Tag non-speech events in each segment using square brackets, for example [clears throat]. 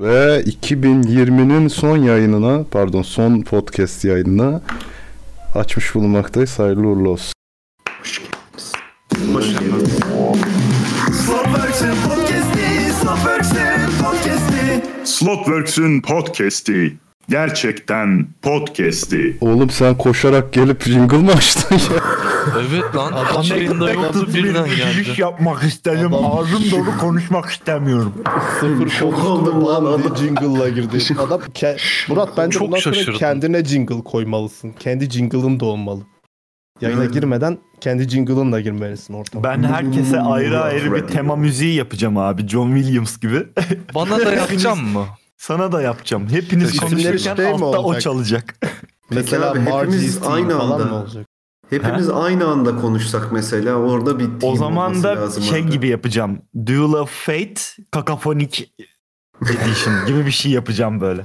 Ve 2020'nin son yayınına, pardon son podcast yayınına açmış bulunmaktayız. Hayırlı uğurlu olsun. Hoş geldiniz. Slotworks'ün podcast'i, Slotworks'ün podcast'i. Slotworks'ün podcast'i. Gerçekten podcast'i. Oğlum sen koşarak gelip jingle mı açtın [laughs] ya? Evet lan adam birinde yoktu birden geldi. yapmak istedim. Ağzım dolu konuşmak istemiyorum. Şok oldum lan adam. Jingle'la girdi. Adam ke- Murat bence Çok bundan sonra şaşırdım. kendine jingle koymalısın. Kendi jingle'ın da olmalı. Yayına girmeden kendi jingle'ınla girmelisin ortama. Ben herkese ayrı ayrı bir tema müziği yapacağım abi. John Williams gibi. Bana da yapacağım mı? Sana da yapacağım. Hepiniz İsimleri konuşurken şey mi altta o olacak? çalacak. Mesela abi, hepimiz Margie aynı aynı falan anda. mı olacak? Hepimiz aynı anda konuşsak mesela orada bir team O zaman olması da lazım şey abi. gibi yapacağım. Duel of Fate Kakafonic Edition gibi bir şey yapacağım böyle.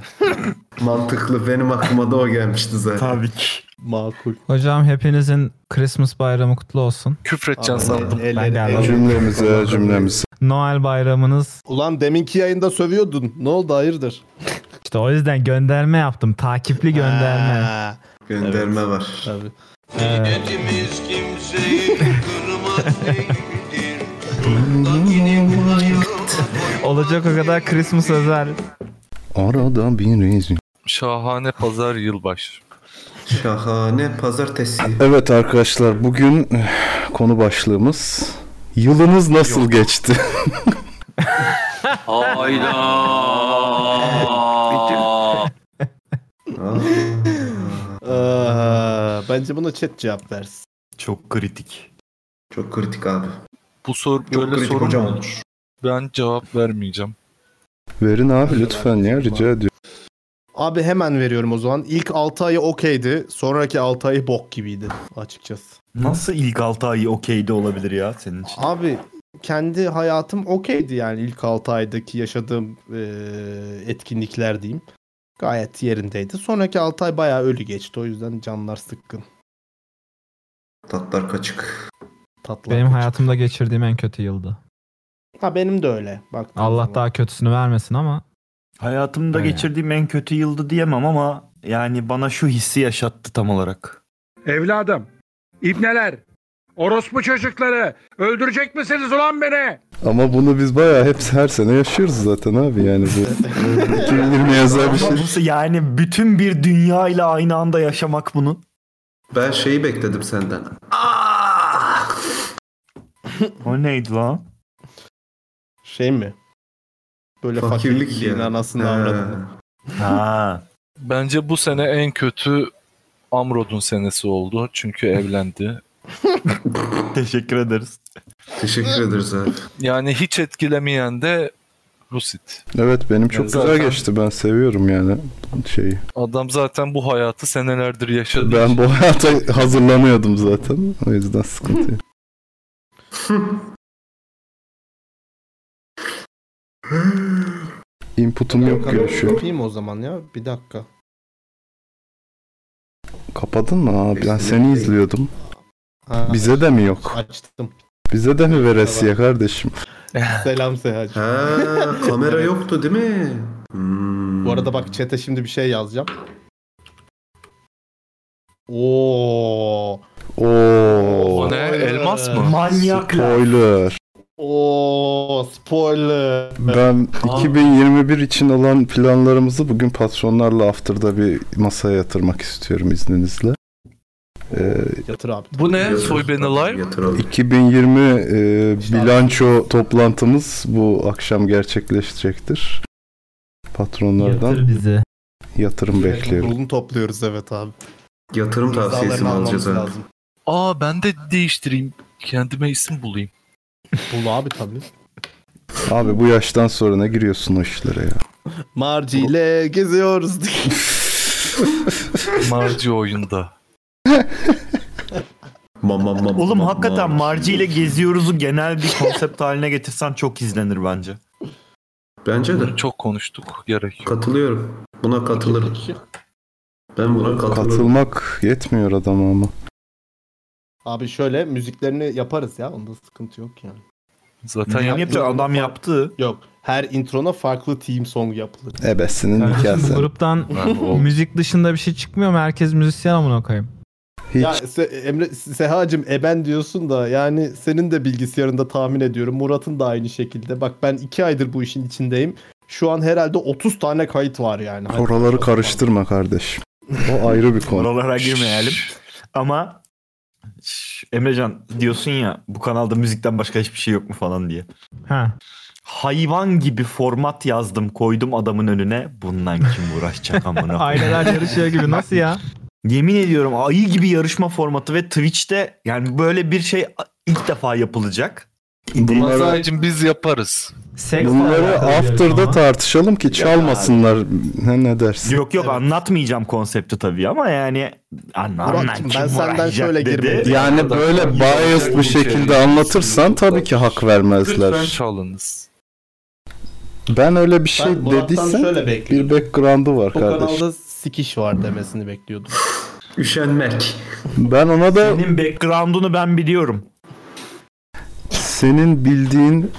mantıklı benim aklıma da o gelmişti zaten. Tabii ki. Makul. Hocam hepinizin Christmas bayramı kutlu olsun. Küfredeceksin sandım. Elleri- Ben geldim. elleri- cümlemize, cümlemize. Noel bayramınız. Ulan deminki yayında sövüyordun. Ne oldu hayırdır? İşte o yüzden gönderme yaptım. Takipli gönderme. Ha, Gönderme var. tabii. Ee, olacak o kadar Christmas özel. Arada bir rezil. Şahane pazar yılbaşı. Şahane pazartesi. Evet arkadaşlar bugün eh, konu başlığımız yılınız nasıl geçti? [laughs] Aa. [laughs] Aa, Ee, bence buna chat cevap versin. Çok kritik. Çok kritik abi. Bu soru Çok böyle kritik soru hocam mu? olur. Ben cevap vermeyeceğim. Verin abi lütfen ya rica ediyorum. Abi hemen veriyorum o zaman. İlk 6 ayı okeydi. Sonraki 6 ayı bok gibiydi açıkçası. Nasıl ilk 6 ayı okeyde olabilir ya senin için? Abi kendi hayatım okeydi yani ilk 6 aydaki yaşadığım e, etkinlikler diyeyim. Gayet yerindeydi. Sonraki 6 ay bayağı ölü geçti. O yüzden canlar sıkkın. Tatlar kaçık. Tatlı. Benim akıcı. hayatımda geçirdiğim en kötü yıldı. Ha benim de öyle. Bak. Allah daha kötüsünü vermesin ama Hayatımda Aynen. geçirdiğim en kötü yıldı diyemem ama yani bana şu hissi yaşattı tam olarak. Evladım, ibneler, orospu çocukları, öldürecek misiniz ulan beni? Ama bunu biz bayağı hep her sene yaşıyoruz zaten abi yani [laughs] bu 2020 yazar bir şey. Ama bu- yani bütün bir dünya ile aynı anda yaşamak bunu. Ben şeyi bekledim senden. O neydi lan? Şey mi? Böyle fakirlik, Fakirlik fakirliğin ya. anasını Ha. avradını. Ha. Bence bu sene en kötü Amrod'un senesi oldu. Çünkü evlendi. [laughs] Teşekkür ederiz. Teşekkür ederiz abi. Yani hiç etkilemeyen de Rusit. Evet benim çok Yani zaten- güzel geçti ben seviyorum yani şey, şeyi. Adam zaten bu hayatı senelerdir yaşadı. Ben bu hayata hazırlanıyordum zaten o yüzden sıkıntı [laughs] yok. Input'um yok şey. görüşüyor. Yapayım o zaman ya. Bir dakika. Kapadın mı abi? Ben seni izliyordum. Ha, Bize de mi yok? açtım. Bize de mi veresiye kardeşim? Selam Sehacı. Ha, kamera yoktu değil mi? Hmm. Bu arada bak chat'e şimdi bir şey yazacağım. Oo. Oo. O ne? Elmas mı? Manyaklar. Spoiler. Oo spoiler. Ben 2021 için olan planlarımızı bugün patronlarla after'da bir masaya yatırmak istiyorum izninizle. Ee, Yatır abi. Bu ne? Soy beni live. Yatıralım. 2020 e, bilanço toplantımız bu akşam gerçekleşecektir. Patronlardan yatır bizi. yatırım bekliyorum. Kurulunu topluyoruz evet abi. Yatırım tavsiyesi mi İmzalarını almamız alacağız abi? lazım. Aa ben de değiştireyim. Kendime isim bulayım. Bul abi tabii. Abi bu yaştan sonra ne giriyorsun o işlere ya? Marci ile geziyoruz. Marci oyunda. Ma, ma, ma, Oğlum ma, ma. hakikaten Marci ile geziyoruzu genel bir konsept haline getirsen çok izlenir bence. Bence de. Çok konuştuk. Gerek yok. Katılıyorum. Buna katılırım. Ben buna katılırım. Katılmak yetmiyor adama ama. abi şöyle müziklerini yaparız ya. Onda sıkıntı yok yani. Zaten Team yap- yaptı, adam yaptı. Yok. Her introna farklı team song yapılır. Ebesinin Kardeşim bu hikayesi. [laughs] gruptan Ha, oldu. müzik dışında bir şey çıkmıyor mu? Herkes müzisyen amına koyayım. Hiç Ya Se- Emre Sehacım eben diyorsun da yani senin de bilgisayarında tahmin ediyorum. Murat'ın da aynı şekilde. Bak ben iki aydır bu işin içindeyim. Şu an herhalde 30 tane kayıt var yani. Hani- oraları karıştırma kardeşim. O ayrı bir konu. Oralara girmeyelim. Ama şş, Emrecan diyorsun ya bu kanalda müzikten başka hiçbir şey yok mu falan diye. Ha. Hayvan gibi format yazdım koydum adamın önüne. Bundan kim uğraşacak [laughs] amına koyayım? Aileler yarışıyor gibi nasıl ya? Yemin ediyorum ayı gibi yarışma formatı ve Twitch'te yani böyle bir şey ilk defa yapılacak. Bunları, Masaycığım biz yaparız. Seks bunları after'da tartışalım ki çalmasınlar. Ne, ne dersin? Yok yok anlatmayacağım konsepti tabii ama yani anlamam Murat'cığım, ben senden şöyle girmedim. Yani böyle biased bir şekilde anlatırsan tabii ki hak Lütfen vermezler. çalınız. Ben öyle bir Ben şey Murat'tan dediysem şöyle bekliyorum. bir background'u var O kardeş. kanalda sikiş var demesini bekliyordum. Üşenmek. Ben ona da Senin background'unu ben biliyorum. senin bildiğin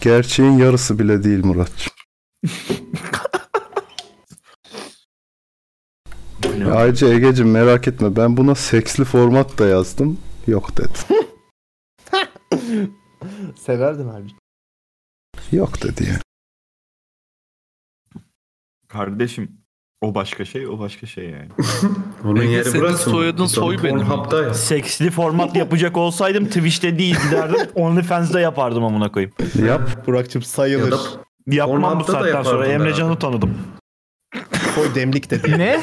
gerçeğin yarısı bile değil Muratçım. Ayrıca Ege'cim merak etme ben buna seksli format da yazdım. Yok dedi. Severdim abi. Yok dedi yani. Kardeşim o başka şey o başka şey yani. Onun Ege, yeri senin burası mı? soyadın soy benim. Pornhub'da ya. Seksli format yapacak olsaydım Twitch'te değil giderdim OnlyFans'da yapardım amına koyayım. Yap Burak'cığım Ya sayılır. da Yapmam bu Pornhub'da da saatten sonra yapardım Emrecan'ı herhalde. tanıdım. Koy demlik de diye. Ne?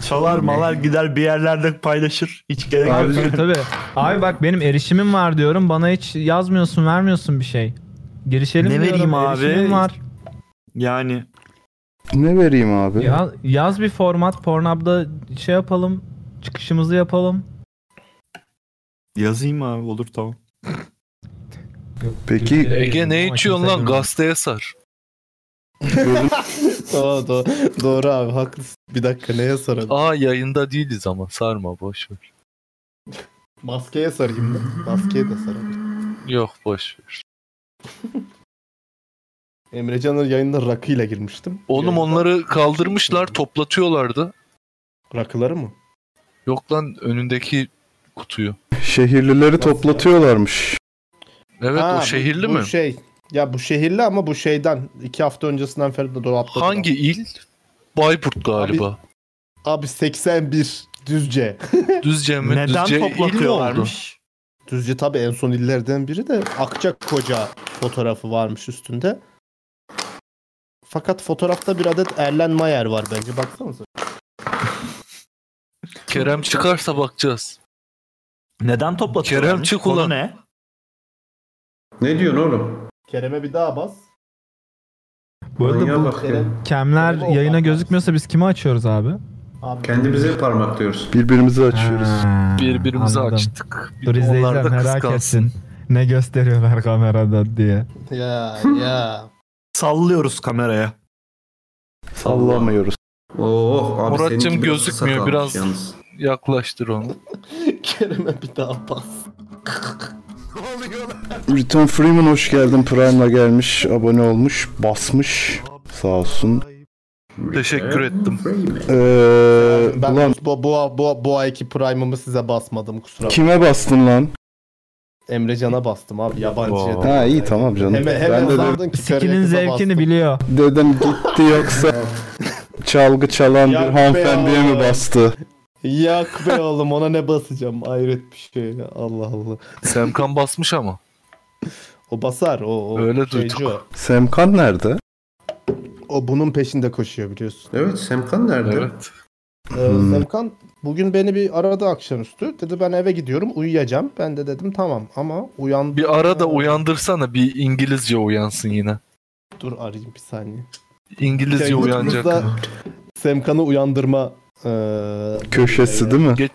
Çalar malar gider bir yerlerde paylaşır. Hiç gerek şey yok. Tabii tabii. Abi bak benim erişimim var diyorum. Bana hiç yazmıyorsun, vermiyorsun bir şey. Girişelim Ne diyorum. vereyim abi? erişimim var. Yani ne vereyim abi? Ya, yaz bir format Pornhub'da şey yapalım. Çıkışımızı yapalım. yazayım abi olur tamam. Peki Ee, Ege ne içiyorsun lan? Gazeteye sar. [laughs] doğru, doğru, doğru abi haklısın. Bir dakika neye saralım? Aa yayında değiliz ama sarma boş ver. Maskeye sarayım mı? Maskeye de sarayım. Yok boş ver. Emrecan'ın yayında rakıyla girmiştim. Oğlum Yayında- onları kaldırmışlar toplatıyorlardı. Rakıları mı? Yok lan önündeki kutuyu. şehirlileri toplatıyorlarmış. Evet Ha, o şehirli bu mi? şey. Ya bu şehirli ama bu şeyden iki hafta öncesinden Feride de dolapta. Hangi il? Bayburt galiba. Abi 81 Düzce. Düzce mi? Neden Düzce il mi oldu? toplatıyorlarmış? Düzce tabii en son illerden biri de Akçakoca fotoğrafı varmış üstünde. Fakat fotoğrafta bir adet Erlen Mayer var bence baksanıza. Kerem çıkarsa bakacağız. Neden toplatıyorlar? Kerem çık ulan. ne? Ne diyorsun oğlum? Kerem'e bir daha bas. Bu arada Manyağa bu bak ya. kemler Kerem olmaz. yayına gözükmüyorsa biz kimi açıyoruz abi? Abi Kendimize parmak diyoruz. Birbirimizi açıyoruz. Ha, Birbirimizi anladım. açtık. Dur izleyiciler Onlar da merak kıskansın. etsin. Ne gösteriyorlar kamerada diye. Ya [laughs] ya. Sallıyoruz kameraya. Sallamıyoruz. Oo, Oh, abi Muratcığım seninki biraz kısa gözükmüyor, biraz- kalmış Yalnız. Yaklaştır onu. Kerem'e bir daha bas. Return Freeman hoş geldin. Prime'la gelmiş, abone olmuş, basmış. Sağ olsun. Teşekkür ettim. Ee, ben ulan bu, bu, bu, bu ayki prime'ımı size basmadım kusura bakmayın. kime bastın lan? Emrecan'a bastım abi yabancıya. Ha iyi tamam canım. Hemen, hemen ben de dedim, sandın ki Sikinin kariyakıza zevkini bastım. biliyor. dedim gitti yoksa [laughs] çalgı çalan Ya bir hanımefendiye be mi ya. bastı? Yak be oğlum ona ne basacağım ayret bir şey ya. Allah Allah. Semkan basmış ama. O basar o. o Öyle şeyci O. Semkan nerede? o bunun peşinde koşuyor biliyorsun. Evet Semkan nerede? Evet. Ee, Hmm. Semkan bugün beni bir aradı akşamüstü. Dedi ben eve gidiyorum uyuyacağım. Ben de dedim tamam ama uyandı. Bir ara da uyandırsana bir İngilizce uyansın yine. Dur arayayım bir saniye. İngilizce Yani uyanacak. YouTube'da Semkan'ı uyandırma e, Köşesi değil mi? Ge-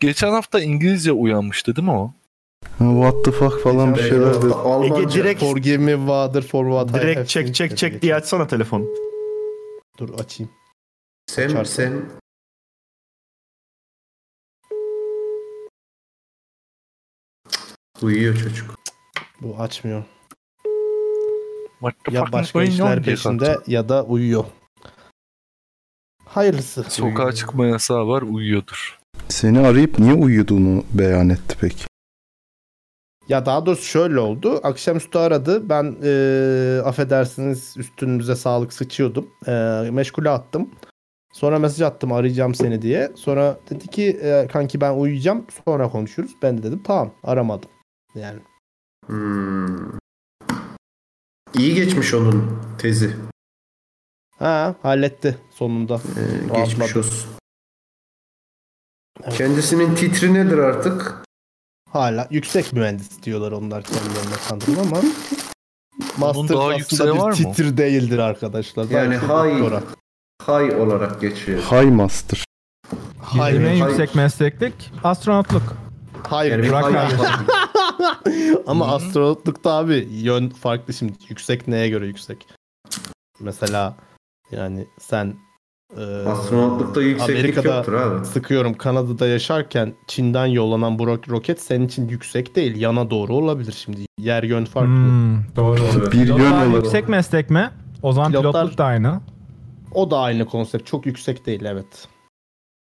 Geçen hafta İngilizce uyanmıştı değil mi o? Ha, What the fuck falan bir şeyler dedi. Almanca. Ege direkt Forgive me Vader for what I have direkt çek seen çek dedi çek geçen. diye açsana telefonu. Dur açayım. Sem, sem. Uyuyor çocuk. Bu açmıyor. What the Ya fuck is başka going on işler diye peşinde kalktı. ya da uyuyor. Hayırlısı. Sokağa çıkma yasağı var uyuyordur. Seni arayıp niye uyuduğunu beyan etti peki. Ya daha doğrusu şöyle oldu. Akşamüstü aradı. Ben eee affedersiniz üstünüze sağlık sıçıyordum. Eee meşgule attım. Sonra mesaj attım arayacağım seni diye. Sonra dedi ki "Eee, kanki ben uyuyacağım sonra konuşuruz. Ben de dedim tamam aramadım. Yani Hmm. İyi geçmiş onun tezi. ha halletti sonunda. Ee, Rahatladım. geçmiş olsun. Evet. Kendisinin titri nedir artık? Hala yüksek mühendis diyorlar onlar kendilerine sanırım ama Bunun master daha yükseği aslında bir var mı? titir değildir arkadaşlar. Yani Belki hayır. doktora. Hay olarak geçiyor. High Master. Bizim en hayır. yüksek mesleklik astronotluk. Hayır. Yani bir Bırak hay abi. yapalım. [laughs] Ama Hı. astronotlukta abi yön farklı şimdi. Yüksek neye göre yüksek? Mesela yani sen e, Astronotlukta yükseklik Amerika'da yoktur abi. sıkıyorum Kanada'da yaşarken Çin'den yollanan bu ro- roket senin için yüksek değil. Yana doğru olabilir şimdi. Yer yön farklı. Hmm. Doğru. Bir yön Pilotlar olarak. yüksek meslek mi? O zaman Pilotlar- pilotluk da aynı. O da aynı konsept. Çok yüksek değil evet.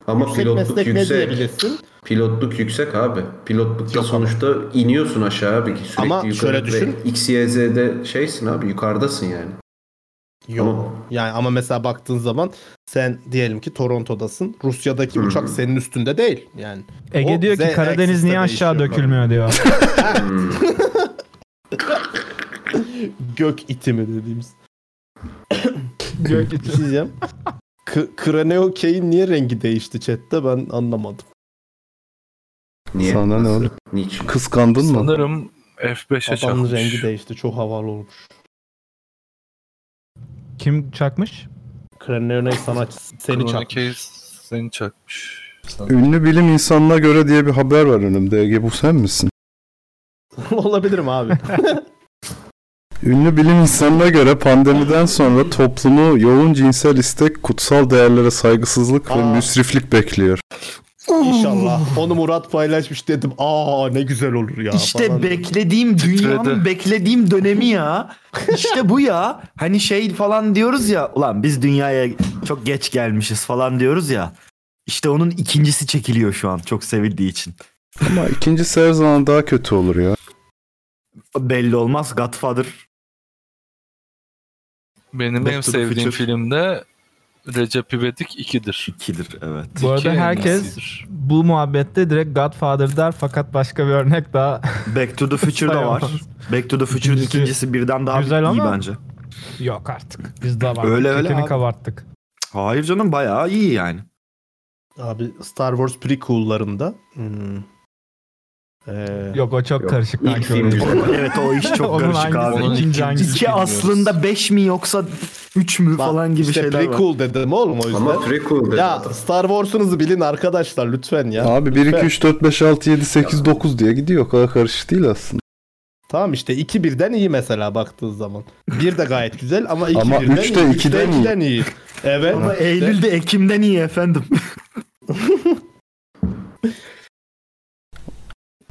Ama yüksek pilotluk meslek ne yüksek. diyebilirsin? Pilotluk yüksek abi. Pilotlukta Yok ama. sonuçta iniyorsun aşağı bir sürekli Ama yukarı şöyle ve düşün. X, Y, Z'de şeysin abi [laughs] yukarıdasın yani. Yok. Ama Yani ama mesela baktığın zaman sen diyelim ki Toronto'dasın. Rusya'daki Hı. uçak senin üstünde değil. Yani Ege O diyor Z ki Karadeniz axis'te niye aşağı değişiyor dökülmüyor diyor. hmm, gök itimi dediğimiz. Gök Bir şey [laughs] diyeceğim. K- Kraneo K'in niye rengi değişti chatte ben anlamadım. niye? Sana ne Nasıl? oldu? Niçin? Kıskandın mı? Sanırım F5'e Adamın çakmış. rengi değişti çok havalı olmuş. Kim çakmış? Kraneo'nun [laughs] sanatçısı seni Kronik çakmış. Case seni çakmış. Sanırım. Ünlü bilim insanına göre diye bir haber var önümde. Ege bu sen misin? [laughs] Olabilirim abi. Ünlü bilim insanına göre pandemiden sonra toplumu yoğun cinsel istek, kutsal değerlere saygısızlık ve Aa. müsriflik bekliyor. İnşallah. Onu Murat paylaşmış dedim. Aa ne güzel olur ya. falan. İşte beklediğim dünyanın Titredi. beklediğim dönemi [laughs] ya. İşte bu ya. Hani şey falan diyoruz ya. Ulan biz dünyaya çok geç gelmişiz falan diyoruz ya. İşte onun ikincisi çekiliyor şu an çok sevildiği için. Ama ikincisi her zaman daha kötü olur ya. Belli olmaz Godfather. Benim Back en to the sevdiğim Future. filmde Recep İvedik 2'dir. İkidir evet. Bu arada İki herkes- iyisidir. Bu muhabbette direkt Godfather der fakat başka bir örnek daha Back to the Future da var. Sayamaz. Back to the Future'ın İkincisi ikincisi birden daha güzel iyi ama- bence. [laughs] yok artık. Biz de abarttık. Öyle, öyle kökeni abi. kabarttık. Hayır canım bayağı iyi yani. Abi Star Wars prequel'larında hmm. Ee, Yok o çok Yok. karışık. İlk kanka, film [laughs] öyle. güzel. [laughs] evet o iş çok [laughs] Onun karışık hangisi? abi. Onun İkinci ikincisi hangisi? İki bilmiyoruz. aslında beş mi yoksa üç mü bak, falan gibi işte şeyler var. prequel dedim oğlum o yüzden. Ama prequel dedi ya adam. Star Wars'unuzu bilin arkadaşlar lütfen ya. Abi 1, 2, lütfen. 3, 4, 5, 6, 7, 8, 9 diye gidiyor. O kadar karışık değil aslında. Tamam işte 2 birden iyi mesela baktığın zaman. 1 de gayet güzel ama 2 Ama birden üç iyi. de üç ikiden iyi. iyi. Evet. Ama işte. Eylül'de Ekim'den iyi efendim.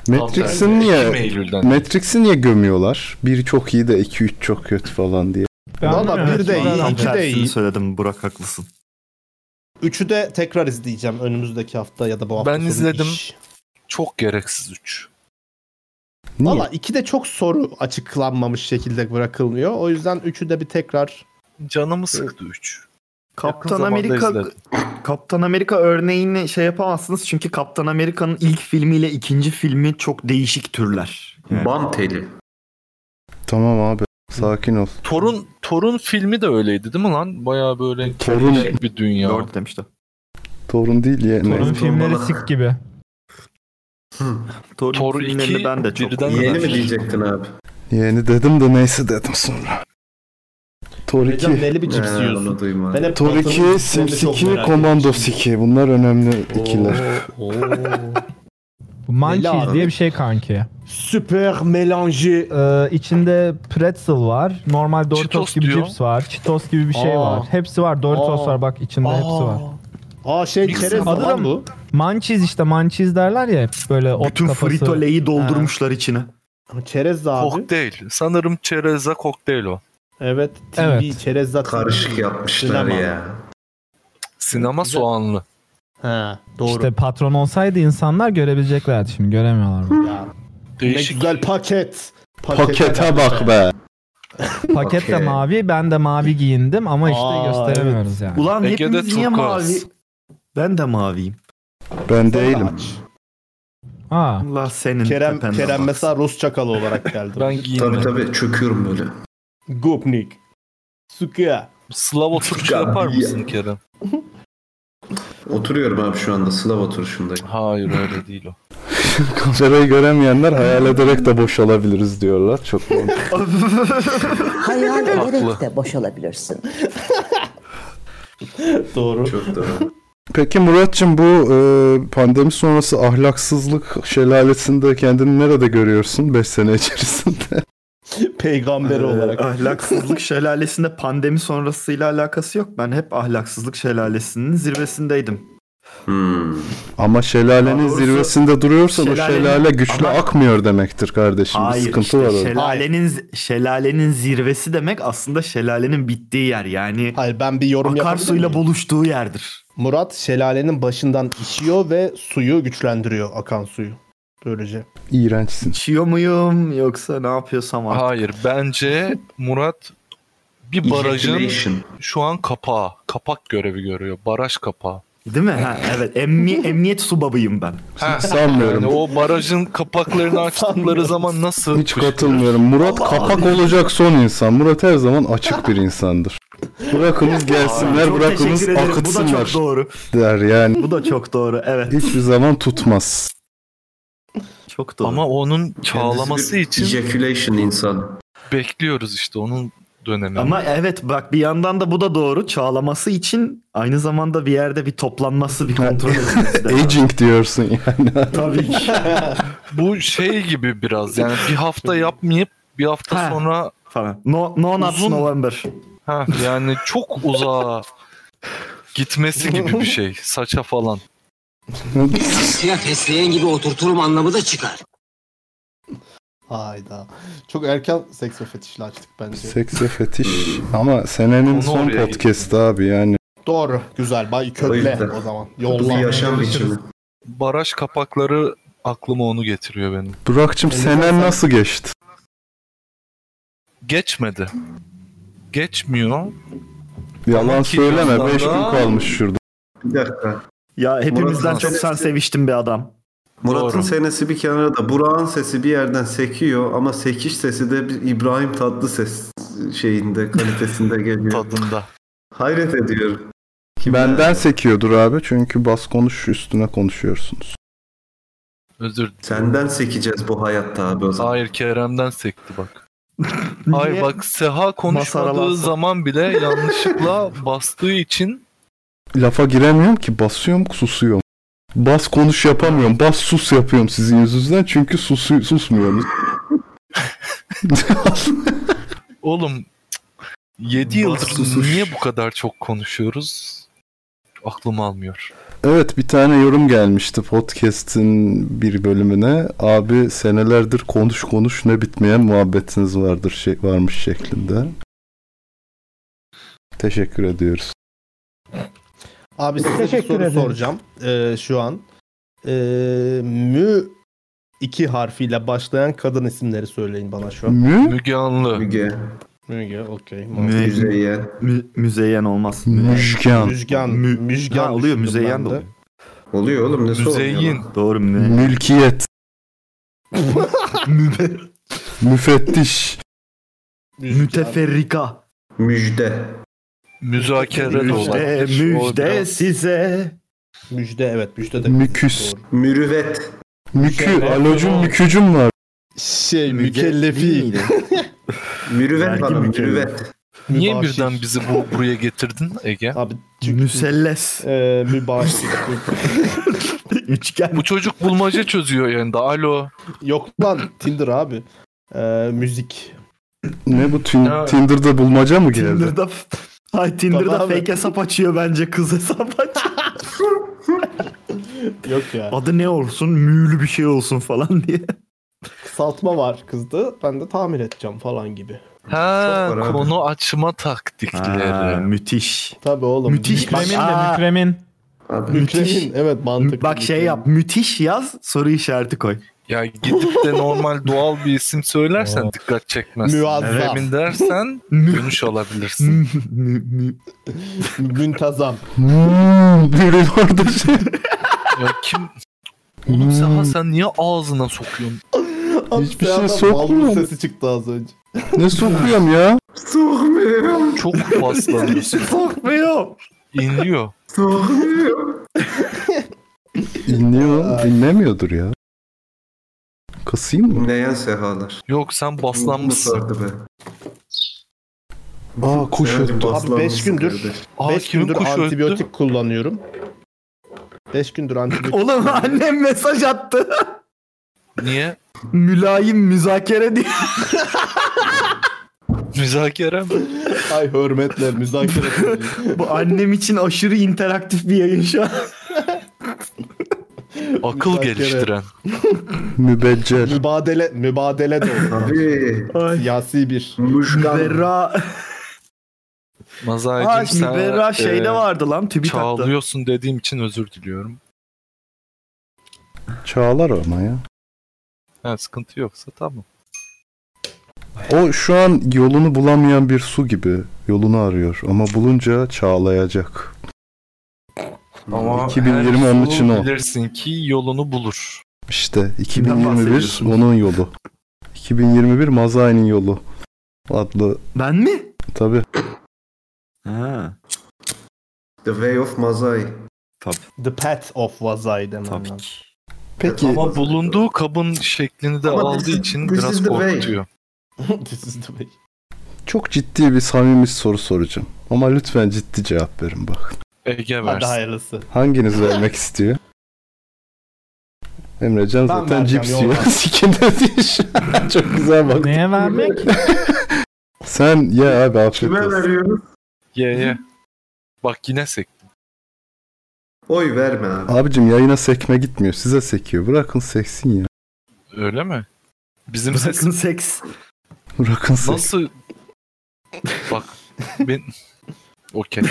Matrix'in Tam tersi. niye? 2 Eylül'den. Matrix'i niye gömüyorlar? Bir çok iyi de 2 3 çok kötü falan diye. Ben Valla bilmiyorum. bir de Evet, iyi, valla. Tam iki de tersini iyi. söyledim Burak haklısın. Üçü de tekrar izleyeceğim önümüzdeki hafta ya da bu hafta. Ben sonu izledim. iş. Çok gereksiz 3. Niye? Valla 2 de çok soru açıklanmamış şekilde bırakılmıyor. O yüzden üçü de bir tekrar Ee, Canımı sıktı 3. Kaptan zamanda Amerika izledim. Kaptan Amerika örneğini şey yapamazsınız çünkü Kaptan Amerika'nın ilk filmiyle ikinci filmi çok değişik türler. Yani Bam teli. Tamam abi. Sakin ol. Torun Torun filmi de öyleydi değil mi lan? Bayağı böyle Torun- kelebek bir dünya. Doğru demişti. Torun değil ya. Torun Ne? filmleri Valla. sik gibi. Thor Thor filmlerini 2 ben de çok birden- Yeni mi kadar. diyecektin abi? Yeni dedim de neyse dedim sonra. Tor 2. Hocam neli bir cips Ha, yiyorsun. onu duymadım. Ben hep Tor Batı'nın 2, filmlerini Sims çok 2, merak Komando etmişim. 2. Bunlar önemli ikiler. Oo, oo. Bu Munchies abi. diye bir şey kanki. Süper melanji. Ee, içinde pretzel var. Normal Doritos Cheetos gibi diyor. cips var. Cheetos gibi bir şey Aa. var. Hepsi var. Doritos Aa. var bak içinde hepsi var. Aa şey çerez Adı da falan mı? bu. Munchies işte Munchies derler ya hep böyle ot Bütün kafası. fritoleyi doldurmuşlar içine. Çerez abi. Kokteyl. Sanırım çereza kokteyl o. Evet. TV Evet. çerez zaten. Karışık yapmışlar Sinema. ya. Sinema soğanlı. Ha, doğru. İşte patron olsaydı insanlar görebileceklerdi [laughs] şimdi göremiyorlar. Ya, ne Değişik. güzel paket. Pakete bak be. Paket de Okey. mavi ben de mavi giyindim ama işte Aa, gösteremiyoruz yani. Ulan Ege'de hepimiz niye turkuaz. mavi? Ben de maviyim. Ben değilim. Aa, Allah senin Kerem tependen Kerem baksın. mesela Rus çakalı olarak geldi. Ben giyindim. Tabii tabii çöküyorum böyle. Gopnik. Suka. Slav oturuşu Ya, yapar ya. mısın Kerem? Oturuyorum abi şu anda Slav oturuşundayım. Hayır öyle değil o. Kamerayı göremeyenler hayal ederek de boş olabiliriz diyorlar. Çok [laughs] mantıklı. Hayal ederek Haklı. de boş olabilirsin. Doğru. Çok da Peki Muratçım bu e, pandemi sonrası ahlaksızlık şelalesinde kendini nerede görüyorsun 5 sene içerisinde? [laughs] Peygamberi Ee, olarak. [laughs] ahlaksızlık şelalesinde pandemi sonrasıyla alakası yok. Ben hep ahlaksızlık şelalesinin zirvesindeydim. Hmm. Ama şelalenin Daha doğrusu zirvesinde duruyorsan o şelalenin- şelale güçlü Ama- akmıyor demektir kardeşim. Bir sıkıntı işte var orada. şelalenin şelalenin zirvesi demek aslında şelalenin bittiği yer. Yani Hayır ben bir yorum yapabilir akarsuyla miyim? buluştuğu yerdir. Murat şelalenin başından işiyor ve suyu güçlendiriyor akan suyu. Böylece. İğrençsin. İçiyor muyum yoksa ne yapıyorsam artık. Hayır bence Murat bir barajın Ejaculation. şu an kapağı. Kapak görevi görüyor. Baraj kapağı. Değil mi? Ha, evet. [laughs] Emni- emniyet subabıyım ben. Ha, Sanmıyorum. Yani o barajın kapaklarını açtıkları zaman nasıl Hiç katılmıyorum. Murat kapak olacak son insan. Murat her zaman [laughs] açık bir insandır. Bırakınız gelsinler, Çok bırakınız teşekkür ederim. Bu da akıtsınlar çok doğru. der yani. Bu da çok doğru. Evet. Hiçbir zaman [laughs] tutmaz. Çok doğru. ama onun Kendisi çağlaması bir için Ejaculation insan. bekliyoruz işte onun dönemi. Ama evet bak bir yandan da bu da doğru. Çağlaması için aynı zamanda bir yerde bir toplanması, bir kontrol edilmesi de. lazım. Aging diyorsun yani. Tabii ki. Bu şey gibi biraz yani bir hafta yapmayıp bir hafta Ha. sonra Falan. No, no nuts Uzun- November. ha, yani çok uzağa gitmesi gibi bir şey. Saça falan. [laughs] Silah fesleğen gibi oturturum anlamı da çıkar. Hayda. Çok erken seks ve fetişle açtık bence. Seks ve fetiş. Ama senenin Onu son oraya podcast abi yani. Doğru. Güzel. Bay kökle yüzden. o zaman. Bu bir Yolla. yaşam biçimi. Baraj kapakları aklıma onu getiriyor benim. Burak'cığım senen nasıl geçti? Geçmedi. Geçmiyor. Yalan Tamam ki söyleme. birazdan 5 gün daha- kalmış şurada. Bir dakika. Ya hepimizden Murat çok sen seviştin bir adam. Murat'ın Doğru. senesi bir kenarda. Burak'ın sesi bir yerden sekiyor ama sekiş sesi de bir İbrahim tatlı ses şeyinde kalitesinde [laughs] geliyor. Tadında. Hayret ediyorum. Kim Benden ya? sekiyordur abi. Çünkü bas konuş üstüne konuşuyorsunuz. Özür Senden sekeceğiz bu hayatta abi o zaman. Hayır Kerem'den sekti bak. Hayır Niye? bak Seha konuşmadığı Masaralansın. zaman bile yanlışlıkla bastığı için Lafa giremiyorum ki. Basıyorum susuyorum. Bas konuş yapamıyorum. Bas sus yapıyorum sizin yüzünüzden. Çünkü susu, susmuyorsunuz. oğlum 7 yıldır susuş. niye bu kadar çok konuşuyoruz? Aklım almıyor. Evet bir tane yorum gelmişti podcast'in bir bölümüne. Abi senelerdir konuş konuş ne bitmeyen muhabbetiniz vardır şey varmış şeklinde. Teşekkür ediyoruz. Abi size bir Teşekkür soru ederim. soracağım ee, şu an. Ee, mü iki harfiyle başlayan kadın isimleri söyleyin bana şu an. Mü? Müge Anlı. Müge, Müge, okey. Mü- Müzeyyen. Mü- müzeyyen olmaz. Müşkan. Müjgan. Mü- Müjgan Ha, oluyor, düşündüm müzeyyen ben de oluyor. Oluyor oğlum ne sorun ya? Müzeyyin. Doğru mu? Mülkiyet. Müfettiş. Müjgan. Müteferrika. Müjde. Müzakere de Müjde, olabilir. O müjde biraz- size. Müjde evet müjde de. Müküs. Doğru. Mürüvvet. Mükü. Alocum mükücüm var. Şey Müge- mükellefi. Miydi? Mürüvvet Vergi bana mükellef. mürüvvet. Niye Mübaşir. birden bizi bu, buraya getirdin Ege? Abi çünkü [laughs] Müselles. e, mübaşir. [laughs] Üçgen. Bu çocuk bulmaca çözüyor yanında. Alo. Yok lan Tinder abi. Ee, müzik. Ne bu tin- Ya. Tinder'da bulmaca mı geldi? Tinder'da Ay Tinder'da Tabii abi. fake hesap açıyor bence kız hesap açıyor. Yok ya. [laughs] [laughs] Adı ne olsun? Müğlü bir şey olsun falan diye. kısaltma var kızdı. Ben de tamir edeceğim falan gibi. Ha Çok var abi. konu açma taktikleri. Ha, müthiş. Tabii oğlum. Müthiş bak. Mükremin de, Aa, mükremin. Mükremin evet mantıklı. Bak şey yap müthiş yaz soru işareti koy. Ya gidip de [laughs] normal doğal bir isim söylersen dikkat çekmez. Müazzam. Mümin [laughs] dersen dönüş alabilirsin. Müntazam. [laughs] [laughs] Biri orada şey. ya kim? Oğlum sen, Hmm. ha, sen niye ağzına sokuyorsun? Hiçbir Bir şey anda sokmuyor. bal sesi çıktı az [laughs] önce. Ne sokuyorum ya? Sokmuyorum. Çok [laughs] paslanıyorsun. Sokmuyor. İnliyor. Sokmuyorum. İnliyor. lan, Dinlemiyordur ya. Kasayım mı? Neyen sehalar? Yok sen Bu baslanmışsın. sardı be. Aa kuş Seher'cim öttü. Abi 5 baslanmışsın gündür kardeş. Aa, 5 kimin gündür kuşu öttü? antibiyotik kullanıyorum. 5 gündür antibiyotik. Oğlum [laughs] annem mesaj attı. [laughs] Niye? Mülayim müzakere diye. [laughs] Müzakere mi? [laughs] Ay hürmetle [laughs] müzakere ediyorum. Bu annem için aşırı interaktif bir yayın şu [laughs] an. Akıl Müzakere. geliştiren. Mübeccel. mübadele mübadele de oldu. Tabii. Siyasi bir. Muşkan. Berra, ha, Mazaycım sen Berra şeyde Ee, e, vardı lan TÜBİTAK'ta. çağlıyorsun dediğim için özür diliyorum. Çağlar ama ya. Ha, sıkıntı yoksa tamam. O şu an yolunu bulamayan bir su gibi yolunu arıyor ama bulunca çağlayacak. Ama 2020 onun su için o. Bilirsin ki yolunu bulur. İşte bahsediyorsunuz? 2021 onun yolu. 2021 Mazai'nin yolu adlı Ben mi? tabi. Ha, The Way of Mazai. The Pet of Vazai demem tabii lazım. ki. Peki Ama bulunduğu kabın şeklini de Ama this aldığı is- için this is biraz the way. korkutuyor. [laughs] This is the way. çok ciddi bir samimi soru soracağım. Ama lütfen ciddi cevap verin bak. Ege Hadi versin. hayırlısı. Hanginiz vermek istiyor? Emrecan zaten vereceğim, cips yol yiyor. [laughs] ver. Sikinde diye şu an Çok güzel bak. Neye vermek? Sen ye abi afiyet Kime olsun. veriyoruz? Ye ye. Bak yine sek. Oy verme abi. Abicim yayına sekme gitmiyor. Size sekiyor. Bırakın seksin ya. Öyle mi? Bizim Bırakın sesimiz seks. Bırakın seksin. nasıl... Bak ben... Okey.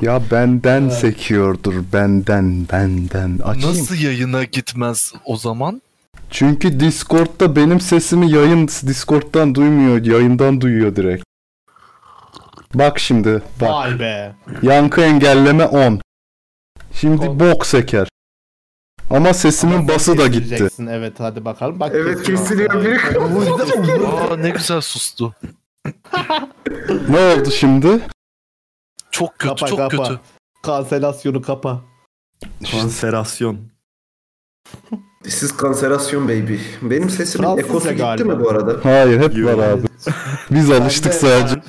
Ya benden sekiyordur. Benden, benden. Açayım. Nasıl yayına gitmez o zaman? Çünkü Discord'da benim sesimi yayın Discord'dan duymuyor. Yayından duyuyor direkt. Bak şimdi. Bak. Vay be. Yankı engelleme 10. Şimdi bok seker. Ama sesimin bası da gitti. Kestireceksin, Evet hadi bakalım. Bak Evet kesiyor. kesiliyor biri Aa ne güzel sustu. Ne oldu şimdi? Çok kötü Kapa, çok kapa. kötü. Kanselasyonu kapa. Konserasyon. Siz kanserasyon baby. Benim sesimin Fransızca ekosu gitti galiba. Ee, mi bu arada? Hayır hep var abi. Biz alıştık Ben de- sadece.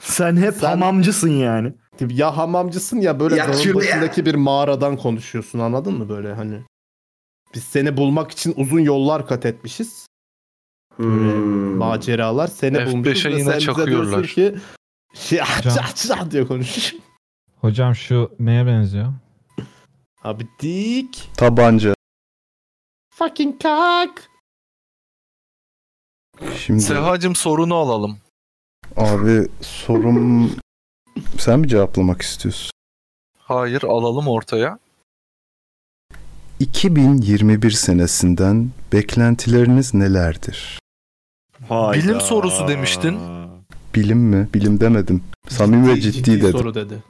Sen hep Sen- hamamcısın yani. Tip ya hamamcısın ya böyle Ya dağın şurada başındaki bir mağaradan konuşuyorsun anladın mı böyle hani. Biz seni bulmak için uzun yollar kat etmişiz. Hmm. Maceralar seni F5'e bulmuşuz ve yine sen bize diyorsun çakıyorlar. ki şey Can. diye konuşuyor. Hocam şu neye benziyor? Abi dik. Tabanca. Fucking kak. Şimdi Sehacım sorunu alalım. abi sorum sen mi cevaplamak istiyorsun? Hayır alalım ortaya. 2021 senesinden beklentileriniz nelerdir? Bilim sorusu demiştin. Bilim mi? Bilim demedim. Samimi ve ciddi, dedim. soru dedi.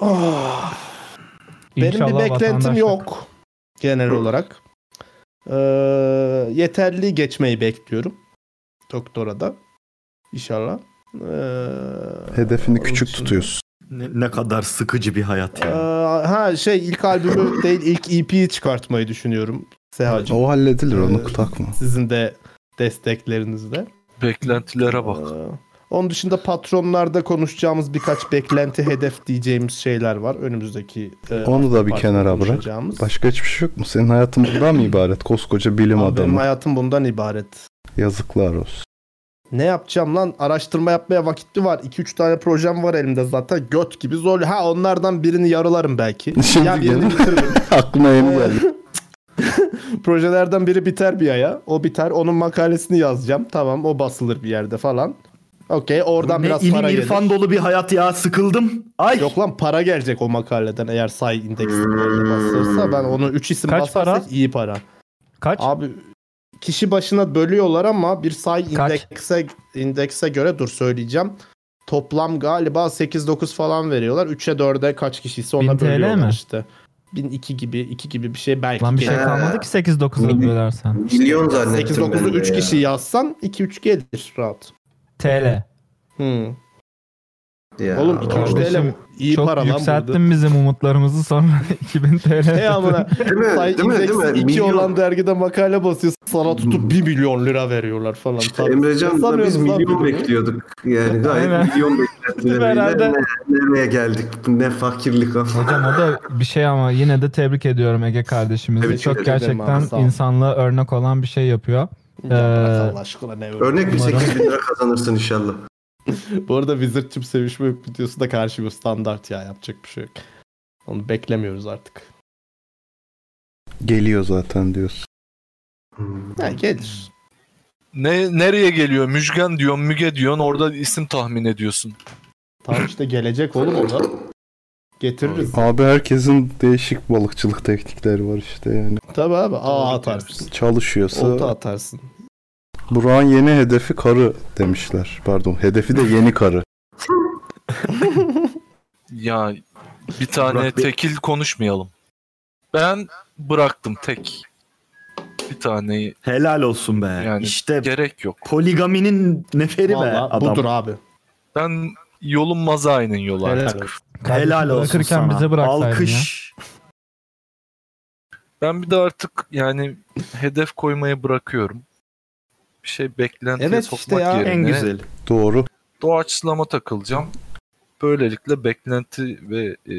Ah. Benim bir İnşallah beklentim vatandaşlık. yok genel olarak. Ee, yeterli geçmeyi bekliyorum doktora da inşallah. Ee, Hedefini onun küçük dışında- tutuyorsun. Ne, ne kadar sıkıcı bir hayat Ee, ya. ha şey ilk [laughs] albümü değil ilk EP'yi çıkartmayı düşünüyorum Sehacığım. O halledilir Ee, onu takma. Sizin de desteklerinizle. Beklentilere bak. Ee, onun dışında patronlarda konuşacağımız birkaç beklenti hedef diyeceğimiz şeyler var önümüzdeki. e, Onu da bir partide kenara bırak. konuşacağımız. Başka hiçbir şey yok mu? Senin hayatın bundan mı ibaret? Koskoca bilim Abi Benim adamı. hayatım bundan ibaret. Yazıklar olsun. [laughs] Ne yapacağım lan? Araştırma yapmaya vakit mi var? 2-3 tane projem var elimde zaten. Göt gibi zor. Ha onlardan birini yarılarım belki. Şimdi ya birini gene- bitiririm. Aklıma yeni geldi. projelerden biri biter bir aya. O biter. Onun makalesini yazacağım. Tamam o basılır bir yerde falan. Okey oradan Ne biraz ilim para gelir. irfan dolu bir hayat ya sıkıldım. Ay. Yok lan para gelecek o makaleden eğer say indeksi bu arada basılırsa ben onu 3 isim Kaç basarsak para? iyi para. Kaç? Abi kişi başına bölüyorlar ama bir say indekse indekse göre dur söyleyeceğim. Toplam galiba 8-9 falan veriyorlar. 3'e 4'e kaç kişiyse ona 1000 TL bölüyorlar mi? işte. 1002 gibi 2 gibi bir şey belki. Lan bir şey gelir. kalmadı [laughs] ki 8-9'a bölersen. Milyon zannettim 8-9'u ben de 3 ya. kişi yazsan 2-3 gelir rahat. TL. Hmm. Ya Oğlum 2-3 TL Kardeşim, iyi çok para lan yükselttin burada. bizim umutlarımızı sonra [laughs] 2000 Şey TL. [laughs] Hey [laughs] amına. mi? Say Değil mi? indeksi Değil mi? 2 Milyon. Hmm. olan dergide makale basıyorsun sana tutup 1 milyon lira veriyorlar falan. Tabii. Emrecan da biz Sanıyorsunuz lan milyon birbirini. bekliyorduk. [laughs] Yani gayet Aynen. milyon beklentilerimiz. Herhalde. Nereye geldik? Ne fakirlik ama. Hocam o da bir şey ama yine de tebrik ediyorum Ege kardeşimizi. Tebrik Çok ederim abi, gerçekten sağ ol. insanlığa örnek olan bir şey yapıyor. Ya bırak Ee, Allah aşkına ne öyle. Örnek bir 8 bin lira kazanırsın inşallah. Bu arada Wizard'cim sevişme videosu da karşı bir standart ya yapacak bir şey yok. Onu beklemiyoruz artık. Geliyor zaten diyorsun. Hmm. Ya gelir. Ne, nereye geliyor? Müjgan diyorsun, Müge diyorsun. Orada isim tahmin ediyorsun. Tamam işte gelecek oğlum o da. Getiririz. Abi herkesin değişik balıkçılık teknikleri var işte yani. Tabii abi A atarsın. Olta Çalışıyorsa atarsın. Burak'ın yeni hedefi karı demişler. Pardon hedefi de yeni karı. [laughs] Ya bir tane Burak Bey- tekil konuşmayalım. Ben bıraktım tek. Bir taneyi Helal olsun be. yani işte gerek yok. poligaminin neferi be Valla adam. budur abi. Ben yolun mazayının yolu Helal artık. olsun. kardeşim Helal olsun bırakırken sana. bize bıraksaydın Alkış. Ben bir de artık yani hedef koymayı bırakıyorum. Bir şey beklentiye Evet sokmak işte ya, en yerine En güzel. Doğru. doğaçlama takılacağım. Böylelikle beklenti ve e,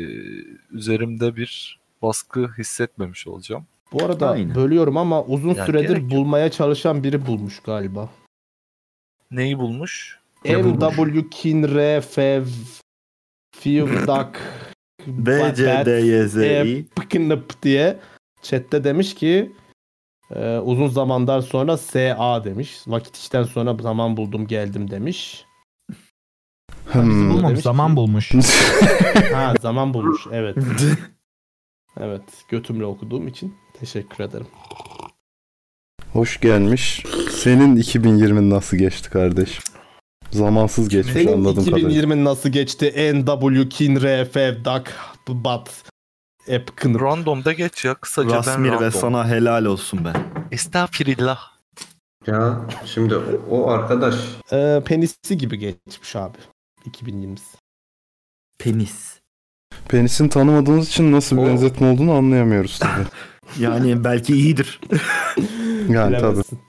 üzerimde bir baskı hissetmemiş olacağım. Bu arada Aynen. bölüyorum ama uzun Ya gerek süredir yok. bulmaya çalışan biri bulmuş gaba. Neyi bulmuş? MW Kinre Fev Fivdak B, C, D, Y, Z, I. Pıkınıp diye chatte demiş ki e, uzun zamandan sonra SA demiş. Vakit işten sonra zaman buldum geldim demiş. Hmm. Bulmamış Demiş zaman ki- bulmuş. [laughs] Ha zaman bulmuş evet. evet götümle okuduğum için teşekkür ederim. Hoş gelmiş. Senin 2020 nasıl geçti kardeşim? Zamansız geçmiş Senin anladım kadarıyla. 2020 nasıl geçti? NW Kinre Fev Dak Bat Epkın Random'da geç ya. Kısaca ben Rasmir random. ve sana helal olsun be. Estağfirullah. Ya şimdi o- o arkadaş Ee, penisi gibi geçmiş abi. 2020'si. Penis. Penisin tanımadığımız için nasıl bir O- benzetme olduğunu anlayamıyoruz tabii. [laughs] Yani belki iyidir. Yani tabii. Bilemezsin.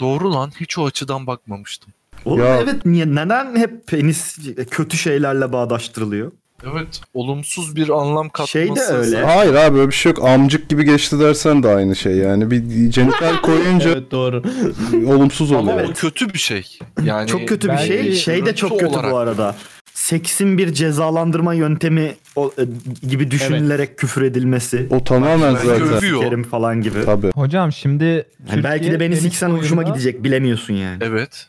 Doğru lan. Hiç o açıdan bakmamıştım. Oğlum Ya- evet niye neden hep penis kötü şeylerle bağdaştırılıyor? Evet. Olumsuz bir anlam katması. Şey de öyle. Hayır abi böyle bir şey yok. Amcık gibi geçti dersen de aynı şey. Yani bir genital koyunca Evet doğru. olumsuz Ama oluyor. o kötü [clears throat] bir şey. Yani çok kötü bir belki şey. Şey de görüntü çok kötü olarak. bu arada. Seksin bir cezalandırma yöntemi o- e, gibi düşünülerek küfür edilmesi. O tamamen Belki zaten. övüyor. Kerim falan gibi. Tabii. Hocam şimdi Yani belki de beni penis siksen hoşuma boyunda- gidecek bilemiyorsun yani. Evet.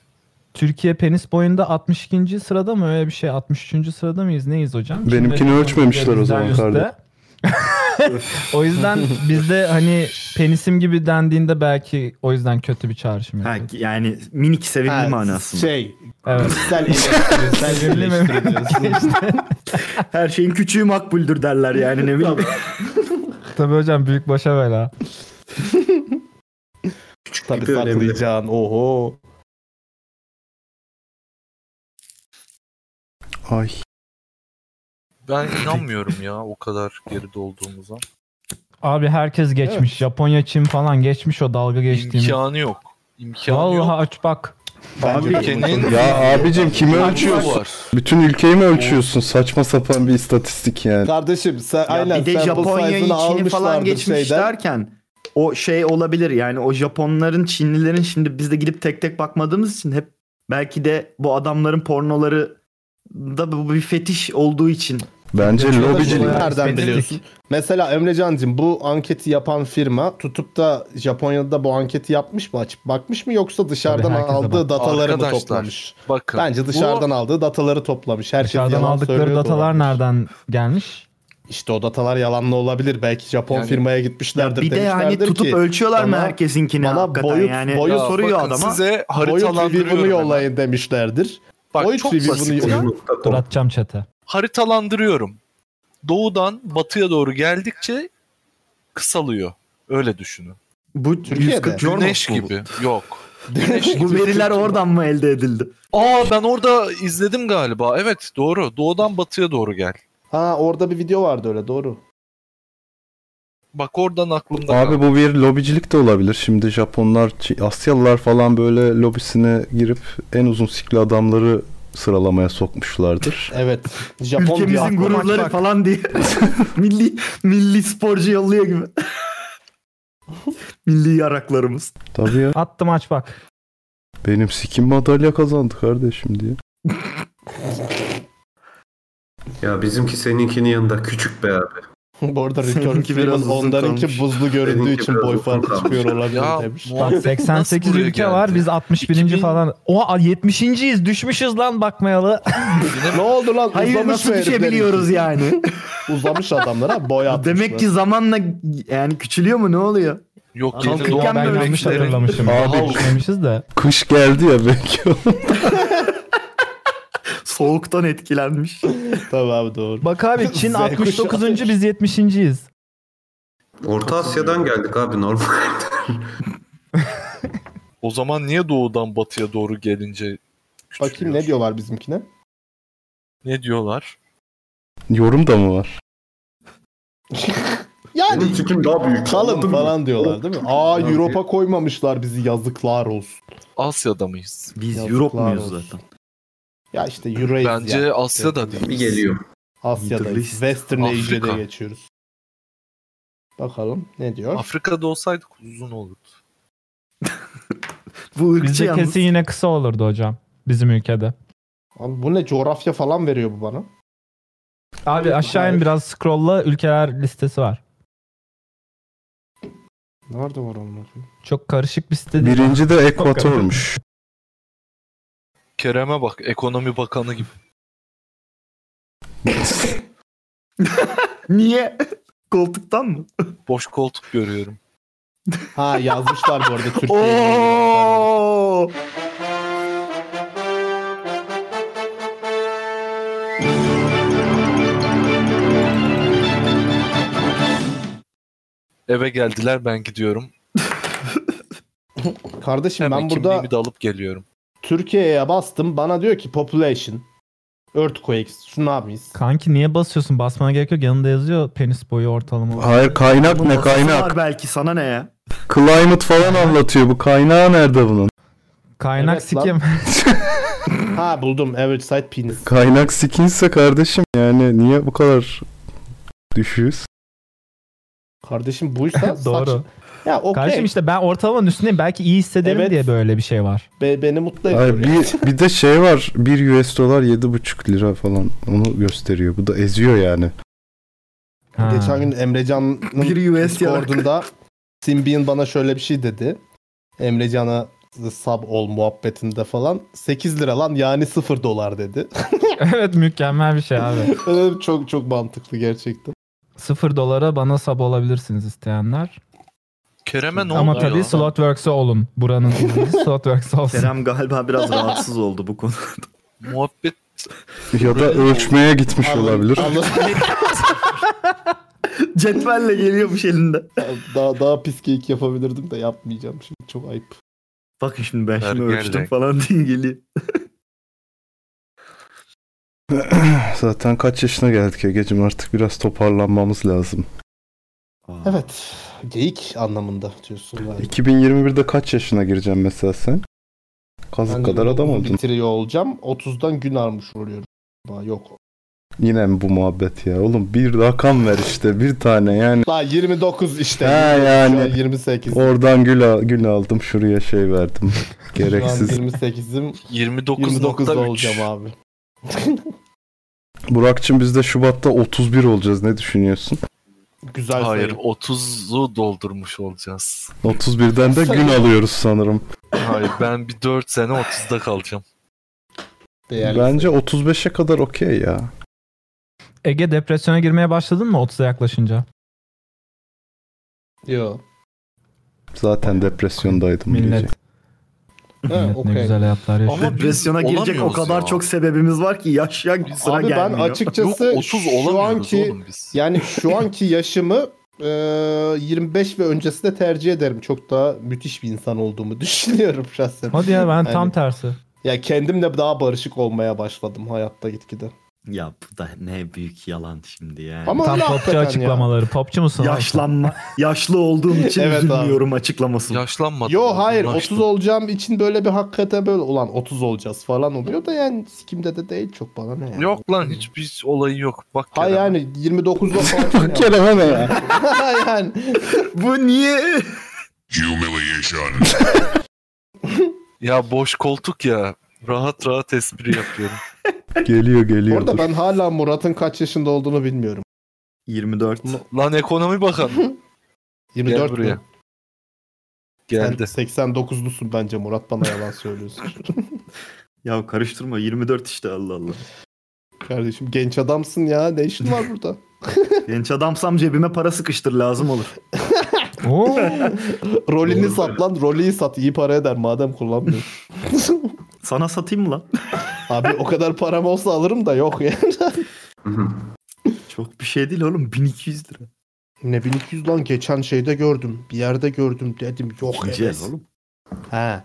Türkiye penis boyunda 62. sırada mı öyle bir şey? 63. sırada mıyız? Neyiz hocam? Benimkini Şimdi- ölçmemişler o zaman Bizden üstte. kardeşim. [laughs] o yüzden bizde hani penisim gibi dendiğinde belki o yüzden kötü bir çağrışım Ha, yapıyor. yani minik sevimli Ha, manasında. Şey. Evet. Sen [laughs] eleştirirsen Sevimli mi? eleştiriyorsun. [laughs] Her şeyin küçüğü makbuldür derler yani ne [laughs] bileyim. Tabii hocam büyük başa bela. Tabii bir önemli. saklayacağın. Oho. Ay. Ben inanmıyorum ya o kadar geride olduğumuza. Abi herkes geçmiş. Japonya, Çin falan geçmiş o dalga geçtiğimiz. İmkanı yok. İmkanı yok. Vallahi aç bak. Bence Abi de ülkenin Ya abicim kimi ölçüyor ölçüyorsun? var. Bütün ülkeyi mi ölçüyorsun? Saçma sapan bir istatistik yani. Kardeşim sen Ya aynen bir de sen Japonya'yı bu Çin'i sayfını falan geçmiş şeyden. derken o şey olabilir yani o Japonların Çinlilerin şimdi biz de gidip tek tek bakmadığımız için hep belki de bu adamların pornoları da bu bir fetiş olduğu için Bence Ya şurada lobicilik. bunu Nereden biliyorsun? Mesela Emrecan'cığım bu anketi yapan firma tutup da Japonya'da bu anketi yapmış mı açıp bakmış mı yoksa dışarıdan Tabii herkese aldığı bak- dataları mı Arkadaşlar, toplamış? bakın. Bence dışarıdan aldığı dataları toplamış. Herkes Dışarıdan yalan aldıkları söylüyor da datalar olabilir. nereden gelmiş? İşte o datalar yalanlı olabilir. Belki Japon Yani- firmaya gitmişlerdir. Ya bir de yani demişlerdir tutup ki, ölçüyorlar mı herkesinkini Bana hakikaten boyut, yani? boyut Ya soruyor bakın adama. size boyut haritalandırıyorum review'unu hemen. yollayın demişlerdir. Bak, boyut çok review'unu basit ya. yollayın. Dur atacağım chat'e. Haritalandırıyorum. Doğudan batıya doğru geldikçe kısalıyor. Öyle düşünün. Bu Türkiye'de. Güneş mu bu? gibi. Yok. Güneş [laughs] Bu veriler oradan mı elde edildi? Aa ben orada izledim galiba. Evet doğru. Doğudan batıya doğru gel. Ha orada bir video vardı öyle doğru. Bak oradan aklımda Abi kaldı. bu bir lobicilik de olabilir. Şimdi Japonlar, Çi- Asyalılar falan böyle lobisine girip en uzun sikli adamları sıralamaya sokmuşlardır. Evet. Japon diye Ülkemizin aklıma- gururları Bak, bak. falan diye. [laughs] milli milli sporcu yolluyor [laughs] gibi. milli yaraklarımız. Tabii ya. Attım aç bak. Benim sikim madalya kazandı kardeşim diye. Ya bizimki seninkinin yanında küçük be abi. [laughs] Bu arada Return Seninki biraz Freeman uzun onlarınki kalmış. buzlu göründüğü Seninki için biraz boy uzun farkı kalmış. çıkıyor olabilir Ya, demiş. muhabbet Bak nasıl 88 buraya ülke geldi? var biz 61. falan. O 70.yiz düşmüşüz lan bakmayalı. ne oldu lan? Hayır Uzamış nasıl şey mı heriflerin düşebiliyoruz ki? yani? [laughs] Uzamış adamlara boy atmışlar. Demek ki zamanla yani küçülüyor mu ne oluyor? Yok yeni Kalkırken doğan mi Ben Ölmüşlerin- yanlış bebeklerin [laughs] hatırlamışım. Abi- Düşmemişiz de. Kış geldi ya belki o. Soğuktan etkilenmiş. Tabii abi doğru. Bak [laughs] abi Çin Z kuşağı. 69. biz 70.yiz. Orta Asya'dan geldik abi normal. O zaman niye doğudan batıya doğru gelince Bakayım ne diyorlar bizimkine? ne diyorlar? Yorum da mı var? Yani [laughs] Benim sikim daha büyük. kalın Anladın mı? falan diyorlar değil mi? Aa Europa koymamışlar bizi yazıklar olsun. Asya'da mıyız? Biz Yazıklar Europe muyuz olsun. zaten? Ya işte Eurasia. Bence Asya'da değil. Bir geliyor. Asya'dayız. Middle East. Western Afrika. Asia'da geçiyoruz. Bakalım ne diyor? Afrika'da olsaydık uzun olurdu. Bu ırkçı Bizde yalnız. kesin yine kısa olurdu hocam. Bizim ülkede. Abi bu ne coğrafya falan veriyor bu bana. Abi aşağı in biraz scrolla ülkeler listesi var. Nerede var onlar? Çok karışık bir site değil. Birinci de Ekvator'muş. Kerem'e bak ekonomi bakanı gibi. Niye? [laughs] Koltuktan mı? Boş koltuk görüyorum. Ha yazmışlar bu arada şey Türkiye'yi. Oo! Eve geldiler ben gidiyorum. Kardeşim Hemen ben burada kimliğimi de alıp geliyorum. Türkiye'ye bastım. Bana diyor ki population. Earthquakes. Şunu ne [laughs] yapmayız? Kanki niye basıyorsun? Basmana gerek yok. Yanında yazıyor penis boyu ortalama. Hayır kaynak Bunun ne masası kaynak? var belki sana ne ya? Climate falan anlatıyor bu. Kaynağı nerede bunun? [laughs] Kaynak Evet lan. [laughs] sikim. Ha buldum. Average side penis. Kaynak sikinse kardeşim yani niye bu kadar düşüyoruz? Kardeşim [laughs] buysa saç. Doğru. Ya okey. Kardeşim işte ben ortalamanın üstündeyim. Belki iyi hissederim Evet. diye böyle bir şey var. Be- beni mutlu ediyor. Hayır, bir, bir de şey var. 1 US dolar 7,5 lira falan. Onu gösteriyor. Bu da eziyor yani. Ha. Geçen gün Emrecan'ın Bir US yarak. Discord'unda Simbian bana şöyle bir şey dedi. Emrecan'a sub ol muhabbetinde falan. 8 lira lan yani 0 dolar dedi. [laughs] evet mükemmel bir şey abi. Evet, çok çok mantıklı gerçekten. 0 dolara bana sab olabilirsiniz isteyenler. Kerem'e ne Ama oluyor tabii lan? Slotworks'e olun. [laughs] Buranın Slotworks'e olsun. [laughs] Kerem galiba biraz rahatsız oldu bu konu. Muhabbet Ya da Oraya- ölçmeye gitmiş Anla- olabilir. anla- [laughs] Cetvelle geliyormuş elinde. [laughs] daha, daha pis keyik yapabilirdim de yapmayacağım şimdi çok ayıp. Bakın şimdi ben şimdi Ergen ölçtüm renk. falan [laughs] diye geliyor. Zaten kaç yaşına geldik Ege'cim artık biraz toparlanmamız lazım. Evet geyik anlamında diyorsun. galiba. 2021'de kaç yaşına gireceğim mesela sen? Kazık Ben de kadar adam bunu oldun. Bitiriyor olacağım. 30'dan gün armış oluyorum. Aa, Yok. Yine mi bu muhabbet ya? Oğlum bir rakam ver işte bir tane yani. Daha 29 işte. Ha, Şu yani. an 28. Oradan gül, al- gül aldım şuraya şey verdim. Şu an Gereksiz. 28'im. 29.3. 29 olacağım abi. Burak'cığım biz de Şubat'ta 31 olacağız. Ne düşünüyorsun? [laughs] Güzel Hayır 30'u doldurmuş olacağız. 31'den de gün alıyoruz sanırım. Hayır ben bir 4 sene 30'da kalacağım. Bence 35'e kadar okey ya. Ege depresyona girmeye başladın mı 30'a yaklaşınca? Yo. Zaten depresyondaydım. Millet. Ha, Ne okey. güzel hayatlar yaşıyor. Depresyona girecek o kadar çok sebebimiz var ki yaşayan bir sıra Abi gelmiyor. ben açıkçası şu anki yani [laughs] şu anki yaşımı e, 25 ve öncesinde tercih ederim. Çok daha müthiş bir insan olduğumu [laughs] düşünüyorum şahsen. Hadi ya ben tam Yani- tersi. Ya kendimle daha barışık olmaya başladım hayatta gitgide. Ya bu da ne büyük yalan şimdi yani. Ama tam öyle popçu hakikaten ya. açıklamaları. Popçu musun? Yaşlanma, yaşlı olduğum için Evet abi. üzülmüyorum açıklaması. Yaşlanmadım. Yo hayır 30 olacağım için böyle bir hakikaten böyle ulan 30 olacağız falan oluyor da yani sikimde de değil çok bana ne yani. Yok lan hiçbir olayı yok. Bak Ha yani [laughs] 29'da falan. [laughs] Bak Kerem'e ne ya? yani. Bu niye? Humiliation. Ya boş koltuk ya. Rahat rahat espri yapıyorum. Geliyor geliyor. Orada dur. ben hala Murat'ın kaç yaşında olduğunu bilmiyorum. 24. lan ekonomi bakan. [laughs] 24 Gel buraya. mü? Geldi. Sen 89'lusun bence Murat bana yalan söylüyorsun. Ya karıştırma 24 işte Allah Allah. Kardeşim genç adamsın ya ne işin var [laughs] burada? Genç adamsam cebime para sıkıştır lazım olur. Oo. Rolini sat lan rolü sat iyi para eder madem kullanmıyorsun. Sana satayım mı lan? Abi o kadar param olsa alırım da yok yani. Çok bir şey değil oğlum 1200 lira. [laughs] ne 1200 lan geçen şeyde gördüm. Bir yerde gördüm dedim yok Yiyeceğiz evet. oğlum. He.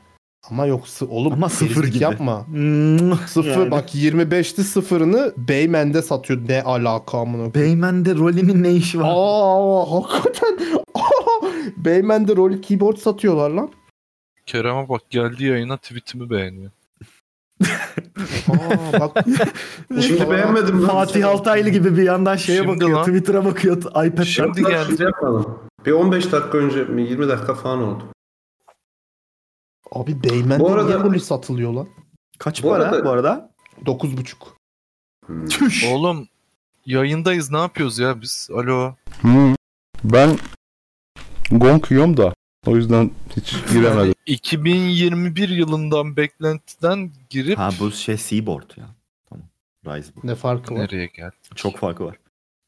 Ama yok sı- oğlum Ama sıfır gerizlik gibi. yapma. Hmm, Sıfır yani. bak 25'li sıfırını Beymen'de satıyor. Ne alaka amına koyayım. Beymen'de rolünün ne işi var? [laughs] Aa hakikaten. Aa, Beymen'de rol keyboard satıyorlar lan. Kerem'e bak geldi yayına tweetimi beğeniyor. Aa [laughs] bak. Şimdi beğenmedim lan. Fatih Altaylı gibi bir yandan şeye Şimdi bakıyor. lan. Twitter'a bakıyor. iPad'den. Şimdi Bak, geldi. şimdi yapalım. Bir 15 dakika önce mi 20 dakika falan oldu. Abi Beymen'de Bu arada- niye rol satılıyor lan? Kaç Bu para arada- bu arada? 9.5. Tüş. Oğlum yayındayız ne yapıyoruz ya biz? Alo. Hı. Ben gong yiyorum da. O yüzden hiç giremedim. Yani 2021 yılından beklentiden girip Ha bu şey Seaboard ya. Tamam. Rise bu. Ne farkı var? nereye geldi? Şey- Çok farkı var.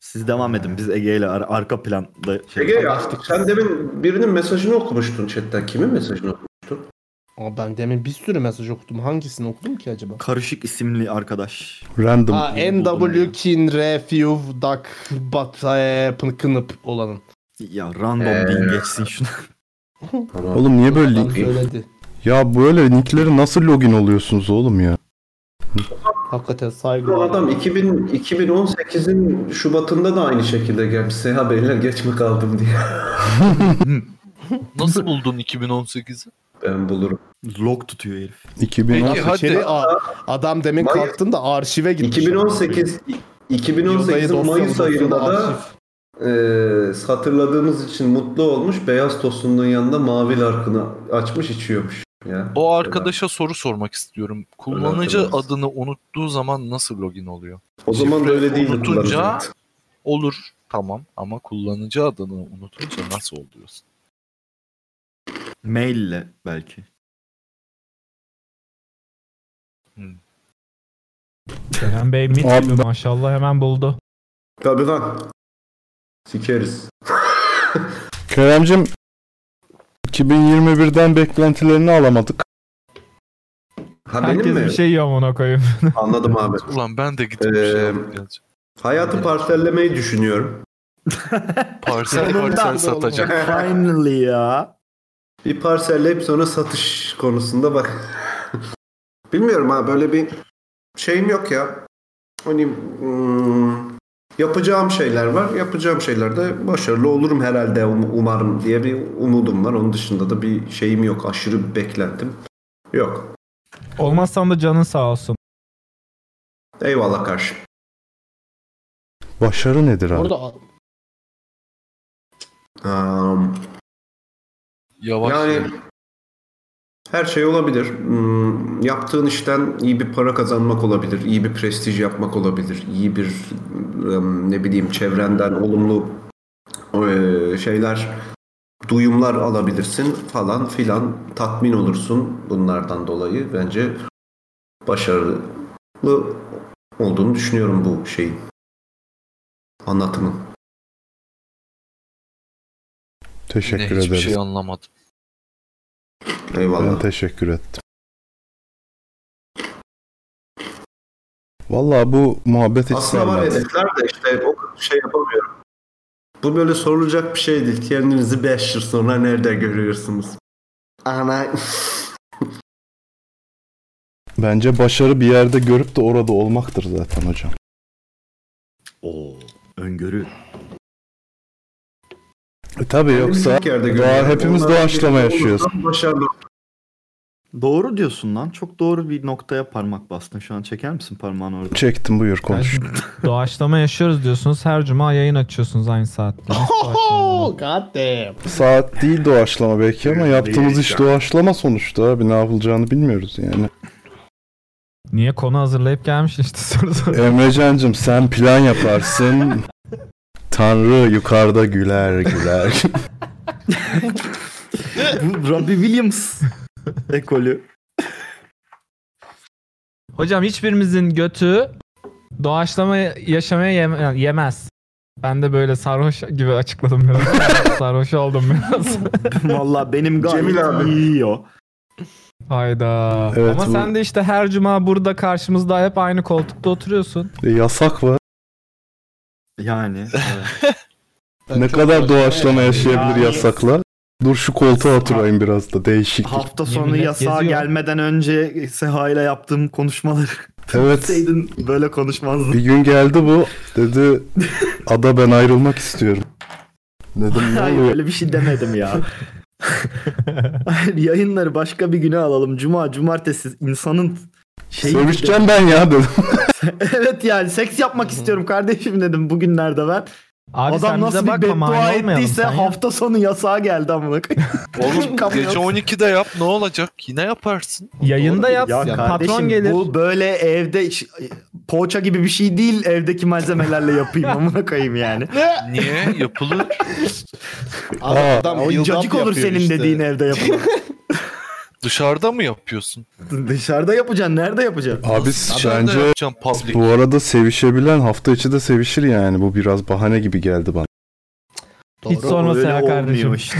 Siz devam edin. Biz Ege ile ar- arka planda şey Ege ya sen demin birinin mesajını okumuştun chatten. Kimin mesajını okumuştun? Aa, ben demin bir sürü mesaj okudum. Hangisini okudum ki acaba? Karışık isimli arkadaş. Random. Ha NW Kin Refuve Duck Bat e, pın- Kınıp olanın. Ya random Ee. deyin geçsin [laughs] şunu. Oğlum niye böyle Adam link? söyledi. Ya böyle nickleri nasıl login oluyorsunuz oğlum ya? Hakikaten Bu saygı. adam 2000, 2018'in Şubat'ında da aynı şekilde gelmiş. Seha beyler geç mi kaldım diye. Nasıl buldun 2018'i? Ben bulurum. Log tutuyor herif. 2000 Peki hadi. İçeri a- adam demin Mayıs- kalktın da arşive gitmiş. 2018 Yıldayı 2018'in dosya Mayıs odasında ayında da arşiv. eee hatırladığımız için mutlu olmuş. Beyaz tostunun yanında mavi larkını açmış içiyormuş. Ya. O arkadaşa soru sormak istiyorum. Kullanıcı hatırlarız. adını unuttuğu zaman nasıl login oluyor? O zaman da öyle değildi. Unutunca kullanıcı. olur tamam ama kullanıcı adını unutunca nasıl oluyorsun? Maille belki. Kerem Bey mit Abi gibi maşallah hemen buldu. Tabii lan. Sikeriz. Kerem'cim 2021'den beklentilerini alamadık. Ha benim Herkes mi? bir şey yiyor ona koyayım. [laughs] Anladım abi. Ulan ben de gidip bir şey Ee, alıp geleceğim. Hayatı parsellemeyi düşünüyorum. Parsel Sonunda parsel oldu. satacak. Finally ya. Bir parselleyip sonra satış konusunda bak. [laughs] Bilmiyorum ha böyle bir şeyim yok ya. Hani hmm, yapacağım şeyler var. Yapacağım şeylerde başarılı olurum herhalde um- umarım diye bir umudum var. Onun dışında da bir şeyim yok. Aşırı bir beklentim yok. Olmazsan da canın sağ olsun. Eyvallah karşı. Başarı nedir abi? Orada Um, Yavaş. yani Yani... Her şey olabilir. Hmm, yaptığın işten iyi bir para kazanmak olabilir, iyi bir prestij yapmak olabilir, iyi bir ım, ne bileyim çevrenden olumlu eee, şeyler, duyumlar alabilirsin falan filan. Tatmin olursun bunlardan dolayı. Bence başarılı olduğunu düşünüyorum bu şeyin. Anlatımın. Teşekkür Hiçbir ederiz. şey anlamadım. Ben teşekkür ettim. Vallahi bu muhabbet hiç Aslında var sarmadı. hedefler de işte o kadar şey yapamıyorum. Bu böyle sorulacak bir şey değil. Kendinizi 5 yıl sonra nerede görüyorsunuz? Ana. Bence başarı bir yerde görüp de orada olmaktır zaten hocam. Oo, öngörü. E tabii yoksa şey bir yerde doğa, görüyorum. hepimiz Ondan doğaçlama biri yaşıyoruz. olursa- Doğru diyorsun lan. Çok doğru bir noktaya parmak bastın. Şu an çeker misin parmağını orada? Çektim buyur konuş. Doğaçlama yaşıyoruz diyorsunuz. Her cuma yayın açıyorsunuz [laughs] aynı saatte. Oh god damn. Saat değil doğaçlama belki ama yaptığımız iş doğaçlama sonuçta abi ne yapılacağını bilmiyoruz yani. Niye konu hazırlayıp gelmiş işte soru soru. Emrecan'cım sen plan yaparsın. Tanrı yukarıda güler güler. Bu Robbie [laughs] Williams ekolü. Hocam hiçbirimizin götü doğaçlama yaşamaya yem- yemez. Ben de böyle sarhoş gibi açıkladım biraz. [laughs] sarhoş oldum [laughs] biraz. Valla benim gayet Cemil abi. iyi o. Hayda. Evet, Ama bu- sen de işte her cuma burada karşımızda hep aynı koltukta oturuyorsun. E, yasak var. Yani. [laughs] ne kadar doğaçlama yaşayabilir yasakla? Dur şu koltuğa oturayım biraz da değişik. Hafta sonu yasağa gelmeden önce Seha ile yaptığım konuşmaları. Evet. Bilseydin böyle konuşmazdın. Bir gün geldi bu dedi ada ben ayrılmak istiyorum. Dedim ne Hayır oluyor? öyle bir şey demedim ya. Hayır, [laughs] yayınları başka bir güne alalım. Cuma, cumartesi insanın şeyi... Sövüşeceğim ben ya dedim. [laughs] evet yani seks yapmak istiyorum kardeşim dedim bugünlerde ben. Abi Adam sen bize nasıl bir bakma, beddua mani olmayalım ettiyse sen ya. hafta sonu yasağa geldi amına koyayım. Oğlum Kapıyor. gece 12'de yap ne olacak? Yine yaparsın. Yayında yap. Ya kardeşim, patron gelir. Bu böyle evde iş- poğaça gibi bir şey değil evdeki malzemelerle yapayım amına koyayım yani. Niye? Yapılır. Adam o cacık olur senin dediğin evde yapılır. Dışarıda mı yapıyorsun? Dışarıda yapacaksın nerede yapacaksın? Abi Dışarıda bence yapacağım public. bu arada sevişebilen hafta içi de sevişir yani. Bu biraz bahane gibi geldi bana. Hiç sorma öyle Seha olmuyor kardeşim. işte.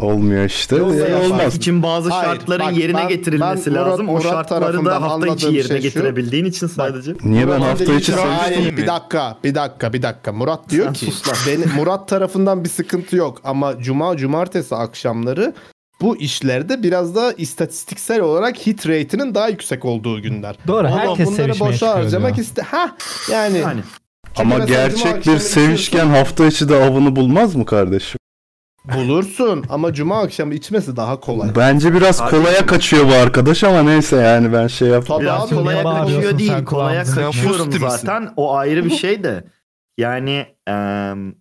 Olmuyor işte. Yok, Ya, yapmak olmaz. için bazı Hayır, şartların bak, yerine ben- getirilmesi ben Murat- lazım. Murat o şartları da tarafından hafta içi anladığım yerine şey şu. getirebildiğin için sadece. Niye ben Murat hafta diyor içi ki, seviştim Hayır bir mi? dakika bir dakika bir dakika. Murat diyor ki [laughs] beni, Murat tarafından bir sıkıntı yok ama cuma cumartesi akşamları bu işlerde biraz da istatistiksel olarak hit rate'inin daha yüksek olduğu günler. Doğru, Ama herkes bunları sevişmeye boşa çıkıyor harcamak diyor. iste ha yani, Ama Çünkü mesela cuma gerçek bir akşamı sevişken hafta içi de avını bulmaz mı kardeşim? bulursun ama cuma akşamı içmesi daha kolay. Bence biraz kolaya kaçıyor bu arkadaş ama neyse yani ben şey yap. Tabii Biraz abi, kolaya niye kaçıyor bağırıyorsun değil. sen Kolaya kulağımıza? kaçıyorum Pozitif misin? zaten. O ayrı bir şey de. Yani em,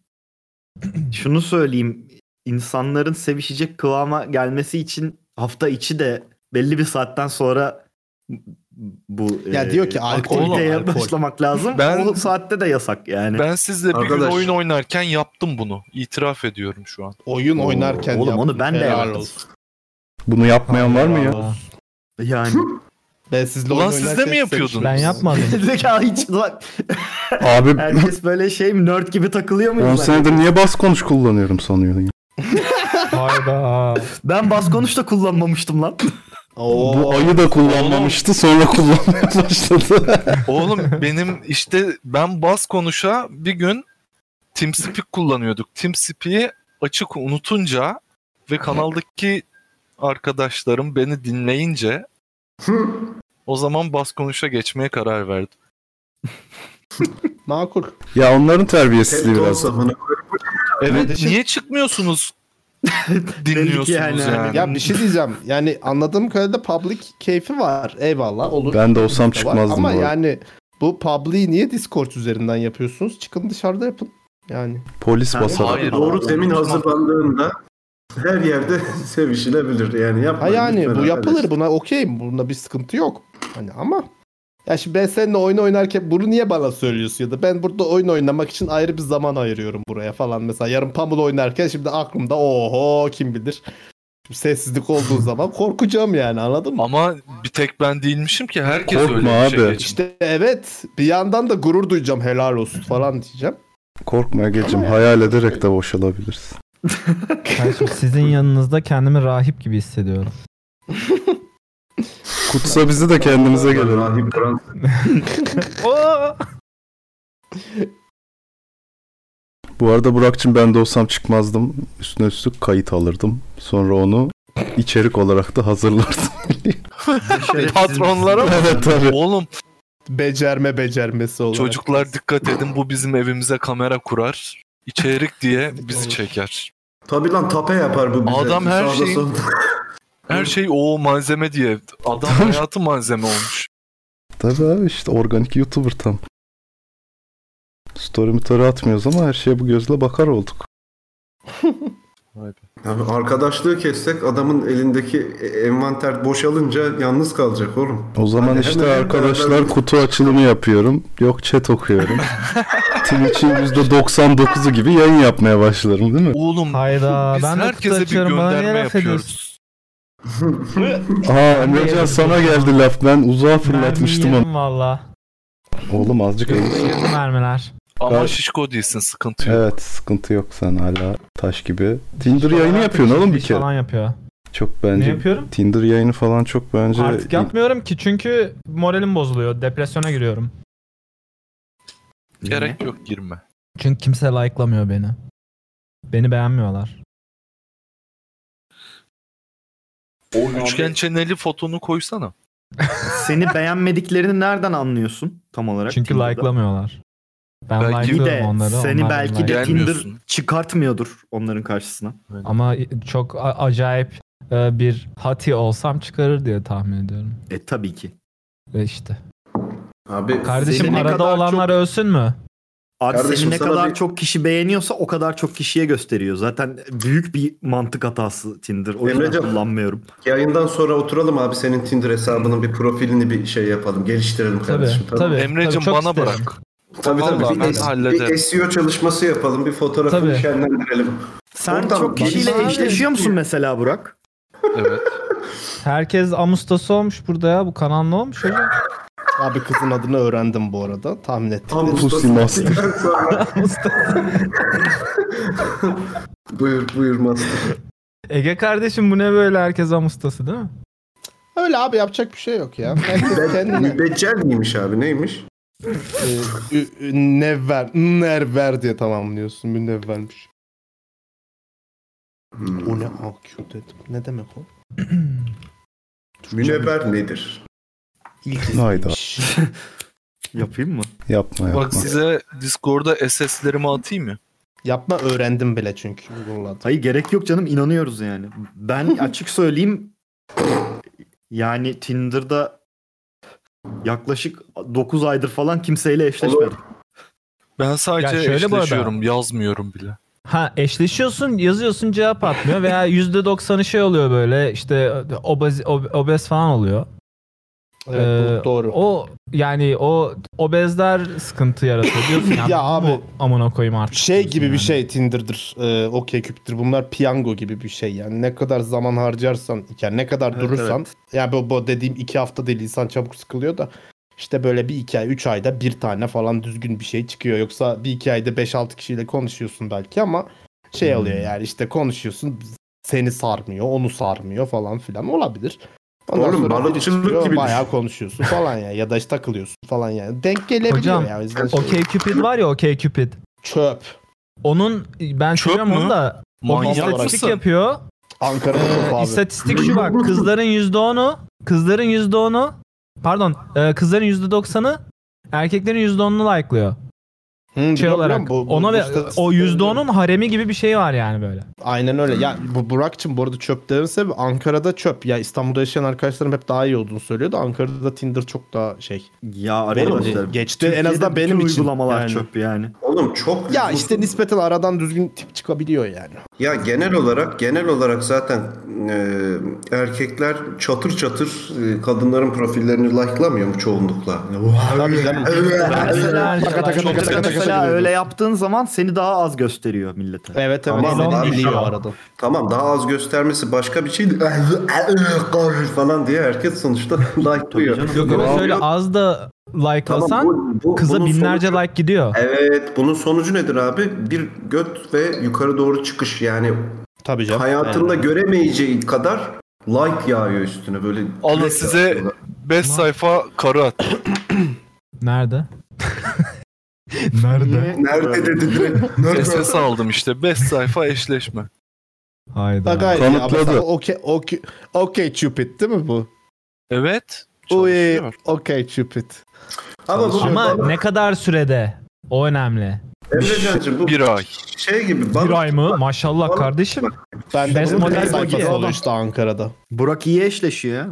şunu söyleyeyim. insanların sevişecek kıvama gelmesi için hafta içi de belli bir saatten sonra bu Ya e, diyor ki alkol, aktiviteye alkol. başlamak lazım. Ben- o saatte de yasak yani. Ben sizle bir gün Arkadaş. oyun oynarken yaptım bunu. İtiraf ediyorum şu an. Oyun oynarken Oğlum onu yaptım. ben de Helal yaptım. olsun. Bunu yapmayan var mı ya? Aa, Yani Ben sizle Ulan oyun siz de oynarken mi yapıyordunuz? Ben sevişmem. yapmadım. [laughs] Zeka hiç lan. Abi Herkes böyle şey mi, nerd gibi takılıyor mu? 10 senedir niye bas konuş kullanıyorum sanıyorum. ya. Hayda. Ben bas konuş da kullanmamıştım [laughs] lan. Oo. Bu ayı da kullanmamıştı sonra kullanmaya [laughs] başladı. Oğlum benim işte ben bas konuşa bir gün TeamSpeak kullanıyorduk. TeamSpeak'i açık unutunca ve kanaldaki arkadaşlarım beni dinleyince o zaman bas konuşa geçmeye karar verdim. Makul. ya onların terbiyesizliği Hep biraz. olsa bunu- Evet Kardeşim- niye çıkmıyorsunuz? Dinliyorsunuz yani yani. hani Ya bir şey diyeceğim. Yani anladığım kadarıyla public keyfi var. Eyvallah olur. Ben de olsam Var. çıkmazdım Ama bu arada. yani bu public'i niye Discord üzerinden yapıyorsunuz? Çıkın dışarıda yapın. Yani Polis Ha, basar. Hayır. Doğru zemin hazırlandığında Her yerde [laughs] sevişilebilir yani. Ha Yapmayın yani lütfen bu yapılır arkadaşlar. buna okeyim. Bunda bir sıkıntı yok. Hani ama ya şimdi ben seninle oyun oynarken bunu niye bana söylüyorsun ya da ben burada oyun oynamak için ayrı bir zaman ayırıyorum buraya falan mesela yarın pamul oynarken şimdi aklımda oho kim bilir Şimdi sessizlik olduğu zaman korkacağım yani anladın mı? Ama bir tek ben değilmişim ki herkes Korkma öyle bir şey abi. geçirdi. İşte evet bir yandan da gurur duyacağım helal olsun falan diyeceğim. Korkma Ege'cim hayal ederek de boşalabilirsin. Ben şimdi sizin yanınızda kendimi rahip gibi hissediyorum. Kutsa bizi de kendimize gelelim. Rahip Kur'an. Bu arada Burak'cığım ben de olsam çıkmazdım. Üstüne üstlük kayıt alırdım. Sonra onu içerik olarak da hazırlardım. [laughs] Patronlara mı? Evet, tabii. Oğlum Becerme becermesi olarak. çocuklar dikkat edin bu bizim evimize kamera kurar. içerik diye bizi çeker. Tabii lan tape yapar bu bize. Adam her Sağda şeyin- solda. [laughs] Her şey o malzeme diye. [laughs] Adam hayatı malzeme olmuş. Tabii abi işte organik YouTuber tam. Story motoru atmıyoruz ama her şeye bu gözle bakar olduk. Abi arkadaşlığı kessek adamın elindeki e, envanter boşalınca yalnız kalacak oğlum. O zaman Hani işte hemen- arkadaşlar kutu açılımı yapıyorum. Yok chat [laughs] okuyorum. Twitch'in %99'u gibi yayın yapmaya başlarım değil mi? Oğlum Hayda biz ben de kutu herkese bir açıyorum bana niye gönderme laf ediyorsun? yapıyoruz. Aa Emrecan sana geldi laf. Ben uzağa fırlatmıştım onu. Mermi valla. Oğlum azıcık eğilsin. Yedi mermiler. Ama şişko değilsin sıkıntı yok. Evet sıkıntı yok sen hala taş gibi. Tinder yayını yapıyorsun oğlum bir kere. Falan yapıyor. Çok bence. Ne yapıyorum? Tinder yayını falan çok bence. Artık yapmıyorum ki çünkü moralim bozuluyor. Depresyona giriyorum. Gerek yok girme. Çünkü kimse like'lamıyor beni. Beni beğenmiyorlar. Üçgen çeneli fotonu koysana. Seni beğenmediklerini nereden anlıyorsun tam olarak? Çünkü Tinder'da? like'lamıyorlar. Ben Belki de Bir de like'lıyorum onları. seni onlar belki beni de like- Tinder Gelmiyorsun. çıkartmıyordur onların karşısına. Ama çok a- acayip e, bir hati olsam çıkarır diye tahmin ediyorum. E tabii ki. Ve işte. Abi Kardeşim Seni ne arada kadar olanlar ölsün mü? Abi Kardeşim seni ne sana kadar bir- çok kişi beğeniyorsa o kadar çok kişiye gösteriyor. Zaten büyük bir mantık hatası Tinder. O yüzden Emrecan. kullanmıyorum. yayından sonra oturalım abi senin Tinder hesabının bir profilini bir şey yapalım. Geliştirelim Tabii. kardeşim. tamam. Tabii. Emre'cim çok bana isterim. bırak. Tabii tabii. Vallahi Bir, ben es- hallederim. bir SEO çalışması yapalım. Bir fotoğrafını Tabii. şenlendirelim. Sen Oradan çok kişiyle bana- eşleşiyor musun mesela Burak? Evet. Herkes Amustası olmuş burada ya. Bu kanal ne [laughs] olmuş hocam? Abi kızın adını öğrendim bu arada tahmin ettim. Tam Pussy ustası Master. bittikten sonra- [laughs] buyur buyur master. Ege kardeşim bu ne böyle herkes Amustası değil mi? Öyle abi yapacak bir şey yok ya. Herkes kendine Mübeccel miymiş abi neymiş? Ee, ü- ü- nevver, nerver diye tamamlıyorsun. Münevvermiş. Hmm. O ne AQ dedim. Ne demek o? Münevver nedir? Hayda Yapayım mı? yapma yapma. Bak size Discord'a SS'lerimi atayım mı? Yapma öğrendim bile çünkü Google'da. Hayır gerek yok canım inanıyoruz yani. Ben açık söyleyeyim yani Tinder'da yaklaşık 9 aydır falan kimseyle eşleşmedim. Ben sadece Ya şöyle bu arada. eşleşiyorum yazmıyorum bile. Ha eşleşiyorsun yazıyorsun cevap atmıyor [laughs] veya %90'ı şey oluyor böyle işte obez, ob- obez falan oluyor. Evet, Ee, bu doğru. O yani o obezler sıkıntı yaratıyor diyorsun ya. [laughs] Ya abi- bu amına koyayım artık. şey diyorsun gibi bir yani. şey Tinder'dır, e, OkCupid'dir. Bunlar piyango gibi bir şey yani. Ne kadar zaman harcarsan, yani ne kadar Evet, durursan. evet. Yani bu, bu dediğim iki hafta değil insan çabuk sıkılıyor da. işte böyle bir iki ay, üç ayda bir tane falan düzgün bir şey çıkıyor. Yoksa bir iki ayda beş altı kişiyle konuşuyorsun belki ama şey oluyor yani işte konuşuyorsun seni sarmıyor, onu sarmıyor falan filan olabilir. Oğlum, sonra biri balıkçılık çıkıyor, gibi Bayağı düşün. konuşuyorsun falan ya ya da işte takılıyorsun falan yani. Denk gelebiliyor Hocam, ya. O yüzden şey- Okey Cupid var ya Okey Cupid. Çöp. Onun ben Çöp söylüyorum mü? onu da o Manyak istatistik mısın? yapıyor. [laughs] Ankara'da Ee, çöp abi. istatistik şu bak kızların %10'u kızların %10'u pardon e, kızların %90'ı erkeklerin %10'unu like'lıyor. şey olarak. bu- bu- Ona bu ve istatistik- o %10'un haremi gibi bir şey var yani böyle. Aynen öyle. Ya bu Burak'cığım bu arada çöplerin sebebi Ankara'da çöp. Ya İstanbul'da yaşayan arkadaşlarım hep daha iyi olduğunu söylüyordu. Ankara'da Tinder çok daha şey. Ya arkadaşlar. Geçti en azından benim için. uygulamalar yani. çöp yani. Oğlum çok Ya işte nispeten aradan düzgün tip çıkabiliyor yani. Ya genel olarak genel olarak zaten e, erkekler çatır çatır e, kadınların profillerini like'lamıyor mu çoğunlukla? Tabii canım. Mesela, Taka taka taka taka taka mesela taka. öyle yaptığın zaman seni daha az gösteriyor millete. Evet evet. Tamam, Seni abi, biliyor tamam. arada. Tamam daha az göstermesi başka bir şey [laughs] falan diye herkes sonuçta [laughs] like'lıyor. Yok ama şöyle az da like'lasan Tamam, bu- bu- kıza bunun binlerce like gidiyor. Evet bunun sonucu nedir abi? Bir göt ve yukarı doğru çıkış yani Tabii canım. hayatında göremeyeceği kadar like yağıyor üstüne böyle. Alın Direkt size yağıyor. 5 sayfa karı at. Nerede? [laughs] Nerede? Nerede dedi [laughs] direkt. Nerede? SS aldım işte 5 sayfa eşleşme. Hayda. Bak hayır ya. Kanıtladı. mesela Okey okey okey Cupid değil mi bu? Evet. Uy, okey Cupid. Ama bu Ama ne kadar sürede? O önemli. Emrecan'cığım bu Bir ay. [laughs] şey gibi. Bir bana- ay mı? Maşallah kardeşim. Ben de Best bunun model bir sayfası bagi. oldu işte Ankara'da. Burak iyi eşleşiyor ya.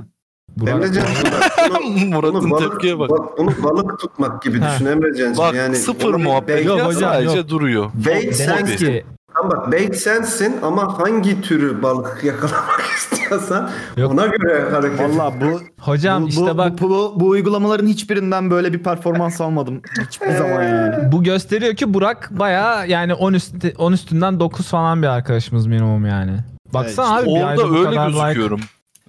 Burak, Emrecan [laughs] Murat'ın [laughs] bunu balık, tepkiye bak. bak, bunu balık tutmak gibi Ha. düşün Emrecan'cığım. Bak yani sıfır onu muhabbet Yok ya hocam, sadece yok. duruyor. Bait demez sensin. ki Tamam bak bait sensin ama hangi türü balık [laughs] yakalamak istiyorsan Yok. ona göre hareket. Valla bu, hocam bu, işte bu, bak bu, bu, bu uygulamaların hiçbirinden böyle bir performans almadım. Hiçbir zaman yani. bu gösteriyor ki Burak baya yani 10 üstü, 10 üstünden 9 falan bir arkadaşımız minimum yani. Baksana abi bir ayda Orada bu öyle kadar like. gözüküyorum.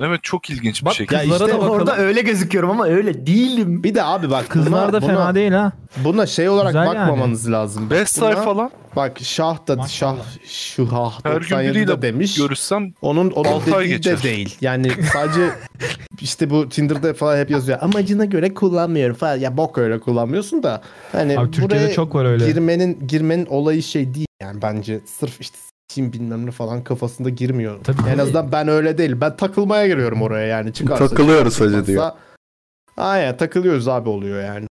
Evet çok ilginç bir Bak, şekilde. kızlara da bakalım. Orada öyle gözüküyorum ama öyle değilim. Bir de abi bak Kızlar e, buna- da fena buna- değil ha. Buna şey olarak Güzel yani. bakmamanız lazım. 5 Buna- sayfa lan. Bak şah da şah şu hah Her gün 97 biriyle de demiş. görüşsem Onun onun altı ay dediği de geçer. değil. Yani [laughs] sadece işte bu Tinder'da falan hep yazıyor. Amacına göre kullanmıyorum falan. Ya bok öyle kullanmıyorsun da. Hani Abi Türkiye'de buraya çok var öyle. Girmenin girmenin olayı şey değil yani bence. Sırf işte kim bilmem ne falan kafasında girmiyor. Tabii. En azından ben öyle değil. Ben takılmaya giriyorum oraya yani. Çıkarsa Takılıyoruz çıkmazsa- sadece diyor. Aynen takılıyoruz abi oluyor yani.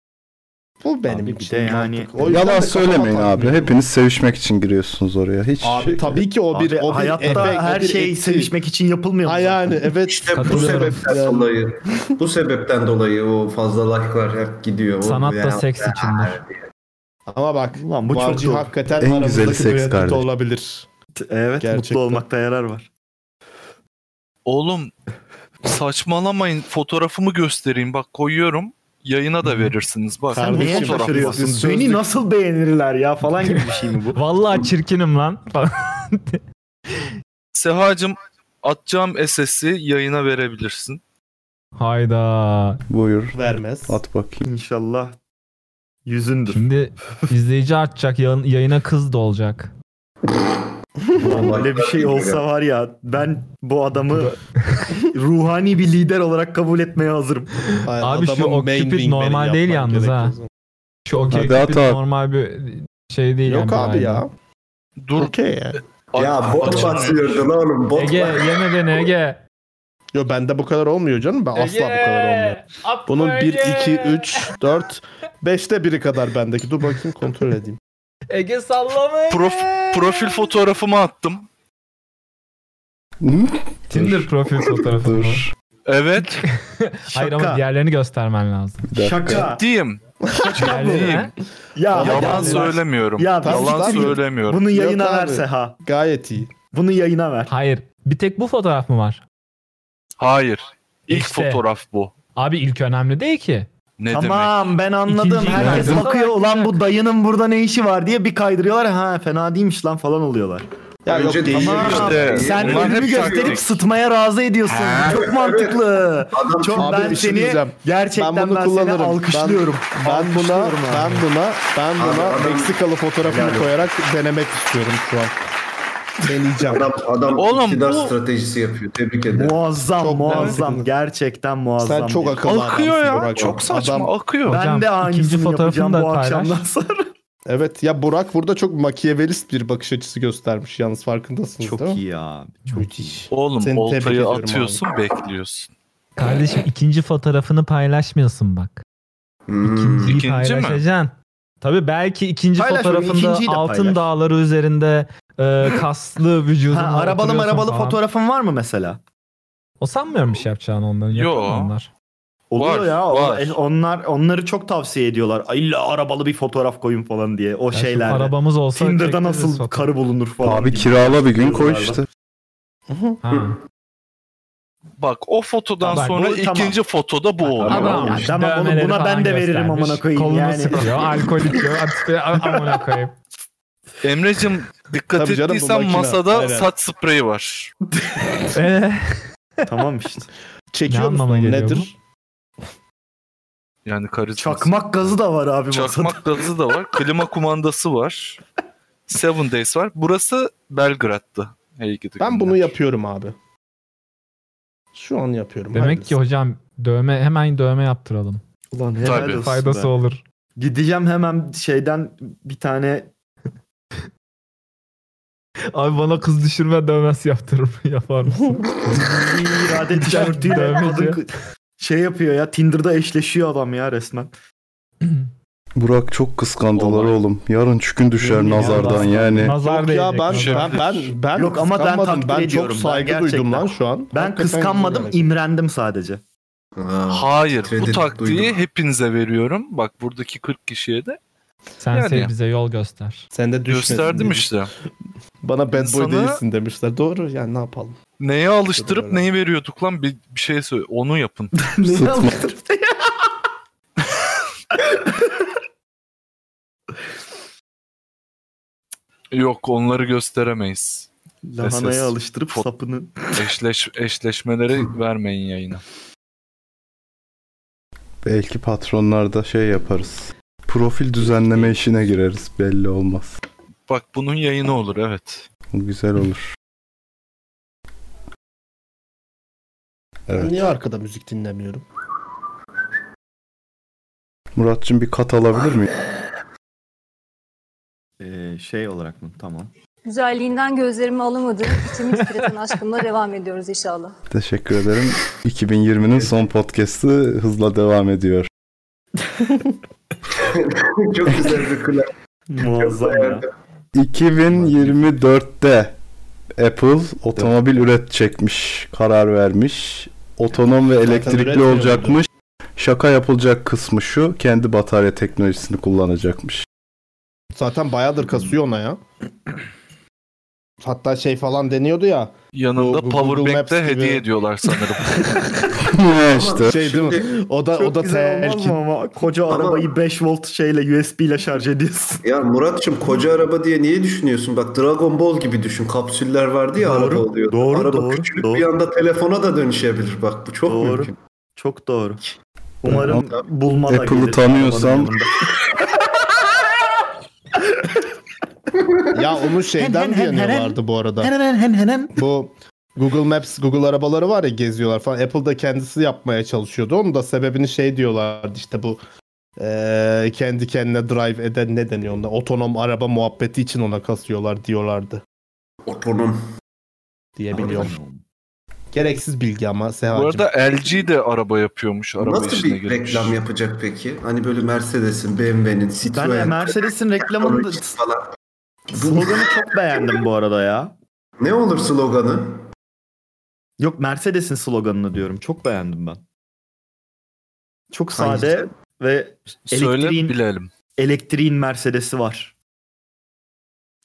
Bu benim Abi bir için de yani- mantık. O yüzden de Yalan kafama söylemeyin abi. takmıyor. Hepiniz sevişmek için giriyorsunuz oraya. Hiç şey- Şey, Abi tabii ki o bir Abi, o bir hayatta efe- o her bir şey eksi. sevişmek için yapılmıyor. mu Ay zaten? yani evet. İşte bu Katılıyorum. sebepten dolayı. Bu sebepten dolayı o fazla like'lar hep gidiyor. O Sanat da yani- seks içindir. Ama bak Ulan bu çok Varcı doğru. hakikaten En aramızdaki güzeli seks duet kardeşim. olabilir. Evet Gerçekten. mutlu olmakta yarar var. Oğlum saçmalamayın fotoğrafımı göstereyim bak koyuyorum. Yayına da verirsiniz bak. Sen Bu neye fotoğraf- şaşırıyorsun? Sözlük- Beni nasıl beğenirler ya falan gibi bir şey [laughs] mi bu? Vallahi çirkinim lan. Sehacım atacağım SS'i yayına verebilirsin. [laughs] Hayda. buyur. Vermez. At bakayım. İnşallah yüzündür. Şimdi izleyici artacak. yayın- yayına kız da olacak. Böyle bir şey olsa var ya ben bu adamı [laughs] ruhani bir lider olarak kabul etmeye hazırım. Ay, Abi şu adamın Occupy main wingman'i normal değil yapman yalnız gerek ha. o zaman. Şu okey Hadi at tipi abi. normal bir şey değil. Yok yani abi yani. ya. Dur. Okey yani. Ya bot basıyordun oğlum bot [laughs] Ege bas- yeme beni Ege. Yo bende bu kadar olmuyor canım. Ben asla bu kadar olmuyor. Bunun 1, 2, 3, 4, 5'te biri kadar bendeki. Dur bakayım kontrol edeyim. Ege sallamayın. Prof- profil fotoğrafımı attım. Tinder profil fotoğrafı. mı? Dur. Evet. Hayır ama diğerlerini göstermen lazım. Bir dakika. Şaka. Diyeyim. Diğerlerini ha? Ya, Yalan ya- söylemiyorum. Ya ben Yalan siktir- söylemiyorum. Bunu yayına Yok abi. verse ha. Gayet iyi. Bunu yayına ver. Hayır. Bir tek bu fotoğraf mı var? Hayır. İlk İşte. fotoğraf bu. Abi ilk önemli değil ki. Ne demek? tamam ben anladım. İkinciyi Herkes verdim. bakıyor ulan bu dayının burada ne işi var diye bir kaydırıyorlar. Ha fena değilmiş lan falan oluyorlar. Ya yok Önce değil. değil. Abi, İşte Sen bunlar ölümü hep gösterip taktik. sıtmaya razı ediyorsun. Çok mantıklı. Çok Abi ben bir şey seni diyeceğim. gerçekten Ben ben, bunu seni kullanırım. Ben- alkışlıyorum. Ben buna, Alkışlıyorum ben abi. buna, ben buna Abi adam- Meksikalı fotoğrafını Helal koyarak denemek istiyorum şu an. Deneyeceğim. Adam, adam Oğlum, iktidar bu- stratejisi yapıyor. Tebrik ederim. Muazzam Çok muazzam mantıklı. gerçekten muazzam. Sen çok bir- akıllı Akıyor adamsın ya. Burak. Çok saçma Adam- akıyor. Ben Hocam, de ikinci aynısını fotoğrafını yapacağım da bu paylaş. akşamdan sonra. Evet ya Burak burada çok makyavelist bir bakış açısı göstermiş yalnız farkındasınız Çok değil mi? iyi ya. [laughs] Müthiş. Oğlum Seni tebrik oltayı ediyorum abi. atıyorsun bekliyorsun. Kardeşim ikinci fotoğrafını paylaşmıyorsun bak. Hmm. İkinciyi İkinci mi? paylaşacaksın. Tabii belki ikinci Paylaş onu, fotoğrafında ikinciyi de altın paylaş. dağları üzerinde e, kaslı vücudunla Ha, arabalı oturuyorsun marabalı falan. fotoğrafın var mı mesela? O sanmıyorum bir şey yapacağını onların. Yok. Onlar. Oluyor Var, ya. o- var. e, Onlar onları çok tavsiye ediyorlar. "Ay, İlla arabalı bir fotoğraf koyun falan diye. O şu şeyler. arabamız olsa Tinder'da çektiririz nasıl fotoğraf. karı bulunur falan. Abi gibi. kirala bir gün koy Yazılarla. işte. Bak o fotodan Bak, sonra bu- tamam. ikinci fotoda bu oluyor. Adam Ya, tamam oğlum, Dövmeleri buna falan ben de veririm göstermiş. amına koyayım Kolunu yani. [laughs] sıkıyor, alkol içiyor. antipi- amına koyayım. Emre'cim dikkat Tabii canım, bu ettiysen makine. masada Aynen. saç spreyi var. Ee, tamam işte. Çekiyor Ne musun? anlama geliyor Nedir? Yani karizması. Çakmak gazı da var abi masada. Çakmak gazı da var. Klima kumandası var. Seven Days var. Burası Belgrad'dı. Hey gidi. Ben bunu yapıyorum abi. Şu an yapıyorum. Demek ki hocam dövme hemen dövme yaptıralım. Ulan helal olsun Faydası be. olur. Gideceğim hemen şeyden bir tane Abi bana kız düşürme dövmesi yaptırır mı? Yapar mısın? [laughs] irade tişörtüyle Dövmeci. kadın şey yapıyor ya Tinder'da eşleşiyor adam ya resmen. Burak çok kıskandılar oğlum. Yarın çükün düşer Yemin ya, nazardan nazar- yani. Yok ya ben ben ben ben Yok ama ben kıskanmadım. takdir ben çok ediyorum. saygı Ben duydum gerçekten. lan şu an. Ben Hakikaten kıskanmadım, güzel. şey. imrendim sadece. Hayır bu Kredi taktiği duydum. hepinize veriyorum. Bak buradaki 40 kişiye de. Sen Yani- sev bize yol göster. Sen de düşmesin Gösterdim dedim. işte. Bana bad boy İnsana- değilsin demişler. Doğru yani ne yapalım. Neye alıştırıp neyi veriyorduk lan bir, bir şey söyle. Onu yapın. Sıtma. Yok onları gösteremeyiz. Lahanaya Esas alıştırıp [laughs] fot- sapını. Eşleş, eşleşmeleri vermeyin yayına. Belki patronlarda şey yaparız. Profil düzenleme işine gireriz belli olmaz. Bak bunun yayını olur evet. Bu güzel olur. Ben Evet. niye arkada müzik dinlemiyorum? Muratçım bir kat alabilir miyim? Ee, şey olarak mı? Tamam. Güzelliğinden gözlerimi alamadığım içimi titreten aşkımla devam ediyoruz inşallah. Teşekkür ederim. 2020'nin son podcast'ı hızla devam ediyor. [laughs] Çok güzel bir kulağı. Muazzam ya. 2024'te Apple otomobil üretecekmiş, karar vermiş. Otonom ve Zaten elektrikli üretmiyor olacakmış. Şaka yapılacak kısmı şu, kendi batarya teknolojisini [laughs] kullanacakmış. Zaten bayağıdır kasıyor ona ya. Hatta şey falan deniyordu ya. Yanında bu Google powerbank Maps de gibi- hediye ediyorlar [laughs] sanırım. işte. Şey değil mi? O da o da telkin. ama koca arabayı 5 volt şeyle USB ile şarj ediyorsun. [laughs] Ya Muratçım koca araba diye niye düşünüyorsun? Bak Dragon Ball gibi düşün. Kapsüller vardı ya araba oluyor. doğru, araba doğru, küçülüp doğru. bir anda telefona da dönüşebilir. Bak bu çok Doğru. mümkün. Çok doğru. Umarım bulma da Apple'ı gelir tanıyorsam- arabanın yanında. Ya onu şeyden hen, hen, diyorlardı bu arada. Bu Google Maps, Google arabaları var ya geziyorlar falan. Apple da kendisi yapmaya çalışıyordu. Onun da sebebini şey diyorlardı işte bu eee, kendi kendine drive eden ne deniyor onda? Otonom araba muhabbeti için ona kasıyorlar diyorlardı Otonom. diyebiliyorum. Gereksiz bilgi ama Bu Seha'cığım. arada LG de araba yapıyormuş. Araba Nasıl işine bir girmiş. reklam yapacak peki? Hani böyle Mercedes'in, BMW'nin, Ben de Citroen'in Mercedes'in reklamını falan. sloganı çok beğendim bu arada ya. Ne olur sloganı? Yok Mercedes'in sloganını diyorum. Çok beğendim ben. Çok sade Hangisi? ve Söyle elektriğin bilelim. elektriğin Mercedes'i var.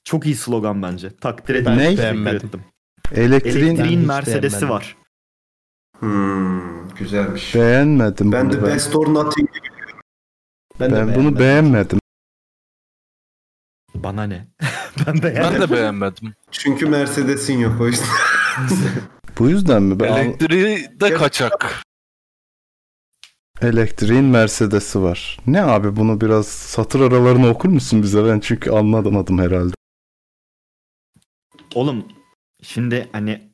Çok iyi slogan bence. Takdir Ben ettim. Ne? teşekkür beğenmedim. ettim. Elektriğin Elektriğin hiç Mercedes'i beğenmedim. var. Hmm, güzelmiş. beğenmedim. Ben de bunu ben. Best or Nothing gibi. Ben, de Ben beğenmedim. bunu beğenmedim. Bana ne? [laughs] ben beğendim. Ben de beğenmedim. Çünkü Mercedes'in yok o yüzden. [laughs] Bu yüzden mi? Ben al- Elektriği de kaçak. Elektriğin Mercedes'i var. Ne abi bunu biraz satır aralarını okur musun bize? Ben çünkü anlamadım herhalde. Oğlum şimdi hani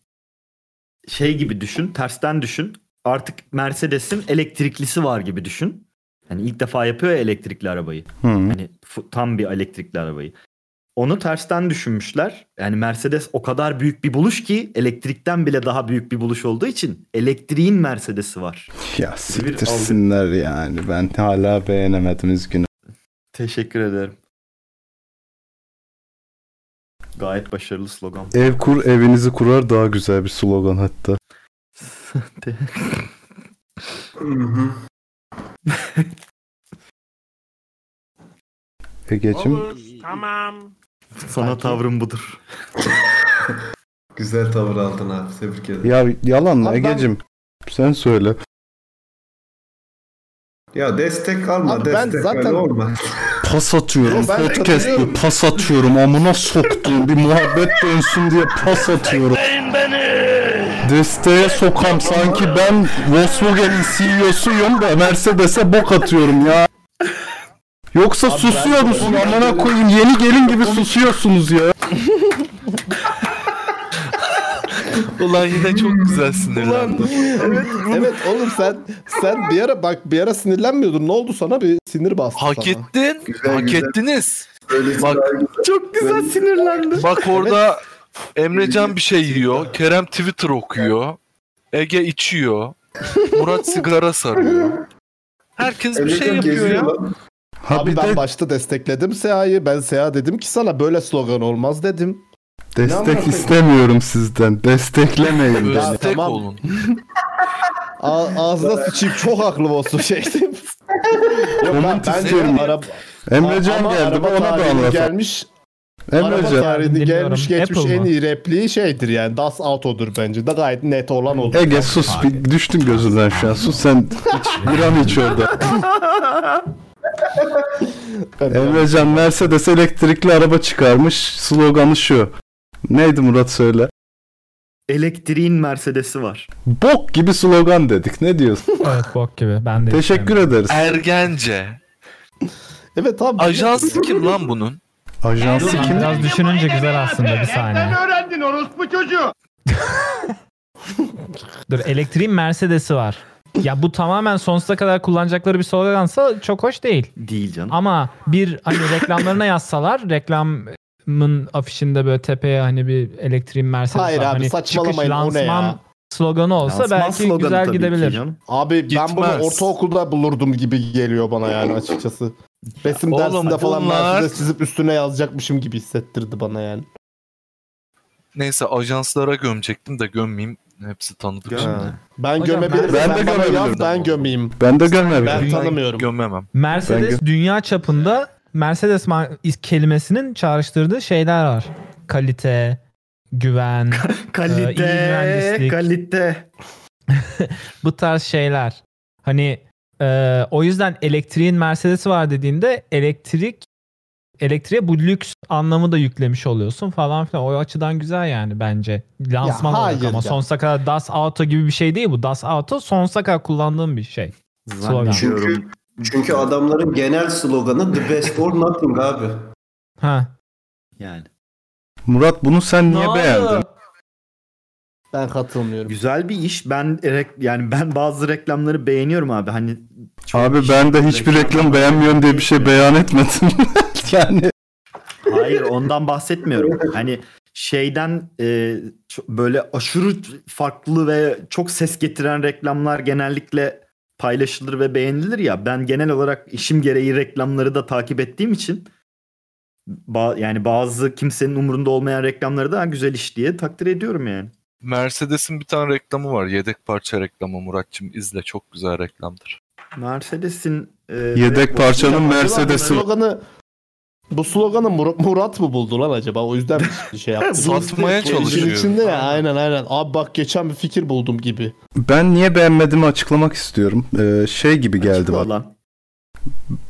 şey gibi düşün, tersten düşün. Artık Mercedes'in elektriklisi var gibi düşün. Hani ilk defa yapıyor ya elektrikli arabayı. Hı. Hani fu- tam bir elektrikli arabayı. Onu tersten düşünmüşler. Yani Mercedes o kadar büyük bir buluş ki elektrikten bile daha büyük bir buluş olduğu için elektriğin Mercedes'i var. Ya siktirsinler yani. Ben hala beğenemedim üzgünüm. Teşekkür ederim. Gayet başarılı [laughs] slogan. Ev kur evinizi kurar daha güzel bir slogan hatta. Ege'cim Tamam. Sana tavrım budur. Güzel tavır aldın abi. Tebrik ederim. ya yalan lan Abi ben- Ege'cim. Sen söyle. Ya destek alma. Abi ben destek ben zaten- olma. Pas atıyorum. Ben de Podcast'ı katılıyorum. pas atıyorum. Amına soktuğum bir muhabbet dönsün diye pas atıyorum. Desteğe sokam sanki ben Volkswagen'in CEO'suyum da Mercedes'e bok atıyorum ya. Yoksa susuyor musun amına koyayım yeni gelin gibi susuyorsunuz ya. Ulan yine çok güzel sinirlendim. evet, evet oğlum sen sen bir ara bak bir ara sinirlenmiyordun. Ne oldu sana? Bir sinir bastı Hak sana. ettin. hak güzel. ettiniz. Bak, Çok güzel sinirlendim. bak orada Emrecan bir şey yiyor. Kerem Twitter okuyor. Ege içiyor. Murat sigara sarıyor. Herkes bir şey yapıyor ya. Abi ben başta destekledim Seha'yı. Ben Seha dedim ki sana böyle slogan olmaz dedim. amına Destek koyayım? istemiyorum sizden. Desteklemeyin Ya beni. tamam. A- ağzına sıçayım çok haklı olsun şey. [laughs] Yok lan bence istiyorum. araba... Emrecan Ama geldi, araba ona da tarihinin anlatalım. Gelmiş, araba Emrecan. tarihinde Dinliyorum. gelmiş geçmiş Apple en mı? iyi repliği şeydir yani. Das Auto'dur bence. Da gayet net olan odur. Ege sus bir düştüm gözünden şu an. Sus sen iç, biram iç orada. Emrecan Mercedes elektrikli araba çıkarmış. Sloganı şu. Neydi Murat söyle. Elektriğin Mercedes'i var. Bok gibi slogan dedik. Ne diyorsun? Evet bok gibi. Ben de Teşekkür ederiz. Ergence. Evet abi. Ajansı kim lan bunun? Ajansı kim? Biraz düşününce güzel aslında bir saniye. öğrendin orospu çocuğu. [laughs] Dur elektriğin Mercedes'i var. Ya bu tamamen sonsuza kadar kullanacakları bir slogansa çok hoş değil. Değil canım. Ama bir hani reklamlarına yazsalar reklamın afişinde böyle tepeye hani bir elektriğin Mercedes Hayır var. abi, hani saçmalamayın, çıkış, o ne ya? lansman sloganı olsa Lansman belki sloganı güzel tabii ki gidebilir. canım. Abi ben bunu Gitmez. ortaokulda bulurdum gibi geliyor bana yani açıkçası. Resim Oğlum, dersinde falan bunlar- Mercedes çizip üstüne yazacakmışım gibi hissettirdi bana yani. Neyse ajanslara gömecektim de gömmeyeyim. Hepsi tanıdık şimdi. Ben Hocam, gömebilirim. ben- Ben, Ben de de gömebilirim. gömebilirim. Ben gömeyim. Ben de görmedim. Ben tanımıyorum. Gömmemem. Mercedes dünya çapında Mercedes ma- is- kelimesinin çağrıştırdığı şeyler var. Kalite, [laughs] güven, e, iyi Kalite, mühendislik. kalite. bu tarz şeyler. Hani e, o yüzden elektriğin Mercedes'i var dediğinde elektrik elektriğe bu lüks anlamı da yüklemiş oluyorsun falan filan. O açıdan güzel yani bence. Lansman Ya olarak hayır ama ya. sonsuza kadar Das Auto gibi bir şey değil bu. Das Auto sonsuza kadar kullandığım bir şey. Slogan. Çünkü, çünkü adamların genel sloganı the best or nothing abi. Ha. Yani. Murat bunu sen niye beğendin? Ben katılmıyorum. Güzel bir iş. Ben erek- yani ben bazı reklamları beğeniyorum abi. Hani Abi ben de hiçbir reklam beğenmiyorum diye bir şey beyan etmedim. [laughs] yani Hayır ondan bahsetmiyorum. Hani şeyden e, ço- böyle aşırı farklı ve çok ses getiren reklamlar genellikle paylaşılır ve beğenilir ya. Ben genel olarak işim gereği reklamları da takip ettiğim için ba- yani bazı kimsenin umurunda olmayan reklamları da "Ha, güzel iş diye takdir ediyorum yani. Mercedes'in bir tane reklamı var. Yedek parça reklamı Muratçım izle çok güzel reklamdır. Mercedes'in e, Yedek parçanın Mercedes'i. Bu sloganı, bu sloganı Mur- Murat mı buldu lan acaba? O yüzden bir [laughs] şey yaptı. Satmaya İşin çalışıyor. içinde ya aynen aynen. Abi bak geçen bir fikir buldum gibi. Ben niye beğenmediğimi açıklamak istiyorum. Ee, şey gibi geldi bana.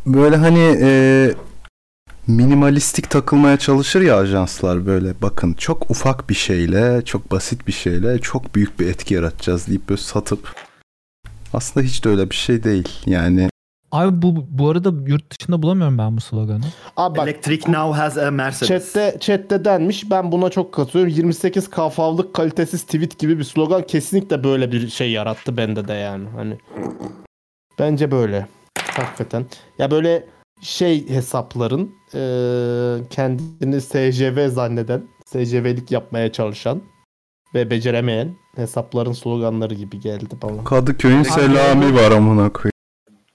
Böyle hani e, minimalistik takılmaya çalışır ya ajanslar böyle. Bakın çok ufak bir şeyle, çok basit bir şeyle çok büyük bir etki yaratacağız deyip böyle satıp. Aslında hiç de öyle bir şey değil. Yani Abi bu bu arada yurt dışında bulamıyorum ben bu sloganı. Abi bak Electric now has a Mercedes. chatte, chatte denmiş ben buna çok katılıyorum. 28 kafavlık kalitesiz tweet gibi bir slogan kesinlikle böyle bir şey yarattı bende de yani. Hani Bence böyle. Hakikaten. Ya böyle şey hesapların eee, kendini SJV zanneden, SJV'lik yapmaya çalışan ve beceremeyen hesapların sloganları gibi geldi bana. Kadıköy'ün selami var amına koyayım.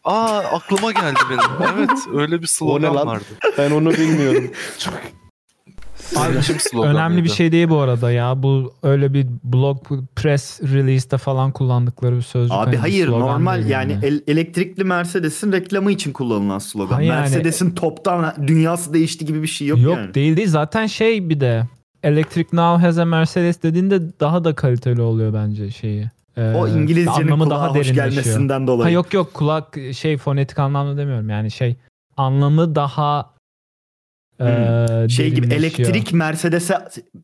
Aa aklıma geldi benim. Evet öyle bir slogan lan? vardı. Ben onu bilmiyorum. Abi, kim slogan Önemli bir mıydı? şey değil bu arada ya. Bu öyle bir blog press release'te falan kullandıkları bir sözcük. Abi Hani bir hayır slogan normal değil yani el- elektrikli Mercedes'in reklamı için kullanılan slogan. Ha yani- Mercedes'in toptan dünyası değişti gibi bir şey yok, Yok yani. değil değil. Zaten şey bir de Electric Now has a Mercedes dediğinde daha da kaliteli oluyor bence şeyi. Ee, O İngilizcenin anlamı kulağa hoş derinleşiyor. gelmesinden dolayı. Ha yok yok kulak şey fonetik anlamda demiyorum yani şey anlamı daha Hmm. e, şey gibi derinleşiyor. elektrik Mercedes'e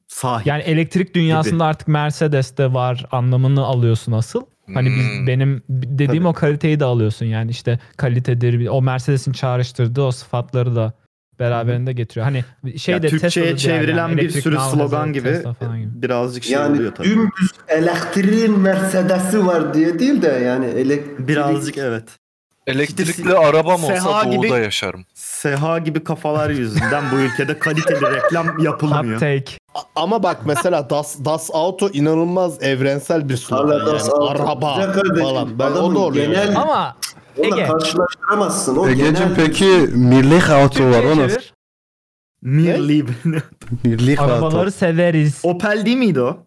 sahip. Yani elektrik dünyasında artık Mercedes de var anlamını alıyorsun asıl. Hani Hmm. Hmm. biz, benim dediğim o kaliteyi de alıyorsun yani işte kalitedir. O Mercedes'in çağrıştırdığı o sıfatları da beraberinde getiriyor. Hani şey Ya de Türkçe'ye Tesla'da diğer çevrilen yani, hani bir elektrik sürü now has slogan a gibi, Tesla falan [laughs] gibi. Birazcık şey Yani oluyor tabii. dümdüz elektriğin Mercedes'i var diye değil de yani elektrik... Birazcık evet. Elektrikli arabam olsa Seha doğuda gibi- yaşarım. Seha gibi kafalar yüzünden bu ülkede kaliteli reklam yapılmıyor. [laughs] A- Ama bak mesela Das, das Auto inanılmaz evrensel bir slogan. Hala Das yani. Auto. Araba Ya kardeşim, falan. Ben, o adamın da oluyor. genel- yani. Ama Onunla Ege. karşılaştıramazsın. O Ege'cim genel- E, peki Mirlik Auto var o nasıl? Mirli. Mirlik Auto. Arabaları severiz. [laughs] Opel değil miydi o?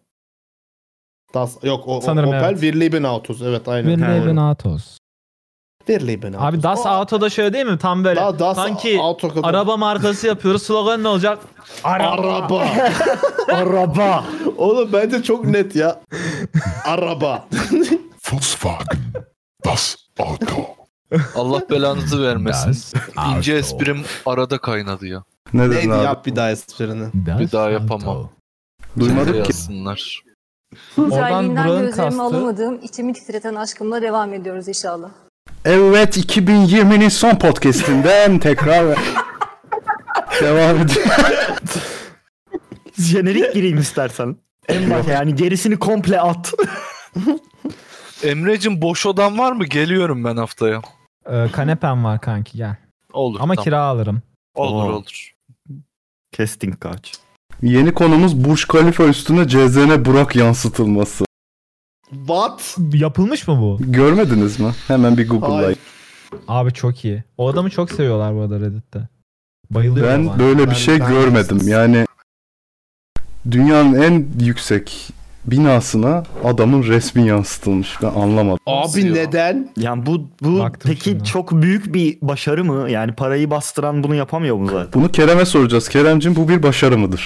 Das, yok o, o- Sanırım Opel evet. Birliği Autos. Evet aynen. Birliği Doğru. bin Atos. Birliği bin Autos. Abi Das Auto'da şöyle değil mi? Tam böyle. Daha Das sanki Auto kadar. araba markası yapıyoruz. Slogan ne olacak? [laughs] Araba. Araba. Oğlum bence çok net ya. [laughs] Araba. Volkswagen. Das Auto. [laughs] Allah belanızı vermesin. İnce esprim arada kaynadı ya. Ne dedin Neydi abi? yap bir daha esprini. Bir daha yapamam. Duymadık Kendi ki. Şey Yazsınlar. Güzelliğinden buranın gözlerimi kastı- alamadığım, içimi titreten aşkımla devam ediyoruz inşallah. Evet 2020'nin son podcastinden tekrar devam ediyor. Jenerik gireyim istersen. En baş yani gerisini komple at. Emre'cim boş odan var mı? Geliyorum ben haftaya. Ee, kanepen var kanki gel. Olur. Ama tamam. kira alırım. Olur Oo. olur. Casting couch. Yeni konumuz Burj Khalifa üstüne CZN Burak yansıtılması. What? Yapılmış mı bu? Görmediniz mi? Hemen bir Google'layın. Abi çok iyi. O adamı çok seviyorlar bu arada Reddit'te. Bayılıyor Ben [laughs] böyle bir şey görmedim. Yani dünyanın en yüksek binasına adamın resmi yansıtılmış. Ben anlamadım. Abi neden? Yani bu bu Baktım peki şimdi. çok büyük bir başarı mı? Yani parayı bastıran bunu yapamıyor mu zaten? Bunu Kerem'e soracağız. Kerem'cim bu bir başarı mıdır?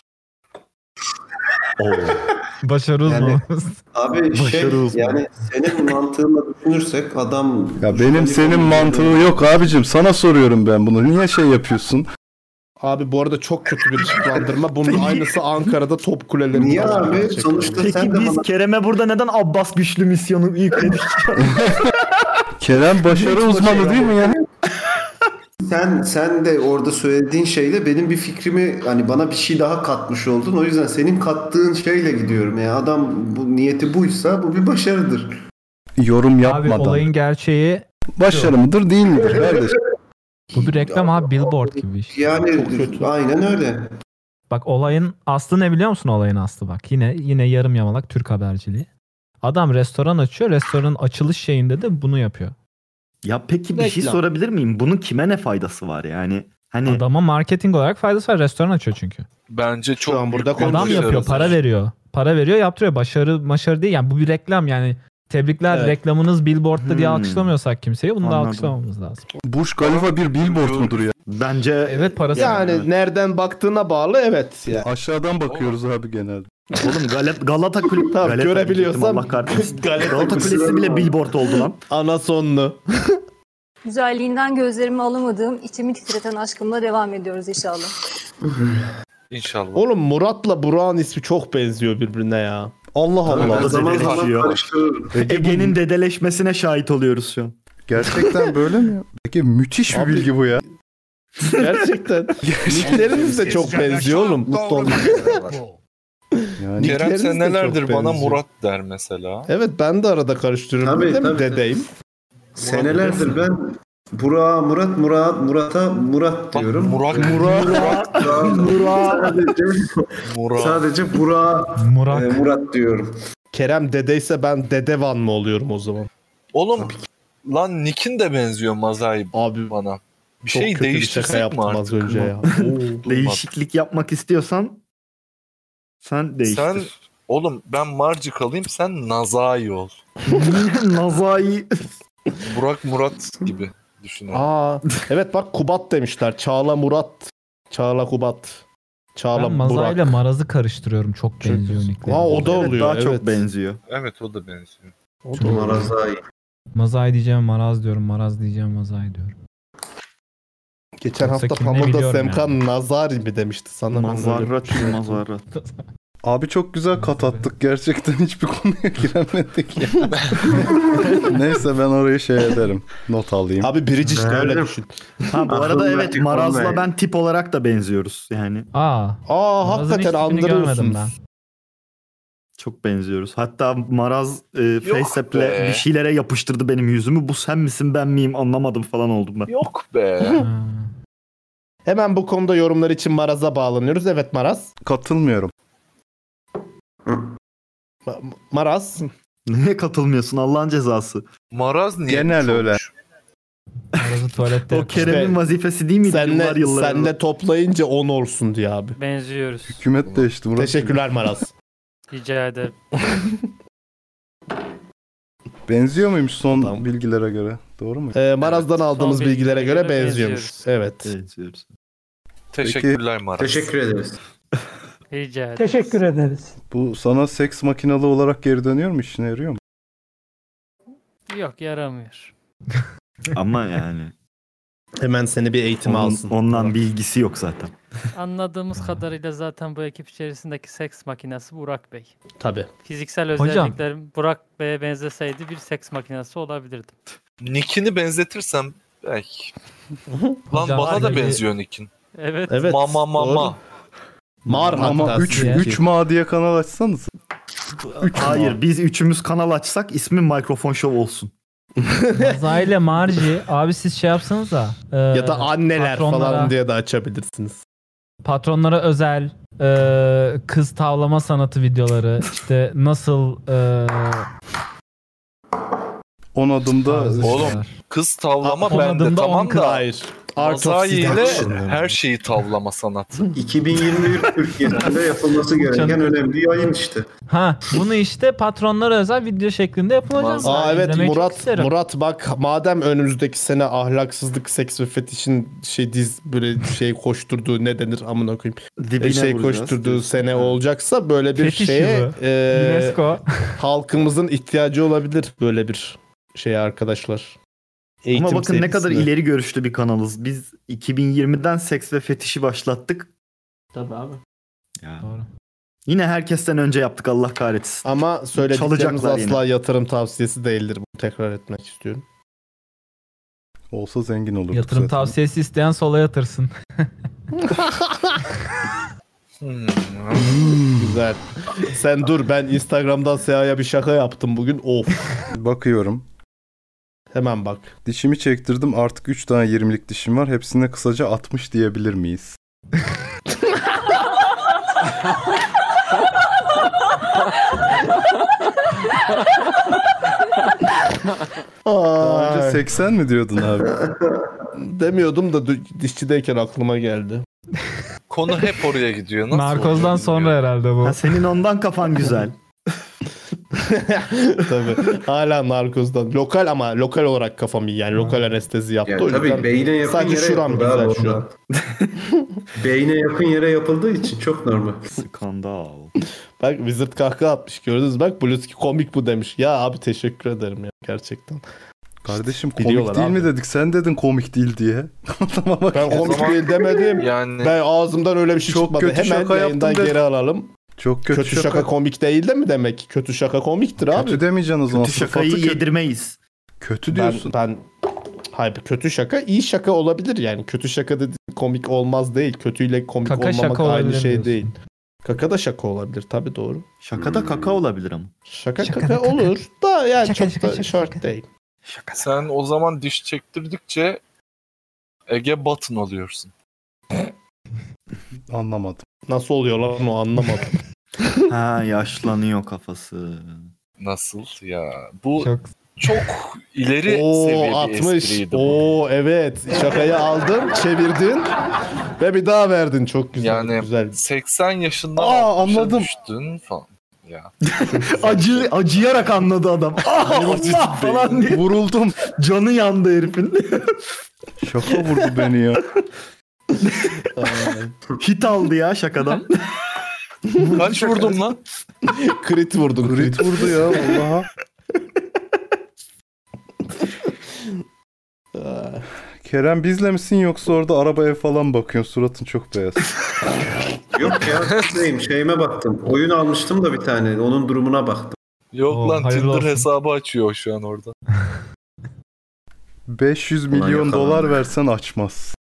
Başarılı Yani- olmamız. Abi şey Başarı uzmanı. yani senin mantığına düşünürsek adam... Ya benim senin mantığı yok abicim. Sana soruyorum ben bunu. Niye şey yapıyorsun? Abi bu arada çok kötü bir ışıklandırma. [laughs] Bunun aynısı Ankara'da top kulelerinde. Niye var abi? gerçekten. [laughs] Sonuçta sen Peki de biz bana... Kerem'e burada neden Abbas güçlü misyonu yükledik? Kerem başarı uzmanı değil mi ya? Sen, sen de orada söylediğin şeyle benim bir fikrimi hani bana bir şey daha katmış oldun. O yüzden senin kattığın şeyle gidiyorum. Yani adam bu niyeti buysa bu bir başarıdır. Yorum Abi yapmadan. olayın gerçeği Başarı mıdır değil midir kardeşim? bu bir reklam abi billboard gibi bir şey. Yani aynen öyle. Bak olayın aslı ne biliyor musun olayın aslı bak. Yine yine yarım yamalak Türk haberciliği. Adam restoran açıyor. Restoranın açılış şeyinde de bunu yapıyor. [laughs] ya peki bir şey Reklam. sorabilir miyim? Bunun kime ne faydası var yani? Hani Adama marketing olarak faydası var. Restoran açıyor çünkü. Bence çok an büyük burada bir konuşuyoruz. Adam başarı. yapıyor, para veriyor. Para veriyor, yaptırıyor. Başarı başarı değil. Yani bu bir reklam yani. Tebrikler Evet. reklamınız billboardta diye Hmm. alkışlamıyorsak kimseyi bunu da Anladım. alkışlamamız lazım. Burj Khalifa bir billboard mudur ya? bence [laughs] Evet parası. Yani nereden baktığına bağlı evet. Ya. Aşağıdan bakıyoruz abi genelde. oğlum Galat Galata Kulübü Tamam, Galata görebiliyorsam- diyecektim, Allah kahretsin. Galata Galata Kulübü bile billboard oldu lan. Ana sonlu. Güzelliğinden gözlerimi alamadığım, içimi titreten aşkımla devam ediyoruz inşallah. İnşallah. Oğlum Murat'la Burak'ın ismi çok benziyor birbirine ya. Allah Allah. Arada zaman dedeleşiyor. zaman karıştırıyorum. Ege'nin dedeleşmesine şahit oluyoruz şu an. Gerçekten böyle mi? Peki müthiş bir bilgi bu ya. [laughs] Gerçekten. Nickleriniz de çok benziyor oğlum. Mutlu olmak. Yani Kerem Nickleriniz de sen nelerdir çok bana benziyor. Murat der mesela. Evet ben de arada karıştırıyorum. Tabii, Tabii, değil mi tabii. dedeyim? Senelerdir ben Burak'a Murat, Murat, Murat'a Murat Bak, diyorum. [laughs] Murat, Murat, Murat, Burak. Murat. Sadece Burak'a Murat. e, Murat diyorum. Kerem dedeyse ben dedevan mı oluyorum o zaman? Oğlum Lan Nick'in de benziyor Mazai Abi, bana. Bir çok şey kötü bir değiştirsek şaka mi yaptım artık? az önce ya. Değişiklik yapmak istiyorsan sen değiştir. Sen oğlum ben Marci kalayım sen Nazai ol. [laughs] Nazai. Burak Murat gibi düşün. abi. Aa, evet bak Kubat demişler. Çağla Murat. Çağla Kubat. Çağla Ben Maza Burak. ile Maraz'ı karıştırıyorum. Çok benziyor nickleri. Aa, o da oluyor. evet. benziyor. Evet o da benziyor. O da oluyor. Marazai. Mazay diyeceğim Maraz diyorum. Maraz diyeceğim Mazay diyorum. Geçen Yoksa hafta kim ne Pamuk'ta biliyorum Semkan Nazari mi demişti sana? Mazarat, mazarat. Abi çok güzel kat attık. Gerçekten hiçbir konuya giremedik ya. [laughs] Neyse ben orayı şey ederim. Not alayım. Abi Bridge işte öyle Beğendim. düşün. [laughs] Ha, bu arada evet Maraz'la ben tip olarak da benziyoruz yani. Aa. Aa Maraz'ın hakikaten hiçbirini görmedim ben. andırıyorsunuz. Çok benziyoruz. Hatta Maraz e, be. FaceApp'le bir şeylere yapıştırdı benim yüzümü. Bu sen misin ben miyim anlamadım falan oldum ben. [laughs] Yok be. Hemen bu konuda yorumlar için Maraz'a bağlanıyoruz. Evet Maraz. Katılmıyorum. Ma- Maraz. Neye katılmıyorsun Allah'ın cezası. Maraz niye? Genel öyle. Maraz'ı [laughs] tuvalette O Kerem'in vazifesi değil miydi yıllar Senle, yıllar? senle toplayınca 10 olsun diye abi. Benziyoruz. Hükümet değişti. Murat. Teşekkürler Maraz. Rica ederim. Benziyor muymuş son bilgilere göre? Doğru mu? Ee, Maraz'dan aldığımız bilgilere bilgilere göre, göre benziyormuş. Evet. Teşekkürler Maraz. Teşekkür ederiz. Rica ederim. Teşekkür ederiz. Bu sana seks makinalı olarak geri dönüyor mu? İşine yarıyor mu? Yok yaramıyor. Ama yani. Hemen seni bir eğitime Onun- alsın. Ondan bilgisi yok zaten. Anladığımız kadarıyla zaten bu ekip içerisindeki seks makinesi Burak Bey. Tabii. Fiziksel Hocam. [laughs] özelliklerim Burak Bey'e benzeseydi bir seks makinesi olabilirdim. Nick'ini benzetirsem belki. Lan Hocam, bana da harbi- benziyor Nick'in. Evet. Evet, Mama mama. doğru. Mar Ama hatta 3 sizinki. 3 ma diye kanal açsanız. Hayır biz üçümüz kanal açsak ismi mikrofon şov olsun. Mazay ile Marci. Abi siz şey yapsanız da. Ya da anneler falan diye de açabilirsiniz. Patronlara özel e, kız tavlama sanatı videoları. işte nasıl e, 10 adımda Oğlum kız tavlama Ha, on bende adımda tamam on da. hayır. Art of Mazai ile seduction. her şeyi tavlama sanatı. 2023 Türkiye'sinde yapılması gereken önemli yayın işte. Ha bunu işte patronlara özel video şeklinde yapın hocam. Aa Ben evet izlemeyi çok Murat isterim. Murat bak madem önümüzdeki sene ahlaksızlık, seks ve fetişin şey diz böyle şey koşturduğu ne denir amına koyayım. Dibine E, şey vuracağız koşturduğu sene olacaksa böyle bir Fetiş şeye e, yılı. Ee, UNESCO. halkımızın ihtiyacı olabilir böyle bir şey arkadaşlar. Eğitim Ama bakın ne kadar serisine. ileri görüşlü bir kanalız. Biz 2020'den seks ve fetişi başlattık. Tabii abi. Yine herkesten önce yaptık Allah kahretsin. Ama söylediklerimiz Çalacaklar yine. asla yatırım tavsiyesi değildir. Bunu tekrar etmek istiyorum. olsa zengin olurduk Yatırım zaten. tavsiyesi isteyen sola yatırsın. Güzel. Sen dur ben Instagram'dan Seha'ya bir şaka yaptım bugün. Of. Bakıyorum. Hemen bak. Dişimi çektirdim. Artık 3 tane 20'lik dişim var. Hepsine kısaca 60 diyebilir miyiz? Daha önce 80 mi diyordun abi? [laughs] Demiyordum da dü- dişçideyken aklıma geldi. [laughs] Konu hep oraya gidiyor. Nasıl Narkozdan sonra herhalde bu. Ha, senin ondan kafan [laughs] güzel. tabii. Hala narkozdan. Lokal ama lokal olarak kafam iyi. Yani lokal anestezi yaptı. Yani O tabii yüzden beyine yakın Sadece yere şuram yapıldı güzel abi şu ondan. an. [laughs] [laughs] Beyne yakın yere yapıldığı için çok normal. Skandal. Bak Wizard kahkaha atmış gördünüz. Bak Bluski komik bu demiş. Ya abi teşekkür ederim ya gerçekten. Kardeşim komik Biliyorlar değil abi. mi dedik? Sen dedin komik değil diye. [laughs] Ben komik değil demedim. Yani Ben ağzımdan öyle bir şey Çok çıkmadı. kötü Hemen şaka yayından yaptım de- geri alalım. Çok kötü, Kötü, şaka. komik değil de mi demek? ki? Kötü şaka komiktir abi. Kötü demeyeceksin o zaman. Kötü şakayı Sıfatı kö- yedirmeyiz. Kötü Ben, diyorsun. ben hayır kötü şaka iyi şaka olabilir yani. Kötü şaka dedi komik olmaz değil. Kötüyle komik Kaka olmamak şaka aynı olabilir şey diyorsun. değil. Kaka da şaka olabilir tabi doğru. Şaka Hmm. da kaka olabilir [laughs] ama. Şaka, kaka olur da yani çok da şart değil. Sen o zaman diş çektirdikçe Ege Batın oluyorsun. Anlamadım. [laughs] Nasıl oluyor lan o anlamadım. ha yaşlanıyor kafası. Nasıl ya? Bu Çok çok ileri seviye Oo bir 60. espriydi. Oo evet. Şakayı aldın, çevirdin ve bir daha verdin. Çok güzel. Yani güzel. 80 yaşında Aa, anladım. düştün falan. Ya. Acı, acıyarak anladı adam. [laughs] Ah Allah falan diye. Vuruldum. Canı yandı herifin. [laughs] Şaka vurdu beni [laughs] ya. Hit aldı ya [laughs] şakadan. Kaç vurdum lan? Crit vurdun. Crit vurdu ya [laughs] vallaha. Kerem bizle misin yoksa orada araba ev falan bakıyorsun suratın çok beyaz. Yok [laughs] ya neyim şeyime baktım. Oyun almıştım da bir tane. Onun durumuna baktım. [laughs] Yok Oo, lan hayırlı Tinder olsun. hesabı açıyor şu an orada. 500 Ulan milyon yakalandı. dolar versen açmaz.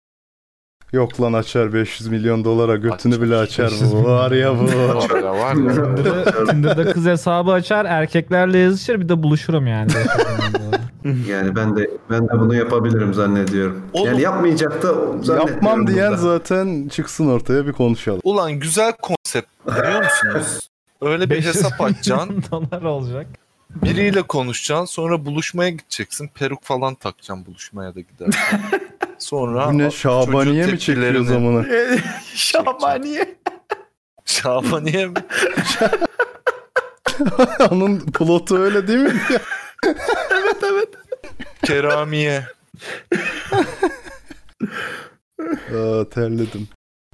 Yok lan açar 500 milyon dolara götünü bile açar bu. Var ya bu. Tinder'da, Tinder'da kız hesabı açar, erkeklerle yazışır bir de [laughs] buluşurum yani. Yani ben de ben de bunu yapabilirim zannediyorum. Yani yapmayacak da zannediyorum. Yapmam diyen burada. zaten çıksın ortaya bir konuşalım. Ulan güzel konsept biliyor musunuz? Öyle bir 500 hesap açacaksın. [laughs] dolar olacak. Biriyle konuşacaksın sonra buluşmaya gideceksin. Peruk falan takacaksın buluşmaya da gidersin. Sonra Bu ne, a- Şabaniye çocuğun mi çekiyor tepkilerini- zamanı? Şabaniye. Şabaniye mi? [laughs] Onun plotu öyle değil mi? [laughs] evet evet. Keramiye. Aa, terledim.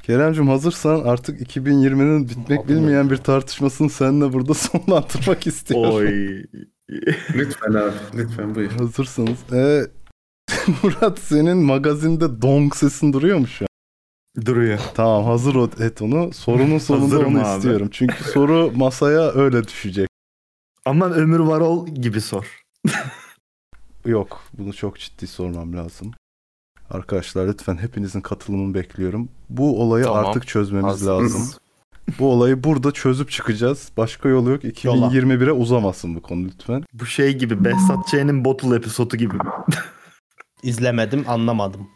Keremcim hazırsan artık 2020'nin bitmek bilmeyen bir tartışmasını seninle burada [laughs] sonlandırmak istiyorum. Oy. lütfen abi. Lütfen buyur. Hazırsanız. Ee, [laughs] Murat senin magazinde dong sesin duruyor mu şu an? Duruyor. Tamam hazır o- et onu. Sorunun sonunda Hazırım onu abi. istiyorum. Çünkü soru masaya öyle düşecek. Aman ömür var ol gibi sor. Yok bunu çok ciddi sormam lazım. Arkadaşlar lütfen hepinizin katılımını bekliyorum. Bu olayı Tamam. artık çözmemiz Hazırız. lazım. [laughs] Bu olayı burada çözüp çıkacağız. Başka yolu yok. 2021'e uzamasın bu konu lütfen. Bu şey gibi Behzat Ç'nin Bottle episodu gibi. İzlemedim, anlamadım.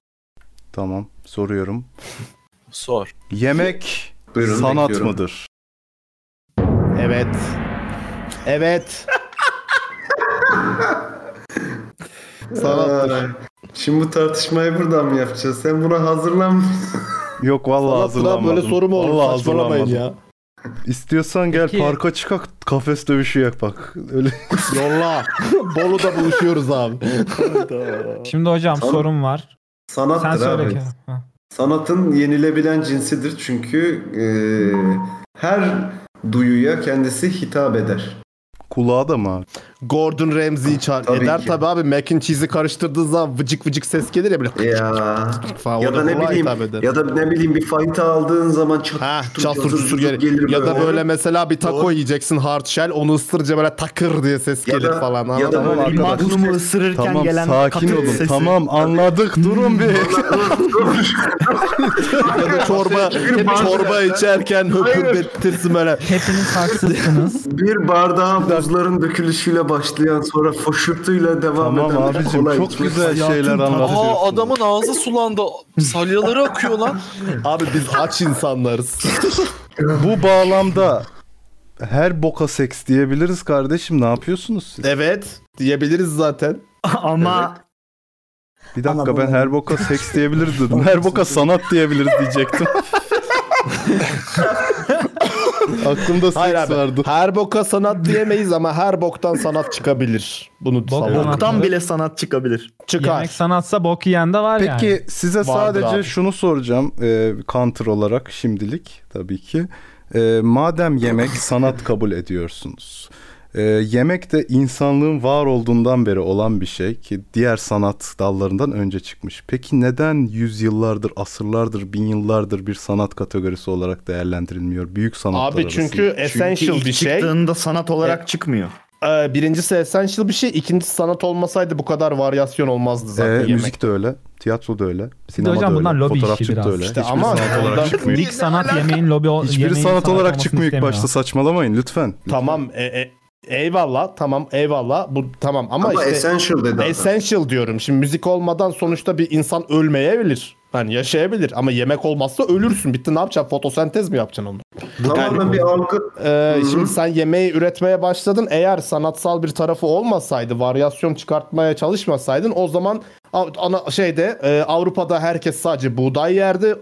Tamam soruyorum. Sor. Yemek Buyurun, sanat bekliyorum. mıdır? Evet. Evet. Sanattır. Şimdi bu tartışmayı buradan mı yapacağız? Sen buna hazırlan. Yok vallahi Sanattır abi, hazırlanmadım. böyle soru mu olur? Vallahi Saçmalamayın hazırlanmadım. İstiyorsan gel Peki. parka çıkak kafes dövüşü yap bak. Öyle. Yolla. Bolu'da buluşuyoruz abi. Şimdi hocam Sanat- sorum var. Sanattır Sen söyle abi. Kerem. Ha. Sanatın yenilebilen cinsidir çünkü e, her duyuya kendisi hitap eder. Kulağa da mı? Gordon Ramsay'i çağır. Tabii Eder ki. tabii abi. Mac and cheese'i karıştırdığın zaman vıcık vıcık ses gelir ya böyle. Ya. Falan, ya o da ne kulağa bileyim hitap eder. ya da ne bileyim bir fayta aldığın zaman çat Çatır çutur gelir. Ya da böyle mesela bir taco yiyeceksin hard shell onu ısırınca böyle takır diye ses Ya gelir da- falan. ya da anladın mı böyle bir arkadaş? magnumu ısırırken Tamam, gelen sakin katır olun. sesi. Tamam anladık durun bir. ya da çorba çorba içerken höpürdetirsin böyle. [laughs] Hepiniz haksızsınız. bir bardağa buzların dökülüşüyle başlayan sonra foşurtuyla devam Tamam eden bir abicim, kolay çok içmek. güzel şeyler anlatıyorsun. Aa adamın ağzı sulandı. Salyaları akıyor lan. Abi biz aç insanlarız. Bu bağlamda her boka seks diyebiliriz kardeşim. Ne yapıyorsunuz siz? Evet diyebiliriz zaten. [laughs] Ama Bir dakika ben her boka seks diyebilir dedim. Her boka sanat diyebiliriz diyecektim. Aklımda seks Hayır abi. vardı. Her boka sanat diyemeyiz ama her boktan sanat çıkabilir. Bunu savunuyorum. Boktan bile sanat çıkabilir. Çıkar. Yemek sanatsa bok yiyen de var yani. Peki size sadece şunu soracağım e, counter olarak şimdilik tabii ki. E, madem yemek sanat kabul ediyorsunuz. E, yemek de insanlığın var olduğundan beri olan bir şey ki diğer sanat dallarından önce çıkmış. Peki neden yüzyıllardır, asırlardır, bin yıllardır bir sanat kategorisi olarak değerlendirilmiyor? Büyük sanatlar Abi çünkü arasında? essential ilk bir şey. E, çıktığında sanat olarak çıkmıyor. Ee, birincisi essential bir şey, ikincisi sanat olmasaydı bu kadar varyasyon olmazdı E, zaten yemek. müzik de öyle, tiyatro da öyle, Bir de sinema hocam da bunlar öyle, lobi fotoğrafçılık işi da biraz. öyle. Hiçbiri sanat olarak çıkmıyor. dik sanat yemeğin lobi ol- Hiçbiri yemeğin sanat olarak olmasını çıkmıyor ilk istemiyor. başta saçmalamayın lütfen. Tamam e- e- eyvallah tamam eyvallah bu tamam ama, Ama işte essential dedi adam. Essential diyorum. Şimdi müzik olmadan sonuçta bir insan ölmeyebilir. Hani yaşayabilir ama yemek olmazsa ölürsün. Bitti ne yapacaksın? Fotosentez mi yapacaksın onu? Tamamen bir algı. Ee, Hı hı. şimdi sen yemeği üretmeye başladın. Eğer sanatsal bir tarafı olmasaydı, varyasyon çıkartmaya çalışmasaydın o zaman A- ana şeyde e, Avrupa'da herkes sadece buğday yerdi.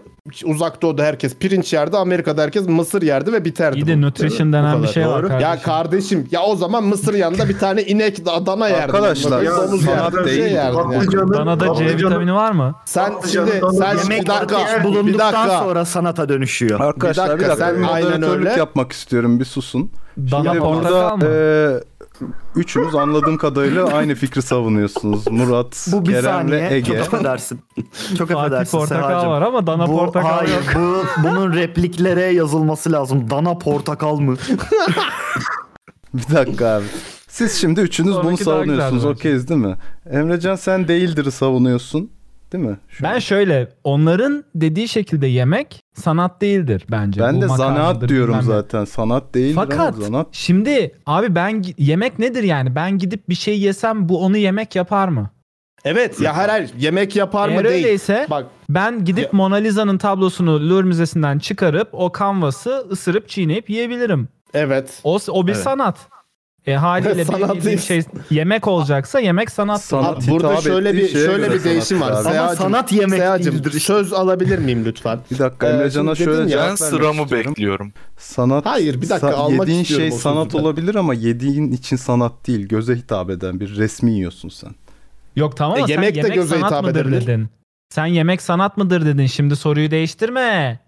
Uzak Doğu'da herkes pirinç yerdi. Amerika'da herkes mısır yerdi ve biterdi. İyi de bu. nutrition Bu denen bir kadar. şey var Doğru. Ya kardeşim ya o zaman mısır yanında bir tane inek da- dana yerdi. Arkadaşlar, ya, domuz sanat yerdi. bir değil Şey bu. yerdi Patlıcanın- Danada C vitamini var mı? Sen şimdi sen yemek bir dakika, bir bulunduktan dakika. sonra sanata dönüşüyor. Arkadaşlar bir dakika, ben moderatörlük yapmak istiyorum bir susun. Dana Şimdi portakal burada mı? e, üçünüz anladığım kadarıyla aynı fikri savunuyorsunuz. Murat, Bu bir saniye. Kerem'le Ege. Çok affedersin. Çok Fatih affedersin portakal Sehacım. var ama dana bu, portakal hayır, yok. Bu, bunun repliklere yazılması lazım. Dana portakal mı? [laughs] bir dakika abi. Siz şimdi üçünüz bunu Sonraki daha savunuyorsunuz. güzeldi Okeyiz değil mi? Emrecan sen değildir savunuyorsun. Değil mi? Ben şöyle onların dediği şekilde yemek sanat değildir bence. Ben Bu de makarnadır, zanaat diyorum bilmem ne. zaten. Sanat değildir Fakat ama zanaat. şimdi abi ben gi- yemek nedir yani? Ben gidip bir şey yesem bu onu yemek yapar mı? Evet ya her her yemek yapar mı Eğer değil. öyleyse Bak ben gidip Mona Lisa'nın tablosunu Louvre Müzesi'nden çıkarıp o kanvası ısırıp çiğneyip yiyebilirim. Evet. O, o bir Evet. sanat. E haliyle Sanat benim dediğim değil. şey yemek olacaksa yemek sanattır. Abi burada şöyle bir şöyle bir değişim var. Seyacım- Seyacım, Söz alabilir miyim lütfen? Bir dakika Ee, Emrecan'a şimdi dedin şöyle ya- cevap Ben vermek sıramı istiyorum. bekliyorum. Sanat, Hayır, bir dakika, almak Yediğin istiyorum şey o sözü sanat ben. olabilir ama yediğin için sanat değil. Göze hitap eden bir resmi yiyorsun sen. Yok tamam ama E, yemek de sen yemek göze sanat hitap mıdır edebilir. dedin. Sen yemek sanat mıdır dedin. Şimdi soruyu değiştirme.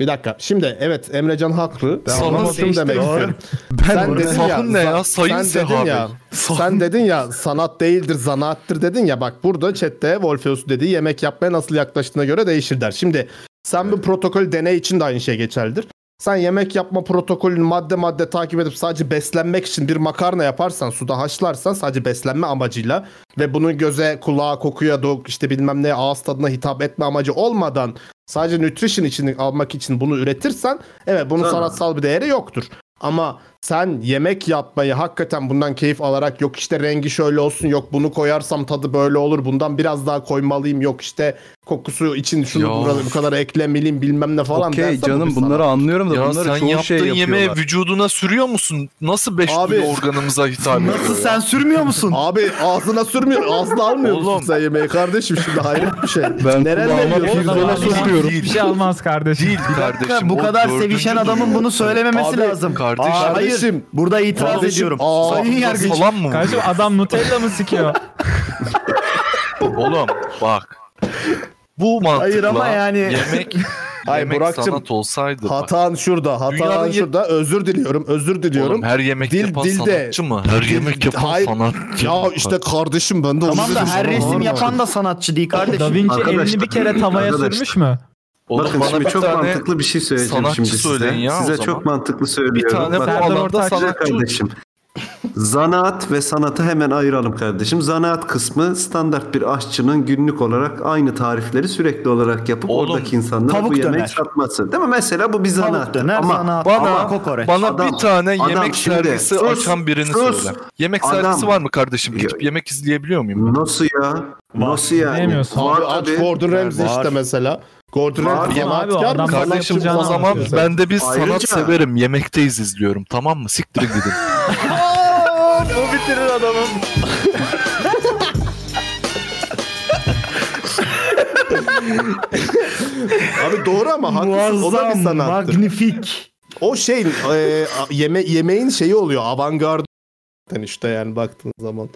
Bir dakika. Şimdi evet Emrecan haklı. Ben Sahun anlamadım değişti. demek Doğru. istiyorum. Ben- Sahun ne ya? za- Sayın sen dedin Sehabi. ya, sen dedin ya sanat değildir zanaattır dedin ya bak burada chatte Wolfeus dediği yemek yapmaya nasıl yaklaştığına göre değişir der. Şimdi sen bu protokol deney için de aynı şey geçerlidir. Sen yemek yapma protokolünü madde madde takip edip sadece beslenmek için bir makarna yaparsan, suda haşlarsan sadece beslenme amacıyla ve bunu göze, kulağa, kokuya, do- işte bilmem ne ağız tadına hitap etme amacı olmadan sadece nutrition için almak için bunu üretirsen evet bunun Tamam. sanatsal bir değeri yoktur. Ama sen yemek yapmayı hakikaten bundan keyif alarak yok işte rengi şöyle olsun yok bunu koyarsam tadı böyle olur bundan biraz daha koymalıyım yok işte kokusu için şunu Ya. burada bu kadar eklemeliyim bilmem ne falan Okey dersen bu bir canım sanat. bunları anlıyorum da Ya sen bunları çoğu yaptığın şey yapıyorlar. yemeği vücuduna sürüyor musun? Nasıl beş Abi- duyu organımıza hitap ediyor? ya? sürmüyor musun? Abi ağzına sürmüyor. Ağzına almıyor musun sen yemeği kardeşim? Şimdi hayret bir şey. [laughs] Ben Nerenle kulağıma yiyorsun? pirzola Ağzına sokuyorum. sürmüyor. Bir şey almaz kardeşim. Değil Dakika, bu kadar sevişen adamın bunu söylememesi Abi, lazım. kardeşim. Aa, hayır. Kardeşim. Burada itiraz Kardeşim, ediyorum. aa, Sayın yargıç. falan mı? Kardeşim adam Nutella mı sikiyor? Oğlum bak. Bu mantıkla Hayır ama yani- yemek, Hayır, yemek Burak'cığım, sanat olsaydı bak. Hatan şurada. Hatan Dünyanın yet- şurada. Özür diliyorum. Özür diliyorum. Oğlum her yemek yapan sanatçı mı? Her yemek yapan sanatçı Ya şey- mı? işte kardeşim ben de Tamam onu da dedim her sana, resim bağırma. yapan da sanatçı değil kardeşim. Da Vinci Arkadaşlar, elini bir kere tavaya arkadaşlar. sürmüş mü? Oğlum Bakın bana şimdi bir çok tane mantıklı bir şey söyleyeceğim sanatçı şimdi size. söyleyin ya o size zaman. çok mantıklı söylüyorum. Bir tane bu Bakın, alanda size sanatçı- kardeşim. Zanaat ve sanatı hemen ayıralım kardeşim. Zanaat kısmı standart bir aşçının günlük olarak aynı tarifleri sürekli olarak yapıp Oğlum, oradaki insanlara tavuk bu yemeği döner. satması. Değil mi? Mesela bu bir Tavuk zanaat. döner, zanaat, Bana, ama kokoreç. bana Adam- bir tane adam yemek şimdi- servisi Sus, açan birini sus. söyle. Yemek Adam- servisi var mı kardeşim? Gidip yemek izleyebiliyor muyum? Nasıl ya? Nasıl yani? Var Abi aç tabii. Gordon Ramsay işte mesela. Gordon Var. Ramsay Tamam abi, o zanaatkar mı? adam Sanatçı Kardeşim mı? o zaman Sanatçı. ben de bir sanat Ayrıca- severim. Yemekteyiz izliyorum. Tamam mı? Siktirin gidin. Bu bitirir adamım. Abi doğru ama haklısın. O da bir Muazzam, sanattır. magnifik. O şey e, yeme, yemeğin şeyi oluyor. Avantgarde Yani işte yani baktığın zaman.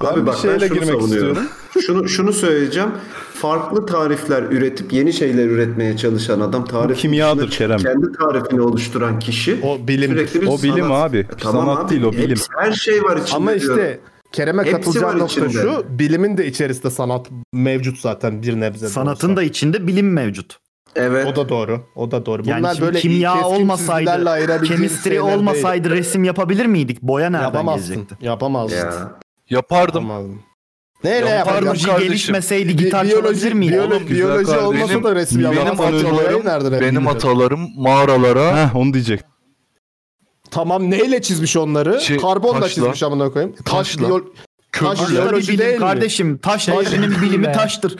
Abi bir bak ben şeyle şunu savunuyorum. şunu, şunu söyleyeceğim. Farklı tarifler üretip yeni şeyler üretmeye çalışan adam tarif kimyadır Kerem. kendi tarifini oluşturan kişi. O bilim. sürekli bir O bilim sanat. abi. E, tamam Sanat abi. değil, o bilim. Hepsi- her şey var içinde. Ama diyorum. işte Kerem'e Hepsi var katılacağım nokta içinde. şu. Bilimin de içerisinde sanat mevcut zaten bir nebze. de Sanatın olsa. da içinde bilim mevcut. Evet. O da doğru. O da doğru. Yani Bunlar şimdi böyle kimya keskin çizgilerle olmasaydı, ayırabileceğimiz kemistri şeyler değil. olmasaydı resim yapabilir miydik? Boya nereden yapamazdın. gelecekti? Yapamazdın. Ya. Yapardım. Yapamazdın. Neyle Yapardım yapardın? Biyoloji kardeşim. gelişmeseydi Bi- gitar çalabilir miydik? biyoloji, Oğlum, biyoloji kardeşim. olmasa da resim benim yapamazsın. atalarım, Nerede resim benim yapacak? atalarım mağaralara Heh, onu diyecek. Tamam neyle çizmiş onları? Şey, Karbonla taşla. çizmiş amına koyayım. Taş, Taşla. biyol- Taş da bir bilim kardeşim. Taş Taş devrinin değil bilimi be. taştır.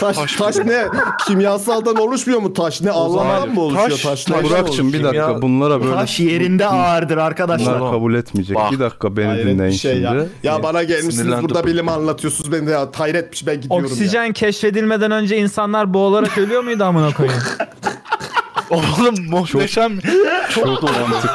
Taş, taş, ne? Kimyasaldan oluşmuyor mu taş? Ne Allah'tan mı oluşuyor taş? taştan Burak'cığım bir oluşuyor. dakika bunlara böyle... Taş yerinde ağırdır arkadaşlar. Bunlar kabul etmeyecek. Bir dakika beni Hayret dinleyin bir şey şimdi. ya. Ya bana gelmişsiniz Sinirlendi burada bu. bilim anlatıyorsunuz. Ben de ya hayret bir şey, ben gidiyorum ya. Oksijen keşfedilmeden önce insanlar boğularak ölüyor muydu amına koyayım? [laughs] Oğlum muhteşem. Çok mantık.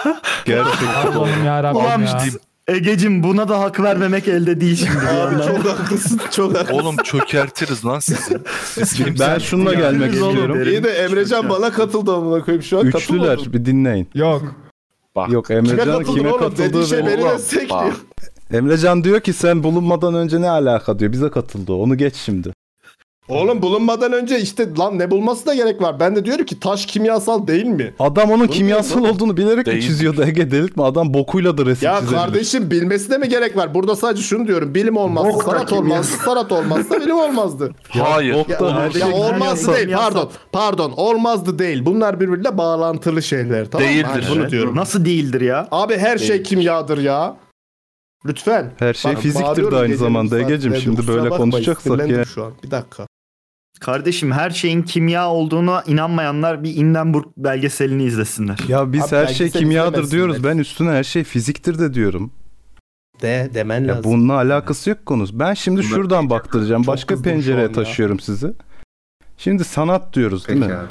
Gerçekten. Allah'ım yarabbim Ulan ya. işte, Egecim buna da hak vermemek elde değil şimdi. Abi çok haklısın. Çok [laughs] Oğlum çökertiriz lan sizi. Siz kimsiniz? Ben şununla Ya, gelmek biz oğlum. istiyorum. İyi de Emrecan bana katıldı amına koyayım şu an Üçlüler katılmadı. bir dinleyin. Yok. Yok Kime Emrecan katıldı kime oğlum? Dediği katıldı? şey beni destek diyor. Emrecan diyor ki sen bulunmadan önce ne alaka diyor. Bize katıldı. o. Onu geç şimdi. Oğlum bulunmadan önce işte lan ne bulması da gerek var. Ben de diyorum ki taş kimyasal değil mi? Adam onun Bunu kimyasal diyorum. olduğunu bilerek mi çiziyordu Ege delirtme adam bokuyla da resim Ya çizebilir. kardeşim bilmesine mi gerek var? Burada sadece şunu diyorum. Bilim olmazsa Bok da sanat olmazdı. Sanat olmazsa bilim olmazdı. [laughs] Hayır. Ya, ya olmazdı değil pardon. Pardon olmazdı değil. Bunlar birbiriyle bağlantılı şeyler tamam mı? Değildir. Hani bunu Evet. diyorum. Nasıl değildir ya? Abi her şey Değildir. kimyadır ya. Lütfen. Her şey Bak, fiziktir de bağırıyorum aynı gece zamanda yarım Ege'cim. saat. Şimdi Kusura böyle bakmayın, konuşacaksak sinirlendim ya. şu an. Bir dakika. Kardeşim her şeyin kimya olduğuna inanmayanlar bir Hindenburg belgeselini izlesinler. Ya biz her şey kimyadır diyoruz. Ben üstüne her şey fiziktir de diyorum. De demen Ya bununla alakası yok konu. Ben şimdi şuradan baktıracağım. Başka kızdım şu pencereye an ya. taşıyorum sizi. Şimdi sanat diyoruz değil Peki mi? abi.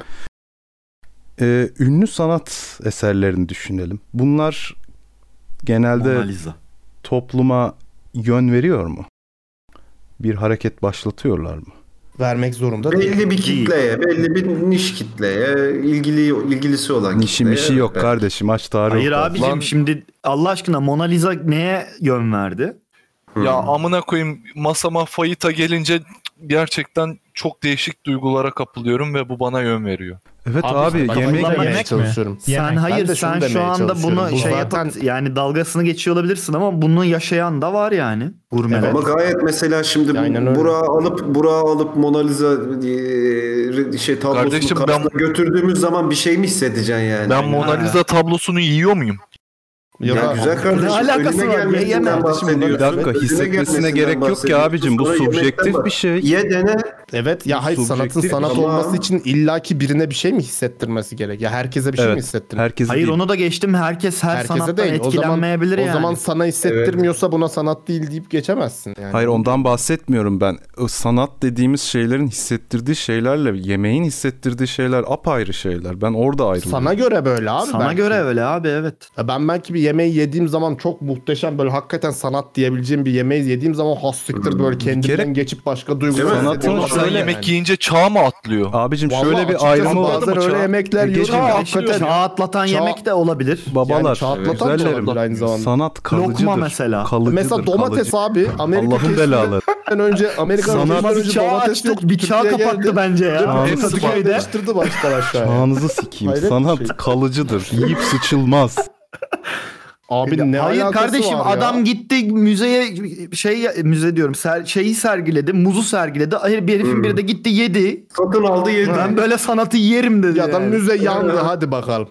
Ee, ünlü sanat eserlerini düşünelim. Bunlar genelde Mona Lisa. topluma yön veriyor mu? Bir hareket başlatıyorlar mı? Vermek zorunda Belli bir kitleye, belli bir niş kitleye, ilgili ilgilisi olan Nişim kitleye. işi şey yok kardeşim aç tarih Hayır oku. abicim Lan- şimdi Allah aşkına Mona Lisa neye yön verdi? Ya amına koyayım masama fayita gelince gerçekten çok değişik duygulara kapılıyorum ve bu bana yön veriyor. Evet abi, yemek Sen hayır sen şu anda bunu şey yapıp yani dalgasını geçiyor olabilirsin ama bunu yaşayan da var yani. Gurmeler. Ama gayet mesela şimdi bu- Burak'ı alıp Burak'ı alıp Mona Lisa e, şey tablosunu Kardeşim ben- karşısına götürdüğümüz zaman bir şey mi hissedeceksin yani? Ben Mona Lisa tablosunu yiyor muyum? Ya, güzel kardeşim. önüne gelmesinden bahsediyorsun. Bir dakika Önüne hissetmesine gelmesinden gerek yok ki bahsediyorsun. abicim bu Sonra subjektif yemekten bir şey. bak. Ye dene. Evet ya hayır sanatın Subjektif. sanat Ama- olması için illaki birine bir şey mi hissettirmesi gerek? Ya herkese bir şey mi hissettirmesi? Hayır onu da geçtim. Herkes her sanattan etkilenmeyebilir o zaman, yani. O zaman sana hissettirmiyorsa buna sanat değil deyip geçemezsin yani. Hayır ondan bahsetmiyorum ben. O sanat dediğimiz şeylerin hissettirdiği şeylerle yemeğin hissettirdiği şeyler apayrı şeyler. Ben orada ayrılıyorum. Sana göre böyle abi. Sana göre öyle abi evet. Ben belki bir yemeği yediğim zaman çok muhteşem böyle hakikaten sanat diyebileceğim bir yemeği yediğim zaman Hmm. hastiktir böyle kendimden geçip başka duygular. Oğlum hissediyorum. sen yemek yiyince çağ mı atlıyor? Abicim Vallahi şöyle bir açıkçası ayrımı var. bazen öyle yemekler yiyoruz ki hakikaten- Çağ atlatan Çağ- yemek de olabilir. Babalar, Yani çağatlatan güzellerim, çağatlar aynı zamanda. Sanat kalıcıdır. Lokma mesela. Kalıcıdır, Mesela domates kalıcı. abi Amerika Allah'ın keşfinden [laughs] belaları. önce Amerika Sanat- keşfinden önce Bir çağ domates açtık, yok. bir çağ Türkiye'ye kapattı geldi. bence ya. Cep- Hepsi Hepsi bağlı. Değiştirdi baştan aşağıya. Çağınızı sikeyim. Hayret bir Sanat şey. [laughs] kalıcıdır. Yiyip sıçılmaz. Abi ne Hayır alakası kardeşim var ya? adam gitti müzeye şey müze diyorum ser- şeyi sergiledi muzu sergiledi. Hayır bir Hmm. herifin biri de gitti yedi. Satın aldı yedi. Ben böyle sanatı yerim dedi. Ya da yani. müze yandı hadi bakalım.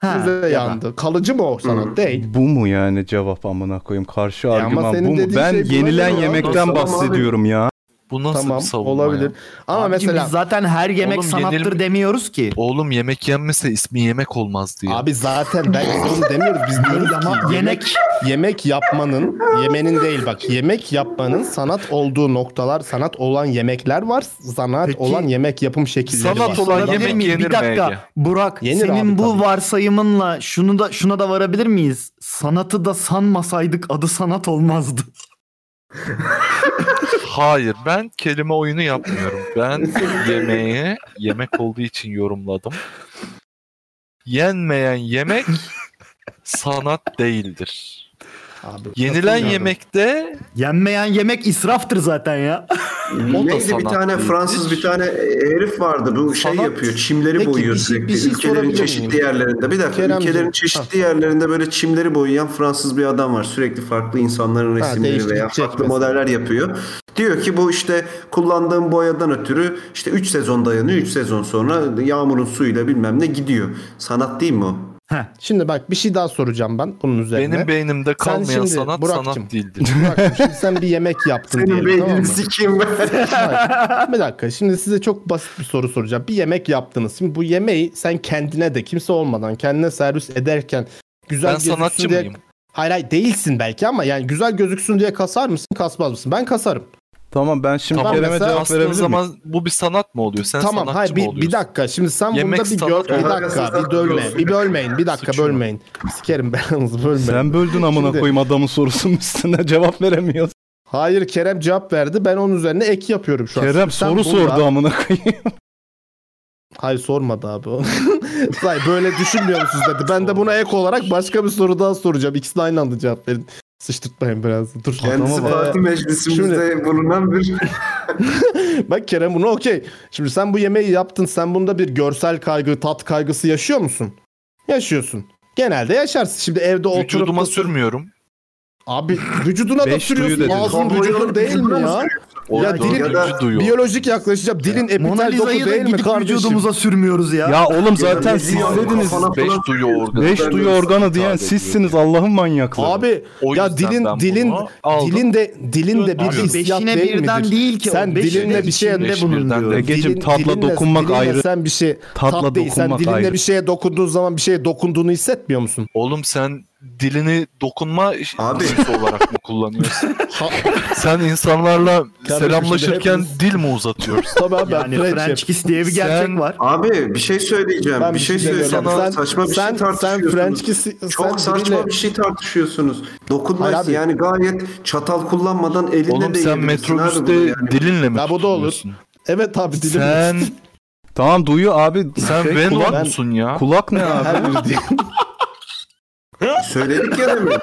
Ha, ya da. müze yandı. Kalıcı mı o sanat? Hmm. Değil. Bu mu yani cevap amına koyayım? Karşı ama argüman senin bu mu? dediğin Ben şey buna yenilen göre ya. yemekten Tamam abi. bahsediyorum ya. Bu nasıl Tamam, bir savunma olabilir. ya? Ama Abicim, mesela biz zaten her yemek Oğlum, sanattır yenilme- demiyoruz ki. Oğlum yemek yenmese ismi yemek olmaz diye. Abi zaten ben onu demiyoruz biz diyoruz ki yemek yemek yapmanın yemenin değil bak yemek yapmanın sanat olduğu noktalar sanat olan yemekler var sanat olan yemek yapım şekilleri var. Sanat olan yemek yenir Bir dakika Ege? Burak Yenir senin abi bu varsayımınla şunu da şuna da varabilir miyiz? Sanatı da sanmasaydık adı sanat olmazdı. Hayır ben kelime oyunu yapmıyorum. [laughs] Ben yemeği yemek olduğu için yorumladım. Yenmeyen yemek sanat değildir. Yenilen katılıyorum. yemekte Yenmeyen yemek israftır zaten ya. Neydi bir tane Fransız bir tane e, herif vardı bu şey yapıyor çimleri Peki, boyuyor bir şey- sürekli bir şey ülkelerin sorabilir çeşitli miyim? yerlerinde bir dakika Keremciğim, ülkelerin çeşitli yerlerinde böyle çimleri boyayan Fransız bir adam var sürekli farklı insanların resimleri değiştirip veya farklı modeller yapıyor diyor ki bu işte kullandığım boyadan ötürü işte 3 sezon dayanıyor 3 sezon sonra yağmurun suyuyla bilmem ne gidiyor sanat değil mi o Şimdi bak bir şey daha soracağım ben bunun üzerine. Benim beynimde kalmayan sen şimdi, sanat Burak'cığım, sanat [laughs] değildir. Burak'cığım, şimdi sen bir yemek yaptın Senin diyelim tamam beynini mı? sikeyim ben. [laughs] Hayır, bir dakika şimdi size çok basit bir soru soracağım. Bir yemek yaptınız. Şimdi bu yemeği sen kendine de kimse olmadan kendine servis ederken güzel Ben gözüksün sanatçı diye... mıyım? Hayır hayır değilsin belki ama yani güzel gözüksün diye kasar mısın kasmaz mısın? Ben kasarım. Tamam ben şimdi Tamam, Kerem'e mesela cevap aslında verebilir miyim? zaman bu bir sanat mı oluyor? Sen tamam sanatçı hayır mı bir, oluyorsun? bir dakika şimdi sen Yemek bunda bir sanat gör- bir olarak dakika bir sanat bölme diyorsun. bir bölmeyin bir dakika Suçum. bölmeyin. Sikerim [laughs] belanızı bölmeyin. Sen böldün amına Şimdi- koyayım adamın sorusunun üstüne [laughs] cevap veremiyorsun. Hayır Kerem cevap verdi. Ben onun üzerine ek yapıyorum şu an. Kerem Şimdi sen soru burada- sordu amına koyayım. Hayır sormadı abi. [laughs] Hayır böyle düşünmüyor musunuz dedi. Ben de buna ek olarak başka bir soru daha soracağım. İkisini aynı anda cevap verin. Sıçtırtmayın biraz. Dur. Kendisi Adama bak. parti Ee, meclisimizde bulunan bir şimdi- bak Kerem bunu okey. Şimdi sen bu yemeği yaptın. Sen bunda bir görsel kaygı, tat kaygısı yaşıyor musun? Yaşıyorsun. Genelde yaşarsın. Şimdi evde oturup... Vücuduma da- sürmüyorum. Abi vücuduna da Beş sürüyorsun. duyu dedin. [laughs] Ağzın Kamuoyunun vücudun değil mi vücuduna mı ya? sürüyorsun? Ya Doğru, dilin ya da- biyolojik yaklaşacağım. Dilin Mona epitel E, doku Lisa'yı da değil mi gidip kardeşim? vücudumuza sürmüyoruz ya. Ya oğlum zaten siz dediniz. Beş duyu organı. Beş Ben duyu de organı sanat diyen alet sizsiniz Allah'ın manyakları. Abi O ya yüzden dilin ben dilin bunu aldım. dilin de dilin de bir Abi, hissiyat beşine değil birden midir? değil ki o, şey Sen beşine dilinle bir şey şeye içinde bulun diyor. Egeciğim, Dilin- tatla dilinle- dokunmak dilinle ayrı. Sen bir şey Tatla tat değil. Sen dokunmak dilinle ayrı. bir şeye dokunduğun zaman bir şeye dokunduğunu hissetmiyor musun? Oğlum sen dilini dokunma cinsi olarak mı [laughs] kullanıyorsun? sen insanlarla şimdi selamlaşırken hepimiz- dil mi uzatıyorsun? Tabii abi ben Yani French kiss diye bir gerçek Sen- var. Abi bir şey söyleyeceğim. Ben bir şey bir şey söyleyeceğim. demiyorum. Sen- Sen, saçma bir sen- şey sen tartışıyorsunuz. French kiss'i- Çok sen saçma diliyle- bir şey tartışıyorsunuz. Hayır Dokunmaz abi. yani gayet çatal kullanmadan eline Oğlum de sen yiyebilirsin abi metrobüste bunu yani. dilinle mi Ya bu da olur. tutmuyorsun? Evet abi dilim. Sen Tamam duyu abi. sen şey, Venom kulak- musun ya? Kulak ne abi? Her biri değil. Söyledik ya demin. [laughs]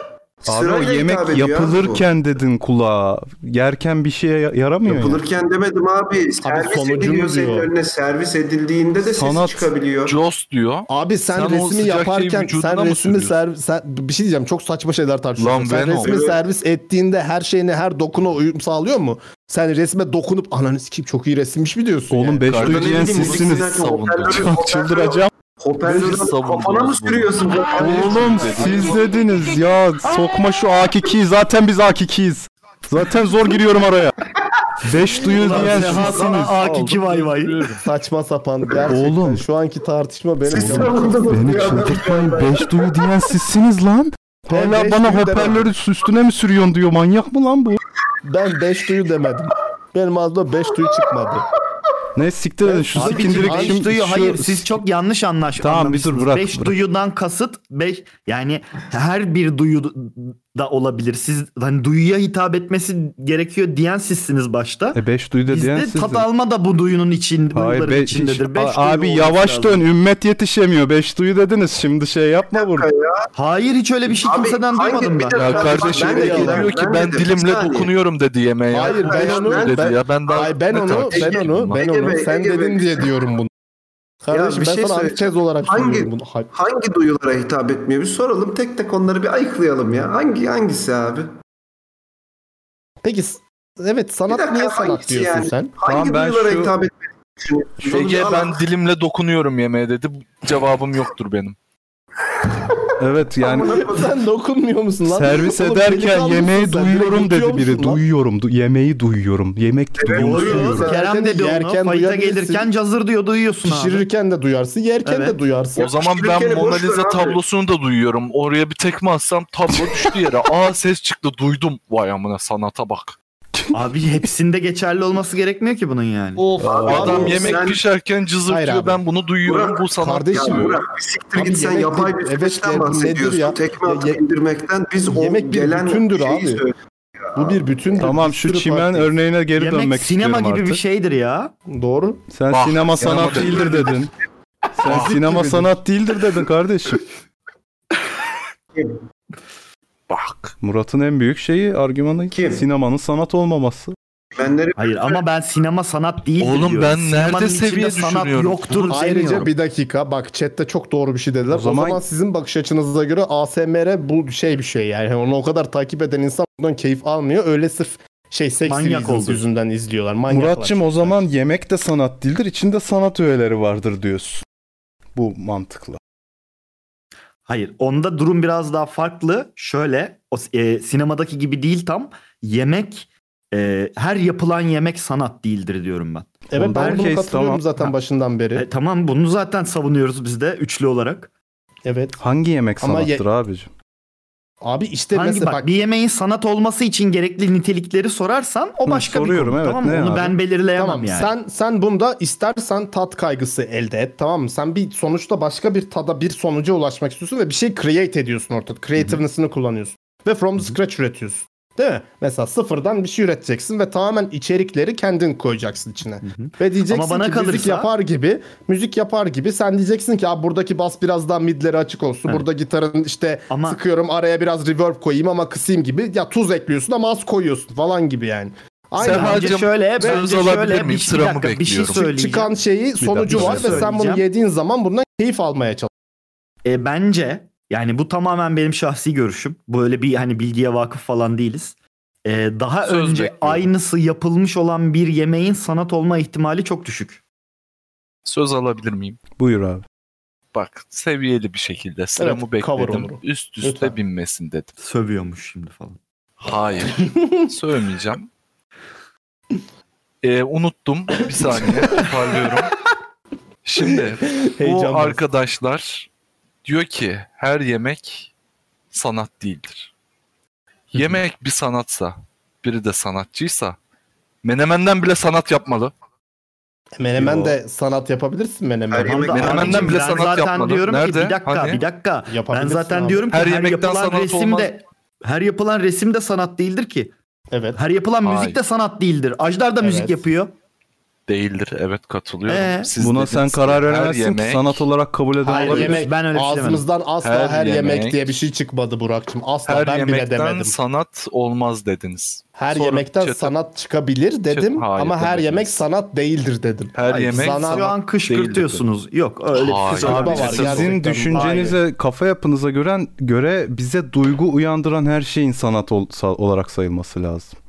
Abi o Sırayla hitap yemek ediyor ya bu. yapılırken dedin kulağa. Yerken bir şeye ya- yaramıyor ya. Yapılırken demedim abi. Servis sonucunu ediliyor senin diyor. önüne. Servis edildiğinde de Sanat. sesi çıkabiliyor. Jaws diyor. Abi sen, Sen o resmi sıcak şeyi yaparken vücuduna sen mı resmi sürüyorsun? servis sen- bir şey diyeceğim çok saçma şeyler tartışıyorsun. Lan sen Venom. resmi Evet. servis ettiğinde her şeyine her dokuna uyum sağlıyor mu? Sen resme dokunup ananı sikeyim çok iyi resimmiş mi diyorsun? Oğlum yani? beş Kardan duyu ne diyen bileyim, bunu sizsiniz. sizlerken hoparlörü- Çok çıldıracağım. Hoparlörü Biz savunuyoruz kafana mı bunu. sürüyorsun? Oğlum siz dediniz ya sokma şu A2'yi zaten biz A2'yiz. Zaten zor giriyorum araya. Beş duyu diyen sizsiniz. A2 vay vay. Saçma sapan gerçekten Oğlum. şu anki tartışma benim. Beni çıldırtmayın. Beş duyu diyen sizsiniz lan. Ben Hala beş bana duyu demem. hoparlörü üstüne mi sürüyorsun diyor. Manyak mı lan bu? Ben 5 duyu demedim. Benim ağzımda 5 duyu çıkmadı. Ne siktir edin şu Abi sikindirik beş şimdi. duyu şu- hayır siz çok yanlış anlaş Tamam, bir anlamışsınız. dur, bırak, Beş bırak. duyudan kasıt beş yani her bir duyu da olabilir. Siz hani duyuya hitap etmesi gerekiyor diyen sizsiniz başta. E beş duyu da diyen Bizde sizsiniz. tat alma da bu duyunun için, Hayır duyuların be, içindedir. hiç- Beş duyu A- abi olması yavaş lazım. dön ümmet yetişemiyor. Beş duyu dediniz şimdi şey yapma burada. Hayır hiç öyle bir şey Abi, kimseden hangi- duymadım bir ben. dakika, Ya Ben- kardeşim ben de de yalan- geliyor ki ben ben dedim, bir dilimle saniye. dokunuyorum dedi yemeğe ya. Hayır ben ben onu onu- dedi ben, ya. Ben daha Ay, ben ne onu tartışayım ben onu bundan? ben Ege onu Bey, sen Ege dedin Bey. diye diyorum bunu. Kardeşim bir ben şey sana söyleyeceğim. antitez olarak Hangi- söylüyorum bunu. Hayır. Hangi duyulara hitap etmiyor? Bir soralım. Tek tek onları bir ayıklayalım ya. Hangi hangisi abi? Peki s- evet Bir sanat dakika, niye sanat hangisi diyorsun yani? sen? [laughs] Hangi Tamam, ben duyulara şu- hitap etmiyor? Düşünüyorsunuz? Ege Onu ben al. dilimle dokunuyorum yemeğe dedi. Cevabım yoktur benim. Evet yani sen dokunmuyor musun lan? [laughs] Servis Oğlum, ederken delikanlı yemeği mısın sen? duyuyorum Direkt yutuyor dedi biri. musun lan? Duyuyorum. du- yemeği duyuyorum. Yemek duyuyorum. Duyuyoruz. duyuyorum. Kerem dedi Yerken onu. Fayda duyabilirsin. gelirken cazır diyor duyuyorsun abi. Pişirirken de duyarsın, yerken Evet. de duyarsın. O zaman ben Türkiye'yi boş Mona ver Lisa abi. tablosunu da duyuyorum. Oraya bir tekme atsam tablo düştü yere. Aa ses çıktı duydum. Vay amına sanata bak. Abi hepsinde geçerli olması gerekmiyor ki bunun yani. Of. Adam Abi, yemek sen- pişerken Hayır cızırtıyor. abi. Ben bunu duyuyorum. Burak, bu sanat kardeşim, diyor. Ya Burak bir siktir Abi git sen yemek yapay bir- bir evet süreçten yerim nedir bahsediyorsun. ya? Tekme Ya atıp ye- indirmekten biz o Yemek bir gelen bütündür şeyi abi. söylüyoruz. Bu bir bütün. Tamam şu çimen örneğine geri Yemek dönmek sinema istiyorum gibi artık. bir şeydir ya. Doğru. Sen Bak, sinema sanat sinema değildir dedin. Sen sinema sanat değildir dedin kardeşim. Bak. Murat'ın en büyük şeyi argümanı Kim? sinemanın sanat olmaması. Benleri Hayır ama ben sinema sanat değil Oğlum diyorum. ben Sinemanın nerede içinde seviye sanat düşünüyorum? yoktur Ayrıca demiyorum. bir dakika bak chatte çok doğru bir şey dediler. O O zaman, zaman- sizin bakış açınıza göre ASMR bu şey bir şey yani. Yani Onu o kadar takip eden insan bundan keyif almıyor. Öyle sırf şey seks Manyak Manyak oldu. yüzünden izliyorlar. Manyaklar. Muratçım o zaman yemek de sanat değildir. içinde sanat öğeleri vardır diyorsun. Bu mantıklı. Hayır. Onda durum biraz daha farklı. Şöyle o e, sinemadaki gibi değil tam. Yemek e, her yapılan yemek sanat değildir diyorum ben. Evet, ben bunu Herkes- katılıyorum zaten başından beri. E, tamam bunu zaten savunuyoruz biz de üçlü olarak. Evet. Hangi yemek Ama ye- sanattır abicim? Abi işte Hangi mesela bak, bir yemeğin sanat olması için gerekli nitelikleri sorarsan o başka bir konu. tamam mı? Onu ben belirleyemem Tamam, yani. Sen sen bunda istersen tat kaygısı elde et tamam mı? Sen bir sonuçta başka bir tada bir sonuca ulaşmak istiyorsun ve bir şey create ediyorsun ortada. Creativeness'ını kullanıyorsun. Ve from the scratch üretiyorsun. Değil mi? Mesela sıfırdan bir şey üreteceksin ve tamamen içerikleri kendin koyacaksın içine. Ve diyeceksin Ama bana ki müzik kalırsa- yapar gibi, müzik yapar gibi sen diyeceksin ki "Aa, buradaki bas biraz daha midleri açık olsun. Burada gitarın işte sıkıyorum araya biraz reverb koyayım ama kısayım gibi. Ya tuz ekliyorsun ama az koyuyorsun falan gibi yani. Bence şöyle, bence şöyle bir, bir dakika, bir şey söyleyeceğim. Çıkan şeyi sonucu var ve sen bunu Söyleyeceğim. yediğin zaman bundan keyif almaya çalış. E, bence yani bu tamamen benim şahsi görüşüm. Böyle bir hani bilgiye vakıf falan değiliz. E, daha Söz önce bekliyorum. aynısı yapılmış olan bir yemeğin sanat olma ihtimali çok düşük. Söz alabilir miyim? Buyur abi. Bak seviyeli bir şekilde sıramı Evet, cover bekledim. olur. Üst üste Lütfen. binmesin dedim. Sövüyormuş şimdi falan. [laughs] Hayır. Sövmeyeceğim. Ee, unuttum. Bir saniye. Toparlıyorum. Şimdi Heyecan bu var. arkadaşlar diyor ki her yemek sanat değildir. Yemek bir sanatsa, biri de sanatçıysa menemenden bile sanat yapmalı. Menemen Yo. de sanat yapabilirsin menemen. Her yemek- Menemenden bile sanat zaten yapmalı. diyorum ki, Nerede? bir dakika, bir dakika. Ben Yapabilirsin zaten abi. diyorum ki Her her, yemekten yapılan sanat resim olmaz. de her yapılan resim de sanat değildir ki. Evet. Her yapılan Hayır. müzik de sanat değildir. Ajdar da müzik Evet. yapıyor. Değildir. Evet katılıyorum. Ee? Buna dediniz sen ki karar her veremezsin ki yemek- sanat olarak kabul eden Hayır, olabilir. yemek, ağzımızdan asla her, yemek, diye bir şey çıkmadı Burak'cığım. Asla her ben bile yemekten demedim. sanat olmaz dediniz. Her Sonra yemekten çete- sanat çıkabilir dedim hayır ama her demediniz. yemek sanat değildir dedim. Her yemek sanat- Şu an kışkırtıyorsunuz. Yok öyle bir şey Abi, sizin düşüncenize, kafa yapınıza göre, göre bize duygu uyandıran her şeyin sanat ol- sa- olarak sayılması lazım.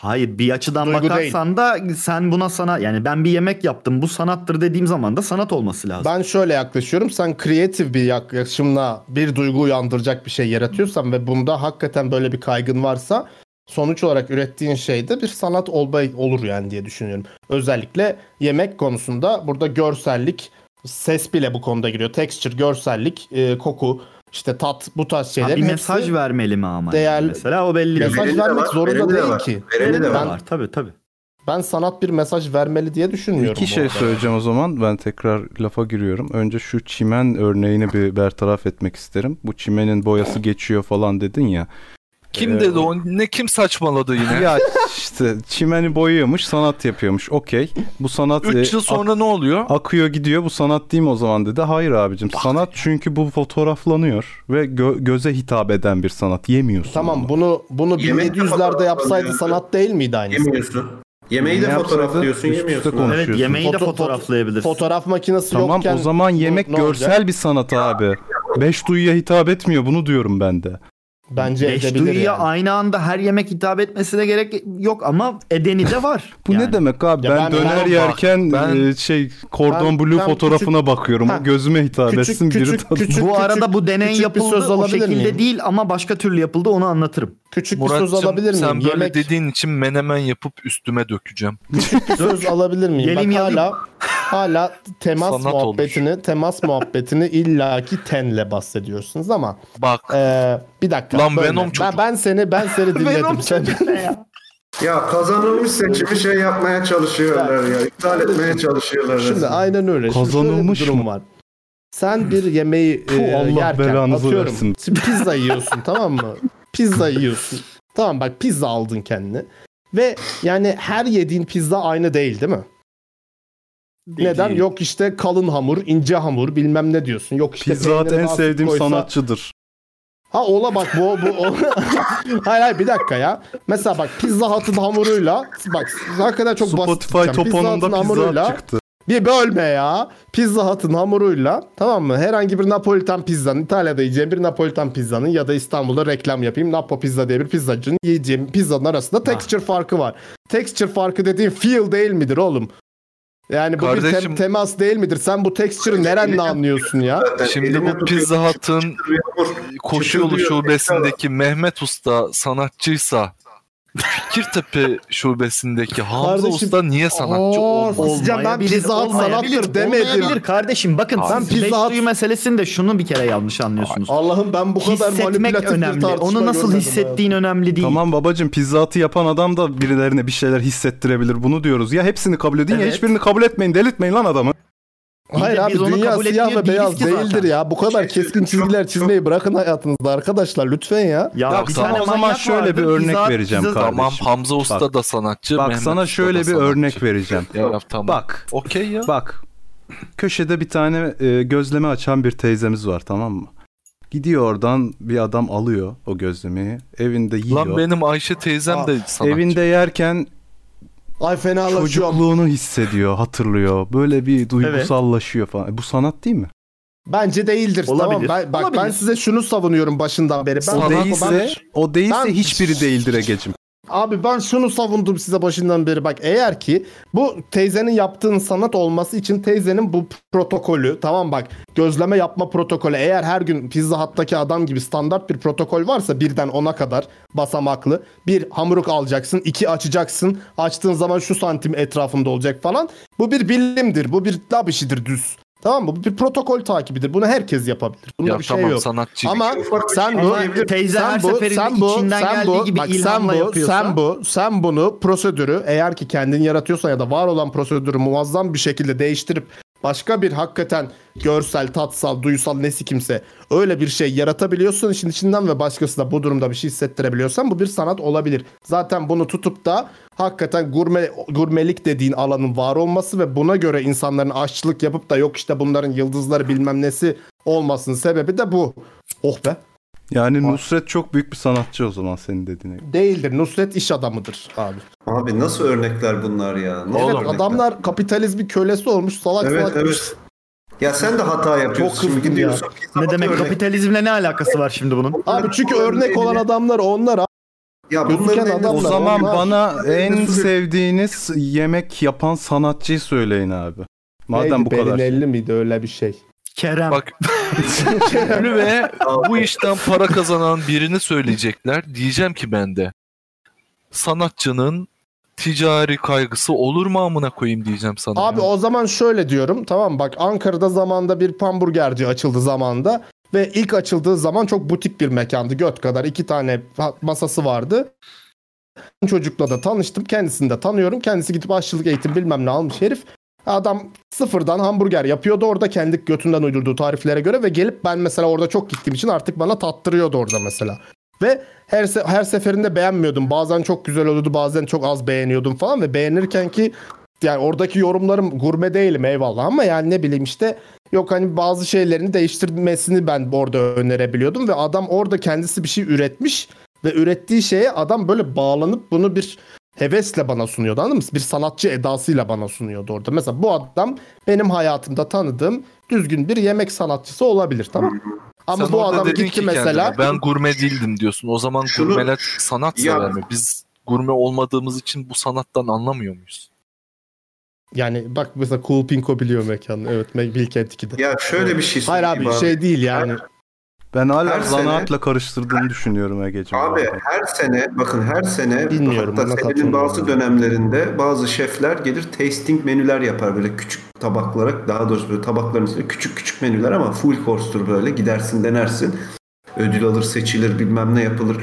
Hayır bir açıdan Duygu bakarsan da sen buna sanat yani ben bir yemek yaptım bu sanattır dediğim zaman da sanat olması lazım. Ben şöyle yaklaşıyorum. Sen kreatif bir yaklaşımla bir duygu uyandıracak bir şey yaratıyorsan ve bunda hakikaten böyle bir kaygın varsa sonuç olarak ürettiğin şeyde bir sanat olma olur yani diye düşünüyorum. Özellikle yemek konusunda burada görsellik, ses bile bu konuda giriyor. Texture, görsellik, e, koku, işte tat bu tarz Ha, şeyler. bir mesaj vermeli mi ama? değerli- Mesela o belli. Mesaj Vereni de vermek var, zorunda vereni de değil var, ki. vereni de Ben- var. Tabii tabii. Ben sanat bir mesaj vermeli diye düşünmüyorum. İki bu şey arada. söyleyeceğim o zaman. Ben tekrar lafa giriyorum. Önce şu çimen örneğini bir bertaraf etmek isterim. Bu çimenin boyası geçiyor falan dedin ya. Kim Ee, dedi o? Ne kim saçmaladı yine? Ya işte çimeni boyuyormuş, sanat yapıyormuş. Okey. Bu sanat Üç e, yıl sonra ne oluyor? akıyor gidiyor. Bu sanat değil mi o zaman dedi. Hayır abicim. Sanat çünkü bu fotoğraflanıyor ve gö- göze hitap eden bir sanat. Yemiyorsun. Tamam bunu bunu Yemek de 1700'lerde yapsaydı sanat değil miydi aynısı? Yemiyorsun. Yemeği de Ne yapsaydın? fotoğraflıyorsun, şey Üst üste yemiyorsun. konuşuyorsun. Evet, yemeği de fotoğraflayabilirsin. Fotoğraf makinesi Tamam yokken o zaman yemek ne görsel olacak? bir sanat abi. Beş duyuya hitap etmiyor bunu diyorum ben de. Bence Beş duyuya aynı anda her yemek hitap etmesine gerek yok ama edeni de var. Bu ne demek abi? Ya ben, ben- döner ben bak, yerken ben- e, şey Cordon ben- Bleu ben fotoğrafına küçük- bakıyorum. Ha. O gözüme hitap etsin biri tadı- bu arada bu deney yapıldı o şekilde değil ama başka türlü yapıldı onu anlatırım. Küçük Muratcığım, sen böyle [laughs] dediğin için menemen yapıp üstüme dökeceğim. Bir [laughs] söz alabilir miyim? Yelim Bak yalim. hala hala temas Sanat muhabbetini temas muhabbetini illaki tenle bahsediyorsunuz ama bak bir dakika Lan bölme. Venom ben, ben seni ben [laughs] seni dinledim sen, Ya kazanılmış seçimi şey yapmaya çalışıyorlar ya. İptal etmeye çalışıyorlar. Şimdi resmen. aynen öyle. Şimdi şöyle bir Kazanılmış durum mı? var. Sen bir yemeği Puh, e, Allah yerken belanızı atıyorum. versin. Şimdi [laughs] pizza yiyorsun tamam mı? Pizza yiyorsun. Tamam bak pizza aldın kendine. Ve yani her yediğin pizza aynı değil değil mi? Neden? Yok işte kalın hamur, ince hamur bilmem ne diyorsun. Yok işte Pizza Hut peynirin en az sevdiğim koysa- sanatçıdır. Ha ola bak bu bu o- [laughs] hayır hayır bir dakika ya. Mesela bak Pizza Hut'ın hamuruyla bak hakikaten çok basit. Spotify diyeceğim. toponunda Hut'ın Pizza Hut çıktı. Bir bölme ya. Pizza Hut'ın hamuruyla tamam mı? Herhangi bir Napolitan pizzanın İtalya'da yiyeceğim bir Napolitan pizzanın ya da İstanbul'da reklam yapayım Napo Pizza diye bir pizzacının Ah. yiyeceğim pizzanın arasında texture farkı var. Texture farkı dediğin feel değil midir oğlum? Yani bu bir Kardeşim- tem- temas değil midir? Sen bu texture'ı nerenle anlıyorsun ya? Şimdi bu Pizza Hut'ın koşu yolu Çıldırıyor, şubesindeki Mehmet Usta sanatçıysa [laughs] Fikirtepe şubesindeki Hamza Kardeşim- Usta niye sanatçı Aa, olmalı? sizce ben pizza hut sanattır demedim. Olmayabilir kardeşim bakın Hayır. sen pizza Pizza hut meselesinde şunu bir kere yanlış anlıyorsunuz. Allah'ım ben bu kadar Hissetmek önemli. Onu nasıl hissettiğin önemli değil. Tamam babacım pizzatı yapan adam da birilerine bir şeyler hissettirebilir. Bunu diyoruz. Ya hepsini kabul edin ya Evet. hiçbirini kabul etmeyin. Delirtmeyin lan adamı. Hayır abi dünya siyah ve beyaz değildir ya. Bu kadar keskin çizgiler çizmeyi bırakın hayatınızda arkadaşlar lütfen ya. Ya Bak bir sana tane o zaman manyak şöyle vardı, bir örnek pizza- vereceğim pizza- kardeşim. Tamam Hamza Bak- Usta da sanatçı. Bak Mehmet sana Usta şöyle da bir sanatçı. örnek vereceğim. Ya, tamam. Bak. Okey ya. Bak. Köşede bir tane e, gözleme açan bir teyzemiz var tamam mı? Gidiyor oradan bir adam alıyor o gözlemeyi. Evinde yiyor. Lan benim Ayşe teyzem de sanatçı. Evinde yerken Ay fenalaşıyor. çocukluğunu hissediyor, hatırlıyor. Böyle bir duygusallaşıyor falan. E, Bu sanat değil mi? Bence değildir. Olabilir. Tamam. Ben, bak ben Olabilir. size şunu savunuyorum başından beri. E, Ben, o değilse, ben- o değilse Ben- hiçbiri değildir Ege'cim. Abi ben şunu savundum size başından beri. Bak eğer ki bu teyzenin yaptığın sanat olması için teyzenin bu protokolü tamam bak gözleme yapma protokolü eğer her gün pizza hattaki adam gibi standart bir protokol varsa birden ona kadar basamaklı bir hamuruk alacaksın iki açacaksın açtığın zaman şu santim etrafında olacak falan bu bir bilimdir bu bir lab işidir düz. Tamam mı? Bu bir protokol takibidir. Bunu herkes yapabilir. Bunda Ya bir tamam, şey yok. sanatçı. Ama sen bu, Ama teyze sen her bu, seferinde sen bu, içinden sen geldiği bu, gibi bak sen ilhamla bu, yapıyorsa- sen bu, sen bunu prosedürü eğer ki kendin yaratıyorsan ya da var olan prosedürü muazzam bir şekilde değiştirip başka bir hakikaten görsel, tatsal, duysal nesi kimse öyle bir şey yaratabiliyorsun işin içinden ve başkası da bu durumda bir şey hissettirebiliyorsan bu bir sanat olabilir. Zaten bunu tutup da hakikaten gurme gurmelik dediğin alanın var olması ve buna göre insanların aşçılık yapıp da yok işte bunların yıldızları bilmem nesi olmasının sebebi de bu. Oh be. Yani Nusret çok büyük bir sanatçı o zaman senin dediğine göre. Değildir. Nusret iş adamıdır abi. Abi nasıl örnekler bunlar ya? Nasıl evet örnekler? adamlar kapitalizmin kölesi olmuş salak Evet, salak. evet. Ya sen de hata yapıyorsun. Çok kızdım Şimdi gidiyorsun ya. pizza hut örnek- kapitalizmle ne alakası var şimdi bunun? Abi çünkü örnek olan adamlar onlar abi. Ya Gözüken adamlar O zaman onlar. [laughs] bana en Neydi, sevdiğiniz yemek yapan sanatçıyı söyleyin abi. Madem bu kadar. Berinelli miydi öyle bir şey? Kerem. Bak ünlü ve bu işten para kazanan birini söyleyecekler. Diyeceğim ki ben de sanatçının ticari kaygısı olur mu amına koyayım diyeceğim sana. Abi o zaman şöyle diyorum tamam bak Ankara'da zamanda bir hamburgerci açıldı zamanda ve ilk açıldığı zaman çok butik bir mekandı göt kadar iki tane fa- masası vardı. Çocukla da tanıştım kendisini de tanıyorum kendisi gidip aşçılık eğitim bilmem ne almış herif. Adam sıfırdan hamburger yapıyordu orada kendi götünden uydurduğu tariflere göre ve gelip ben mesela orada çok gittiğim için artık bana tattırıyordu orada mesela. Ve her se- her seferinde beğenmiyordum. Bazen çok güzel oluyordu, bazen çok az beğeniyordum falan ve beğenirken ki yani oradaki yorumlarım gurme değilim eyvallah ama yani ne bileyim işte yok hani bazı şeylerini değiştirmesini ben orada önerebiliyordum ve adam orada kendisi bir şey üretmiş ve ürettiği şeye adam böyle bağlanıp bunu bir hevesle bana sunuyordu anladın mı? Bir sanatçı edasıyla bana sunuyordu orada. Mesela bu adam benim hayatımda tanıdığım düzgün bir yemek sanatçısı olabilir tamam Ama Sen bu orada adam dedin gitti ki mesela kendine, ben gurme değildim diyorsun. O zaman Şunu- gurmeler sanat Ya- sever mi? Biz gurme olmadığımız için bu sanattan anlamıyor muyuz? Yani bak mesela Cool Pinko biliyor mekanı. Evet Me- Bilkent 2'de. Ya şöyle bir şey Hayır abi söyleyeyim abi. şey değil yani. Ben hala Her sene- zanaatla karıştırdığını düşünüyorum Ege'cim. Abi her sene bakın her sene Bilmiyorum, hatta buna senenin katılmıyorum. bazı dönemlerinde bazı şefler gelir tasting menüler yapar böyle küçük tabaklara daha doğrusu böyle tabakların içinde küçük küçük menüler ama full course'tur böyle gidersin denersin ödül alır seçilir bilmem ne yapılır.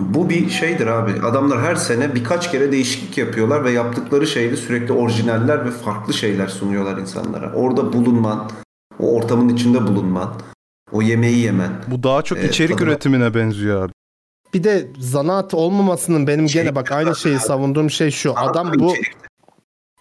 Bu bir şeydir abi. Adamlar her sene birkaç kere değişiklik yapıyorlar ve yaptıkları şeyde sürekli orijinaller ve farklı şeyler sunuyorlar insanlara. Orada bulunman, o ortamın içinde bulunman, o yemeği yemen. Bu daha çok Evet, içerik tadına- üretimine benziyor abi. Bir de zanaat olmamasının benim gene bak aynı şeyi savunduğum şey şu. Adam bu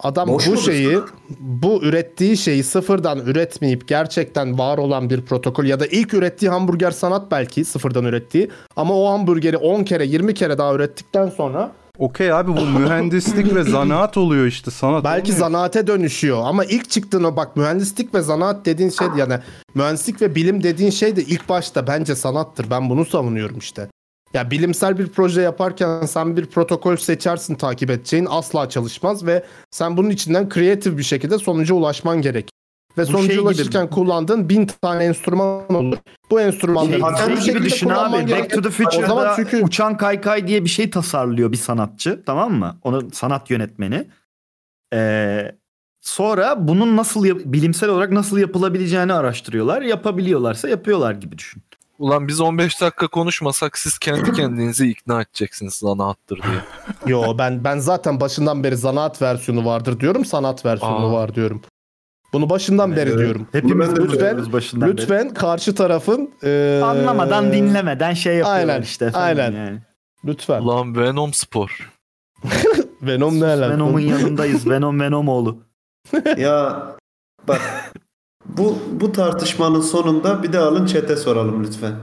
adam Boş bu mudur şeyi bu ürettiği şeyi sıfırdan üretmeyip gerçekten var olan bir protokol ya da ilk ürettiği hamburger sanat belki sıfırdan ürettiği ama o hamburgeri 10 kere 20 kere daha ürettikten sonra Okey abi bu mühendislik ve zanaat oluyor işte sanat. Belki zanaate dönüşüyor ama ilk çıktığın o bak mühendislik ve zanaat dediğin şey yani mühendislik ve bilim dediğin şey de ilk başta bence sanattır. Ben bunu savunuyorum işte. Ya bilimsel bir proje yaparken sen bir protokol seçersin takip edeceğin asla çalışmaz ve sen bunun içinden kreatif bir şekilde sonuca ulaşman gerek. Ve Bu sonuca şey gibi- ulaşırken kullandığın bin tane enstrüman olur. Bu enstrümanları Şey, sen bir şey gibi şekilde düşün abi. kullanman Back to the gerek. O zaman Future'da çünkü uçan kaykay diye bir şey tasarlıyor bir sanatçı. Tamam mı? Onun sanat yönetmeni. Ee, sonra bunun nasıl yap- bilimsel olarak nasıl yapılabileceğini araştırıyorlar. Yapabiliyorlarsa yapıyorlar gibi düşün. Ulan biz 15 dakika konuşmasak siz kendi kendinizi ikna edeceksiniz lan attır diye. Yo ben ben zaten başından beri zanaat versiyonu vardır diyorum, sanat versiyonu Aa. var diyorum. Bunu başından beri evet. diyorum. Hepimiz Bunu ben de bunu lütfen diyoruz başından beri. lütfen karşı tarafın e, eee, Anlamadan dinlemeden şey yapıyorlar aynen, işte efendim aynen. yani. Lütfen. Ulan Venom Spor. Venom ne alaka? Venom'un yanındayız. Venom Venom oğlu. [laughs] ya bak bu bu tartışmanın sonunda bir de alın çete soralım lütfen.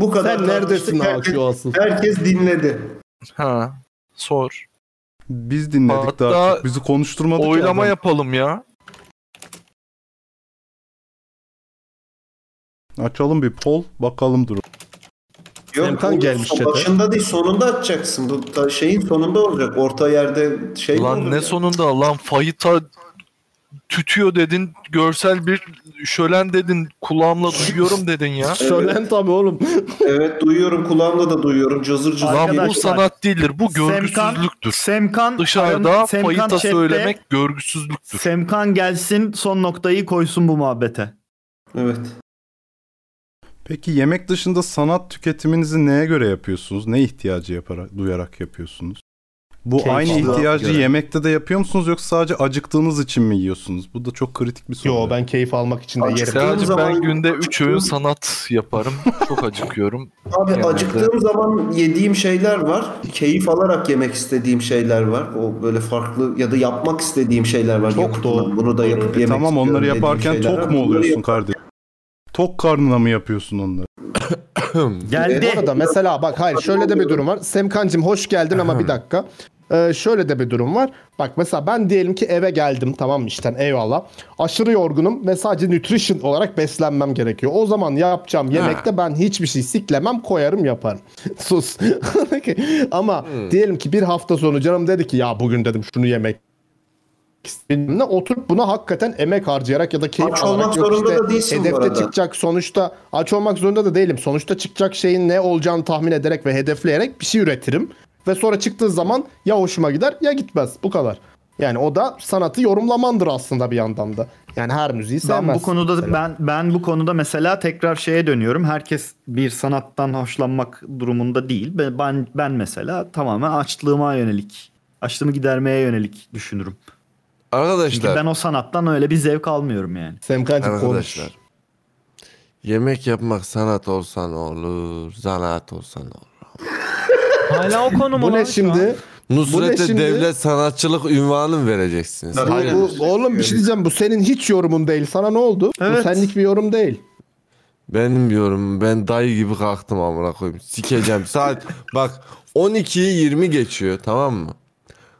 Bu kadar Sen neredesin tartıştık, herkes- Hakkı asıl? Herkes dinledi. Ha. Sor. Biz dinledik daha Hatta çok. Bizi konuşturmadı ki Oylama adam. yapalım ya. Açalım bir poll bakalım durum. Yok oğlum, son- Başında değil sonunda açacaksın. Bu ta- şeyin sonunda olacak. Orta yerde şey mi Lan olur ne ya? sonunda lan fayita tütüyor dedin, görsel bir şölen dedin, kulağımla duyuyorum dedin ya. Şölen tabii oğlum. evet duyuyorum kulağımla da duyuyorum. Cızır cızır. Lan geliyor. bu sanat değildir, bu görgüsüzlük. Semkan Dışarıda Aran- fayita chatte- söylemek görgüsüzlük. Semkan gelsin son noktayı koysun bu muhabbete. Evet. Peki yemek dışında sanat tüketiminizi neye göre yapıyorsunuz? Ne ihtiyacı yaparak, duyarak yapıyorsunuz? Bu Keyif aynı olarak ihtiyacı göre. yemekte de yapıyor musunuz yoksa sadece acıktığınız için mi yiyorsunuz? Bu da çok kritik bir soru. Yo ben keyif almak için de yerim. Sadece ben günde 3 öğün sanat yaparım. Çok acıkıyorum. Abi Genelde. acıktığım zaman yediğim şeyler var. Keyif alarak yemek istediğim şeyler var. O böyle farklı ya da yapmak istediğim şeyler var. Çok doğru. Bunu da yapıp E yemek tamam onları istiyorum dediğim yaparken şeyler var. tok mu Bunları oluyorsun yap- kardeşim? Tok karnına mı yapıyorsun onları? Geldi. E, Bu arada mesela bak hayır şöyle de bir durum var. Semkancım hoş geldin ama bir dakika. Ee, şöyle de bir durum var. Bak mesela ben diyelim ki eve geldim tamam mı işten eyvallah. Aşırı yorgunum ve sadece nutrition olarak beslenmem gerekiyor. O zaman yapacağım yemekte ben hiçbir şey siklemem koyarım yaparım. [laughs] Sus. ama diyelim ki bir hafta sonu canım dedi ki ya bugün dedim şunu yemek bilmem ne oturup buna hakikaten emek harcayarak ya da keyif Aç alarak olmak yok zorunda işte da değilsin bu hedefte arada. çıkacak sonuçta aç olmak zorunda da değilim. Sonuçta çıkacak şeyin ne olacağını tahmin ederek ve hedefleyerek bir şey üretirim ve sonra çıktığı zaman ya hoşuma gider ya gitmez. Bu kadar. Yani o da sanatı yorumlamandır aslında bir yandan da. Yani her müziği sevmez. Ben bu konuda ben ben bu konuda mesela tekrar şeye dönüyorum. Herkes bir sanattan hoşlanmak durumunda değil. Ben ben, ben mesela tamamen açlığıma yönelik, açlığımı gidermeye yönelik düşünürüm. [laughs] Çünkü Arkadaşlar. ben o sanattan öyle bir zevk almıyorum yani. Semkancım konuş. Arkadaşlar. Yemek yapmak sanat olsa ne olur, zanaat olsa ne olur. Hala o konu mu Bu lan ne şu şimdi? Nusret'e şimdi? devlet sanatçılık ünvanı mı vereceksiniz? Bu- bu- oğlum bir şey diyeceğim bu senin hiç yorumun değil. Sana ne oldu? Bu Evet. senlik bir yorum değil. Benim diyorum ben dayı gibi kalktım amına koyayım. Sikeceğim. [laughs] Saat bak 12'yi 20 geçiyor tamam mı?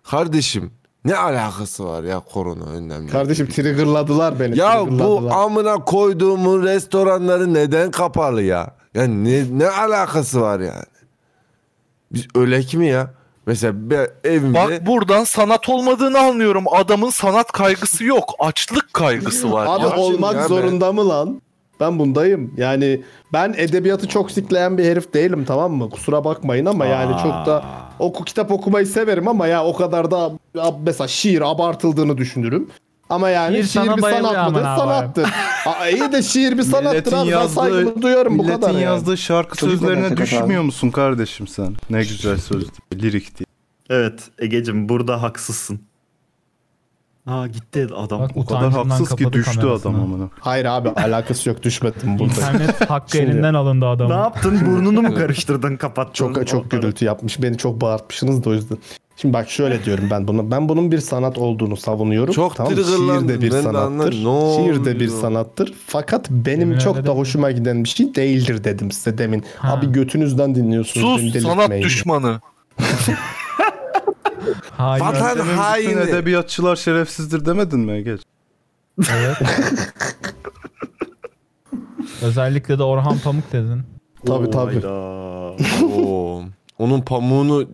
Kardeşim ne alakası var ya korona önlemleri? Kardeşim triggerladılar beni. Ya bu triggerladılar. amına koyduğumun restoranları neden kapalı ya? Ya ne, ne alakası var yani? Biz ölek mi ya? Mesela ben evimde... Bak buradan sanat olmadığını anlıyorum. Adamın sanat kaygısı yok. Açlık kaygısı var. Abi Ya. olmak Ya be. zorunda mı lan? Ben bundayım. Yani ben edebiyatı çok sikleyen bir herif değilim tamam mı? Kusura bakmayın ama yani Aa. çok da oku kitap okumayı severim ama ya o kadar da ya mesela şiir abartıldığını düşünürüm. Ama yani Şiir şiir, sana bir bayılıyor sanat mıdır? aman abi. [laughs] Sanattır. Aa, iyi de şiir bir sanattır abi. Ben saygımı duyuyorum bu milletin kadar yani. yazdığı şarkı Çocuk sözlerine memleket abi. düşmüyor musun kardeşim sen? Ne güzel söz diye, lirik diye. Evet Egecim burada haksızsın. Aa gitti adam. o kadar haksız ki düştü adam amına. Hayır abi alakası yok düşmedim burada. İnternet hakkı Şimdi- elinden alındı adamın. Ne yaptın? Burnunu mu karıştırdın? Kapattın. Çok çok gürültü yapmış. Beni çok bağırtmışsınız da o yüzden. Şimdi bak şöyle diyorum ben bunu. Ben bunun bir sanat olduğunu savunuyorum. Çok mı? Şiir de triggerlandım. bir Ben de sanattır. anladım. Ne Şiir de bir oluyor? sanattır. Fakat benim çok da hoşuma giden bir şey değildir dedim size demin. Abi götünüzden dinliyorsunuz. beni Sus delirtmeyin sanat diye. düşmanı. Hayır. Demedin, bütün edebiyatçılar şerefsizdir demedin mi Geç. Özellikle de Orhan Pamuk dedin. Tabii tabii. Oo. Onun pamuğunu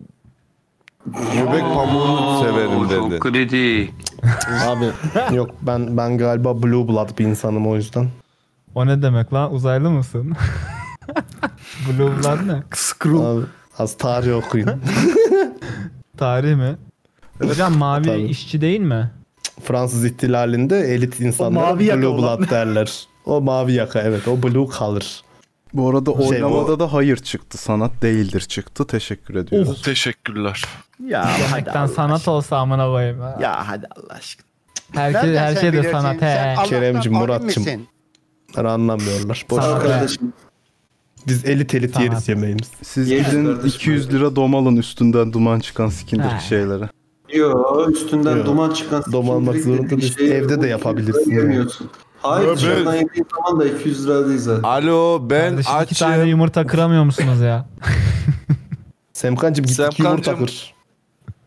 göbek pamuğunu severim dedi. kritik. Abi yok ben ben galiba blue blood bir insanım o yüzden. O ne demek lan? Uzaylı mısın? [laughs] Blue lan ne? Abi, az tarih okuyun. Tarih mi? Hocam mavi Tabii. işçi değil mi? Fransız ihtilalinde elit insanlara mavi yaka blue olan. blood derler. O mavi yaka evet o blue color. Bu arada Şey, oylamada bu- da hayır çıktı. Sanat değildir çıktı. Teşekkür ediyoruz. Teşekkürler. Ya Yemekten sanat olsa amına koyayım. ha. Ya hadi Allah aşkına. Herkes, her şey de sanat. He. Keremcim, Muratçım. Ben anlamıyorlar. Boş Sanat ver. kardeşim. Biz elit elit Sanat. yeriz yemeğimiz. Siz gidin 200 lira dom alın üstünden duman çıkan skindir Ha. şeylere. Yo üstünden Yo. duman çıkan Dom almak sikimdirik zorunda değil. dediğin şeyi Evde de bu yapabilirsin yüzden yani. yemiyorsun. Hayır Öbür- dışarıdan yediğin zaman da 200 lira değil zaten. Alo ben Kardeşim iki tane yumurta kıramıyor [laughs] musunuz ya? Semkancım git iki yumurta Semkancım. kır.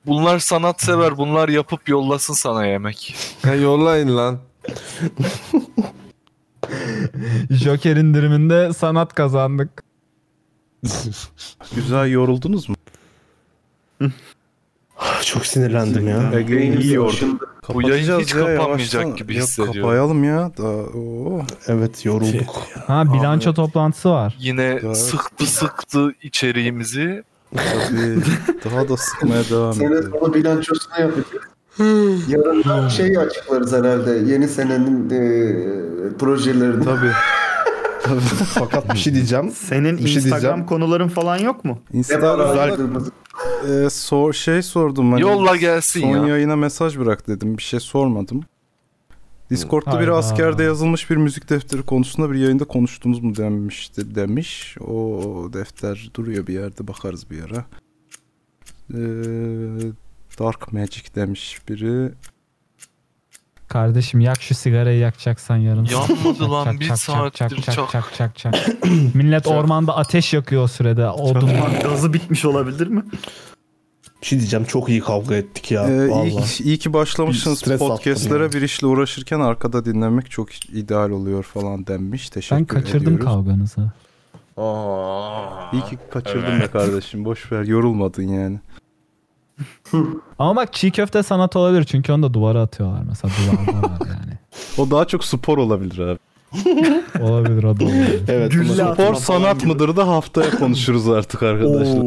Bunlar sanatsever. Bunlar yapıp yollasın sana yemek. Ha, yollayın lan. Joker indiriminde sanat kazandık. Güzel yoruldunuz mu? Çok sinirlendim ya. Ege'yi iyi yordu. Bu yayın Kapatacağız hiç ya, kapanmayacak yavaştan. gibi Ya hissediyorum. Kapayalım ya. oh, Da, oo. Evet yorulduk. Ha bilanço toplantısı var. Yine sıktı sıktı içeriğimizi. Tabii. Daha da sıkmaya devam Sene sonu bilançosunu yapacağız. Yarın da şey açıklarız herhalde. Yeni senenin e, projelerini. Tabii. Fakat bir şey diyeceğim. Senin Bir şey Instagram diyeceğim. konuların falan yok mu? Instagram'da e, sor, şey sordum. Hani Yolla gelsin son ya. yayına mesaj bırak dedim. Bir şey sormadım. Discord'da biri Hayda. askerde yazılmış bir müzik defteri konusunda bir yayında konuştunuz mu demişti demiş. O defter duruyor bir yerde bakarız bir ara. E, Dark Magic demiş biri. Kardeşim yak şu sigarayı yakacaksan yarın. Yanmadı lan, bir çak, saattir çak, çak. çak, [laughs] çak, çak. Millet ormanda ateş yakıyor o sürede. O duman. Gazı bitmiş olabilir mi? Bir şey diyeceğim çok iyi kavga ettik ya. Ee, [laughs] vallahi. iyi, ki- iyi ki başlamışsınız Bir stres attım podcastlere yani. bir işle uğraşırken arkada dinlemek çok ideal oluyor falan denmiş. Teşekkür Ben kaçırdım ediyoruz. kavganızı. İyi ki kaçırdım be Evet. kardeşim. Boş ver yorulmadın yani. Ama bak çiğ köfte sanat olabilir çünkü onu da duvara atıyorlar mesela duvarda var yani. O daha çok spor olabilir abi. Olabilir o da olabilir. Evet. Gülle atma spor falan sanat mıdır da haftaya konuşuruz artık arkadaşlar.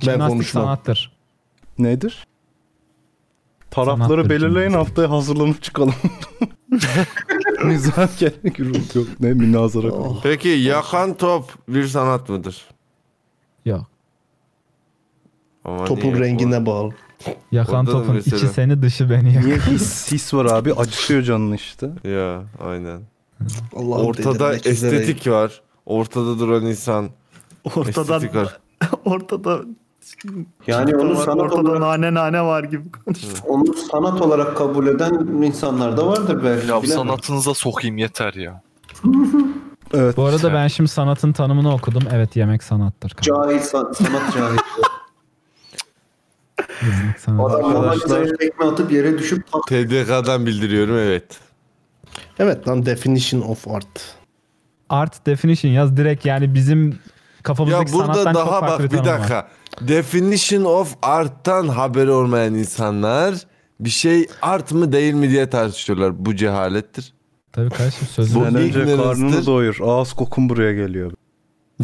Jimnastik sanattır. Nedir? Tarafları belirleyin haftaya hazırlanıp [laughs] çıkalım. Müzakere gürültü yok. Ne münazara. kurulu. Peki yakan top bir sanat mıdır? Yok. Ama Topun niye? rengine bağlı. Yakan Orada da topun mesela- içi seni dışı beni Niye yakıyor. his, his var abi? Acıtıyor canını işte. Ya aynen. Allah'ım Ortada delirmek üzereyim. estetik var. Ortada duran insan. Ortadan- Estetik var. [laughs] ortada Yani onu Ortada- sanat ortada olarak- nane nane var gibi konuştum. Onu sanat olarak kabul eden insanlar da vardır belki. Ya bilemem. sanatınıza sokayım yeter ya. Evet. Bu arada ben şimdi sanatın tanımını okudum. Evet yemek sanattır. Cahil san- [laughs] sanat cahil. Yemek sanat. Adam Mona Lisa'ya tekme atıp yere düşüp TDK'dan bildiriyorum evet. Evet lan definition of art. Art definition yaz direkt yani bizim kafamızdaki Ya burada sanattan çok daha farklı bak bir tanım var. dakika. Definition of art'tan haberi olmayan insanlar bir şey art mı değil mi diye tartışıyorlar. Bu cehalettir. Tabii kardeşim sözü. Sen önce ignorance'tır. karnını doyur. Ağız kokun buraya geliyor.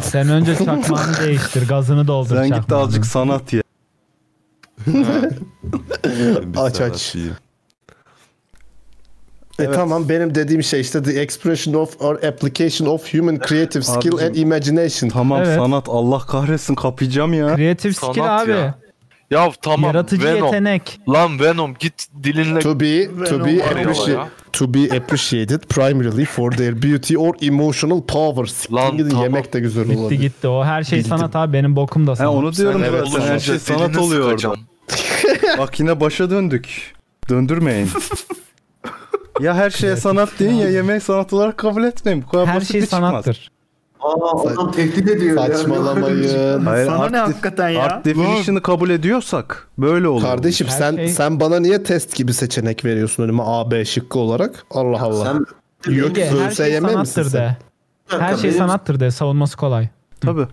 Sen önce çakmağını değiştir, gazını doldur Sen çakmağını. git de azıcık sanat ye. aç aç. E tamam benim dediğim şey işte the expression of or application of human creative skill Abicim, and imagination. Tamam Evet. sanat Allah kahretsin kapayacağım ya. Kreatif Sanat Ya. Ya tamam Yaratıcı Venom. yetenek. Lan Venom git dilinle. To be to Venom be var ya. appreciated to be appreciated primarily for their beauty or emotional power. Siktir gidin, yemek de güzel Bitti olabilir. gitti o. Her şey Bildim. sanat abi benim bokum da sanat. onu diyorum Sen- zaten her şey sanat oluyor orada. Bak yine başa döndük. Döndürmeyin. ya her şeye sanat deyin ya yemeği sanat olarak kabul etmeyin. Bu kadar Her basit şey bir çıkmaz. sanattır. Aa adam tehdit ediyor ya. şey. Saçmalamayın. şey- Hayır, Sana art ne def- hakikaten ya? Art definition'ı kabul ediyorsak böyle olur. Kardeşim Her sen şey- sen bana niye test gibi seçenek veriyorsun önüme A B şıkkı olarak? Allah Allah. Sen Yok Ege, her şey ÖSYM misin sanattır sen? de. Her şey sanattır de savunması kolay. Tabii.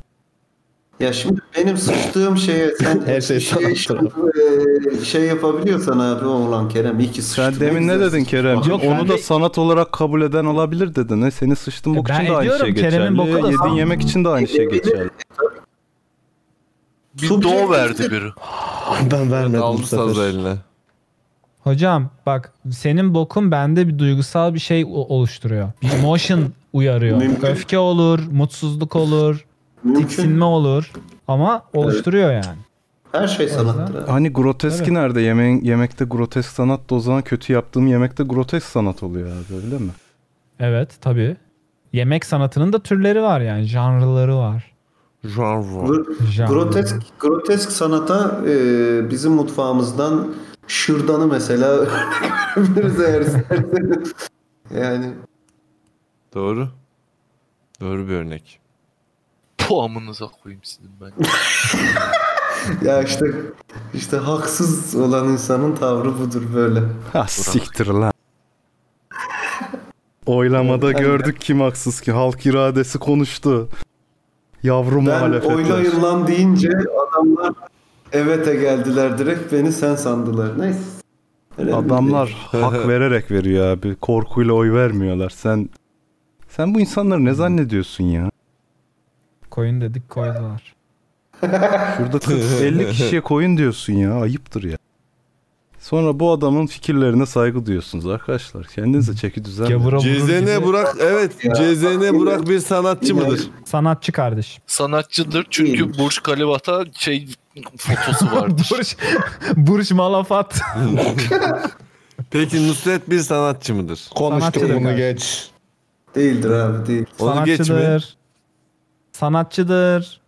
Ya şimdi benim sıçtığım şeye sen Her şey şey, şey yapabiliyorsan abi ulan Kerem iyi ki sıçtın. Sen demin ne güzel dedin sıçtın. Kerem? Yok, Onu ben da de- sanat olarak kabul eden olabilir dedin. E, seni sıçtın bok ben için de aynı ediyorum, şey Kerem'in geçerli. boku da Yediğin sanat. yemek için de aynı şey geçerli. Bir do verdi biri. [laughs] Ben vermedim bu sefer. eline. Hocam bak senin bokun bende bir duygusal bir şey o- oluşturuyor. Bir emotion uyarıyor. Mümkün. Öfke olur, mutsuzluk olur, tiksinme olur ama oluşturuyor yani. Her şey sanattır Hani groteski Tabii. nerede? Yemeğin, yemekte grotesk sanat da o zaman kötü yaptığım yemekte grotesk sanat oluyor abi öyle mi? Evet tabii. Yemek sanatının da türleri var yani, janrları var. Janr. Gro- Grotesk, grotesk sanata e, bizim mutfağımızdan şırdanı mesela [laughs] örnek verebiliriz eğer isterseniz. Yani Doğru. Doğru bir örnek. Bu amınıza koyayım sizin ben. ya işte işte haksız olan insanın tavrı budur böyle. Ha Ah, siktir lan. Oylamada Ben- gördük kim haksız ki. Halk iradesi konuştu. Yavru Ben muhalefetler. oylayın lan deyince adamlar evet'e geldiler direkt beni sen sandılar. Neyse. Adamlar hak vererek veriyor abi. Korkuyla oy vermiyorlar. Sen sen bu insanları ne zannediyorsun ya? Koyun dedik koydular. Şurada 40 50 kişiye koyun diyorsun ya. Ayıptır ya. Sonra bu adamın fikirlerine saygı duyuyorsunuz arkadaşlar. Kendinize çeki düzen. verin. CZN Burak evet CZN Burak bir sanatçı mıdır? Sanatçı kardeşim. Sanatçıdır çünkü Burç Kalibata şey fotosu vardır. [laughs] Burç, Burç Malafat. Peki Nusret bir sanatçı mıdır? Konuştuk, Sanatçıdır bunu kardeşim. geç. Değildir abi değil. Onu geç mi? Sanatçıdır. Sanatçıdır.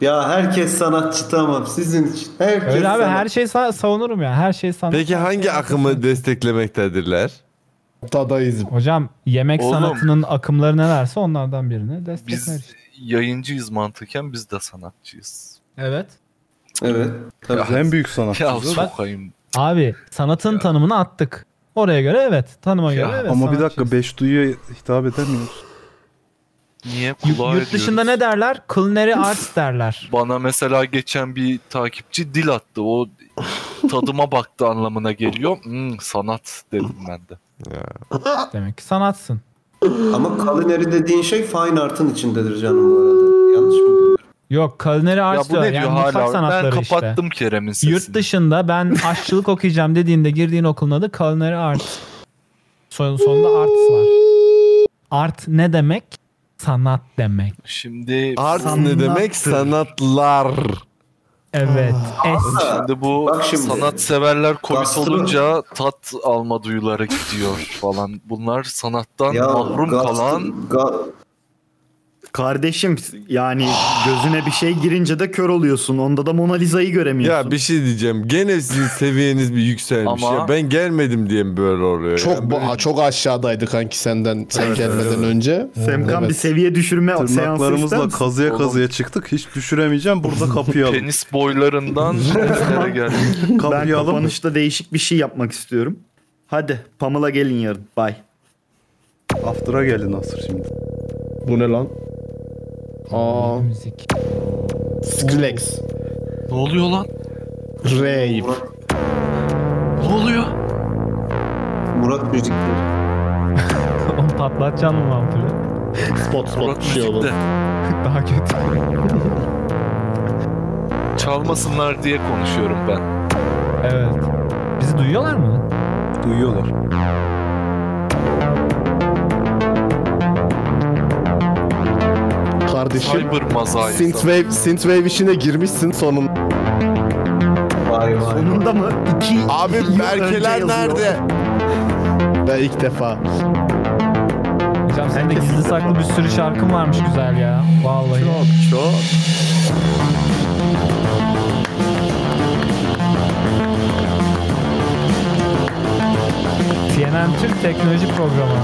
Ya herkes sanatçı tamam sizin için. Herkes Öyle abi sanatçı. her şeyi sa- savunurum ya. Her şeyi sanat. Peki hangi akımı desteklemektedirler? Dadaizm. Hocam yemek Oğlum. sanatının akımları nelerse onlardan birini destekler. Biz yayıncıyız mantıken biz de sanatçıyız. Evet. şey- Evet. Tabii. Ya en büyük Ya sanatçı. sokayım. Abi sanatın tanımını attık. Oraya göre evet. Tanıma göre evet. Ama bir sanat. dakika beş duyuya hitap edemiyoruz. Niye kulağa Yurt dışında ne derler? Culinary [laughs] arts derler. Bana mesela geçen bir takipçi dil attı. [laughs] O tadıma baktı anlamına geliyor. Hmm, sanat dedim ben de. Demek ki sanatsın. Ama culinary dediğin şey fine art'ın içindedir canım bu arada. Yanlış mı biliyorum? Yok culinary arts diyor. Yani mutfak Ben sanatları işte. kapattım Kerem'in sesini. Yurt dışında ben aşçılık okuyacağım dediğinde girdiğin okulun adı culinary arts. Son, sonunda arts var. Art ne demek? Sanat demek. Şimdi Art ne demek? Sanatlar. Evet. Es. Şimdi bu Bak şimdi. sanat severler komik Gastro- olunca tat alma duyuları gidiyor falan. Bunlar sanattan Ya mahrum gastro- kalan ga- Kardeşim yani gözüne bir şey girince de kör oluyorsun. Onda da Mona Lisa'yı göremiyorsun. Ya bir şey diyeceğim. Gene sizin seviyeniz bir yükselmiş. Ama- Ya ben gelmedim diye mi böyle oluyor? Çok ya? ba- çok aşağıdaydı kanki senden sen Evet, gelmeden evet. önce. Semkan Evet. bir seviye düşürme seansı ister Tırnaklarımızla misin? kazıya kazıya çıktık. Hiç düşüremeyeceğim. Burada [laughs] kapıyı alın. penis [laughs] boylarından nerelere geldi. Ben Kapıyı alın. kapanışta değişik bir şey yapmak istiyorum. Hadi Pamela gelin yarın. Bye. After'a geldi Nasır şimdi. Bu ne lan? Aa. Müzik. Skrillex. Ne oluyor lan? Rave. Ne oluyor? Murat müzik. Oğlum patlatacaksın mı mantığı? Spot spot bir şey oldu. Daha kötü. Çalmasınlar diye konuşuyorum ben. Evet. Bizi duyuyorlar mı? Duyuyorlar. Kardeşim Cyber mazai. Synthwave, Synthwave işine girmişsin sonun. Vay vay. Sonunda mı? İki Abi yıl önce Berkeler yazıyor. nerede? Ben ilk defa. Hocam senin de gizli saklı bir sürü şarkın varmış güzel ya. Vallahi. Çok çok. TNN Türk Teknoloji Programı.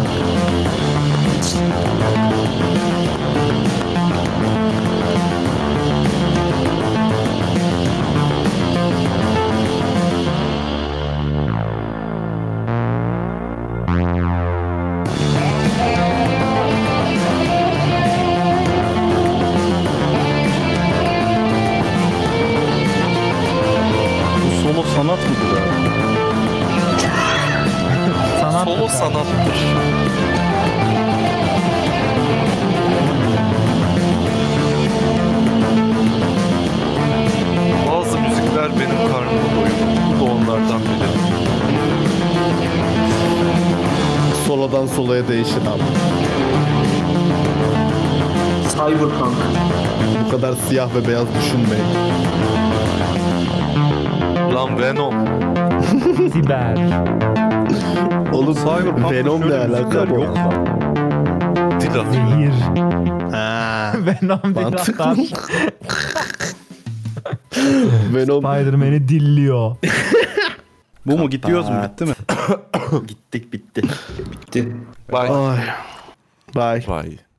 sanat mıdır abi? Sanat Solo sanattır. Bazı müzikler benim karnımı doyurur. Bu da onlardan biri. Soladan solaya değişir abi. Cyberpunk. Bu kadar siyah ve beyaz düşünmeyin. Lan Venom. Siber. Oğlum Venom ne alaka bu? Dila. Zehir. Ha. [laughs] Venom bir Mantıklı. atar. [laughs] Venom. Spider-Man'i dilliyor. Bu mu gidiyoruz mu bitti mi? Gittik bitti. bitti. Bye. Bye. Bye.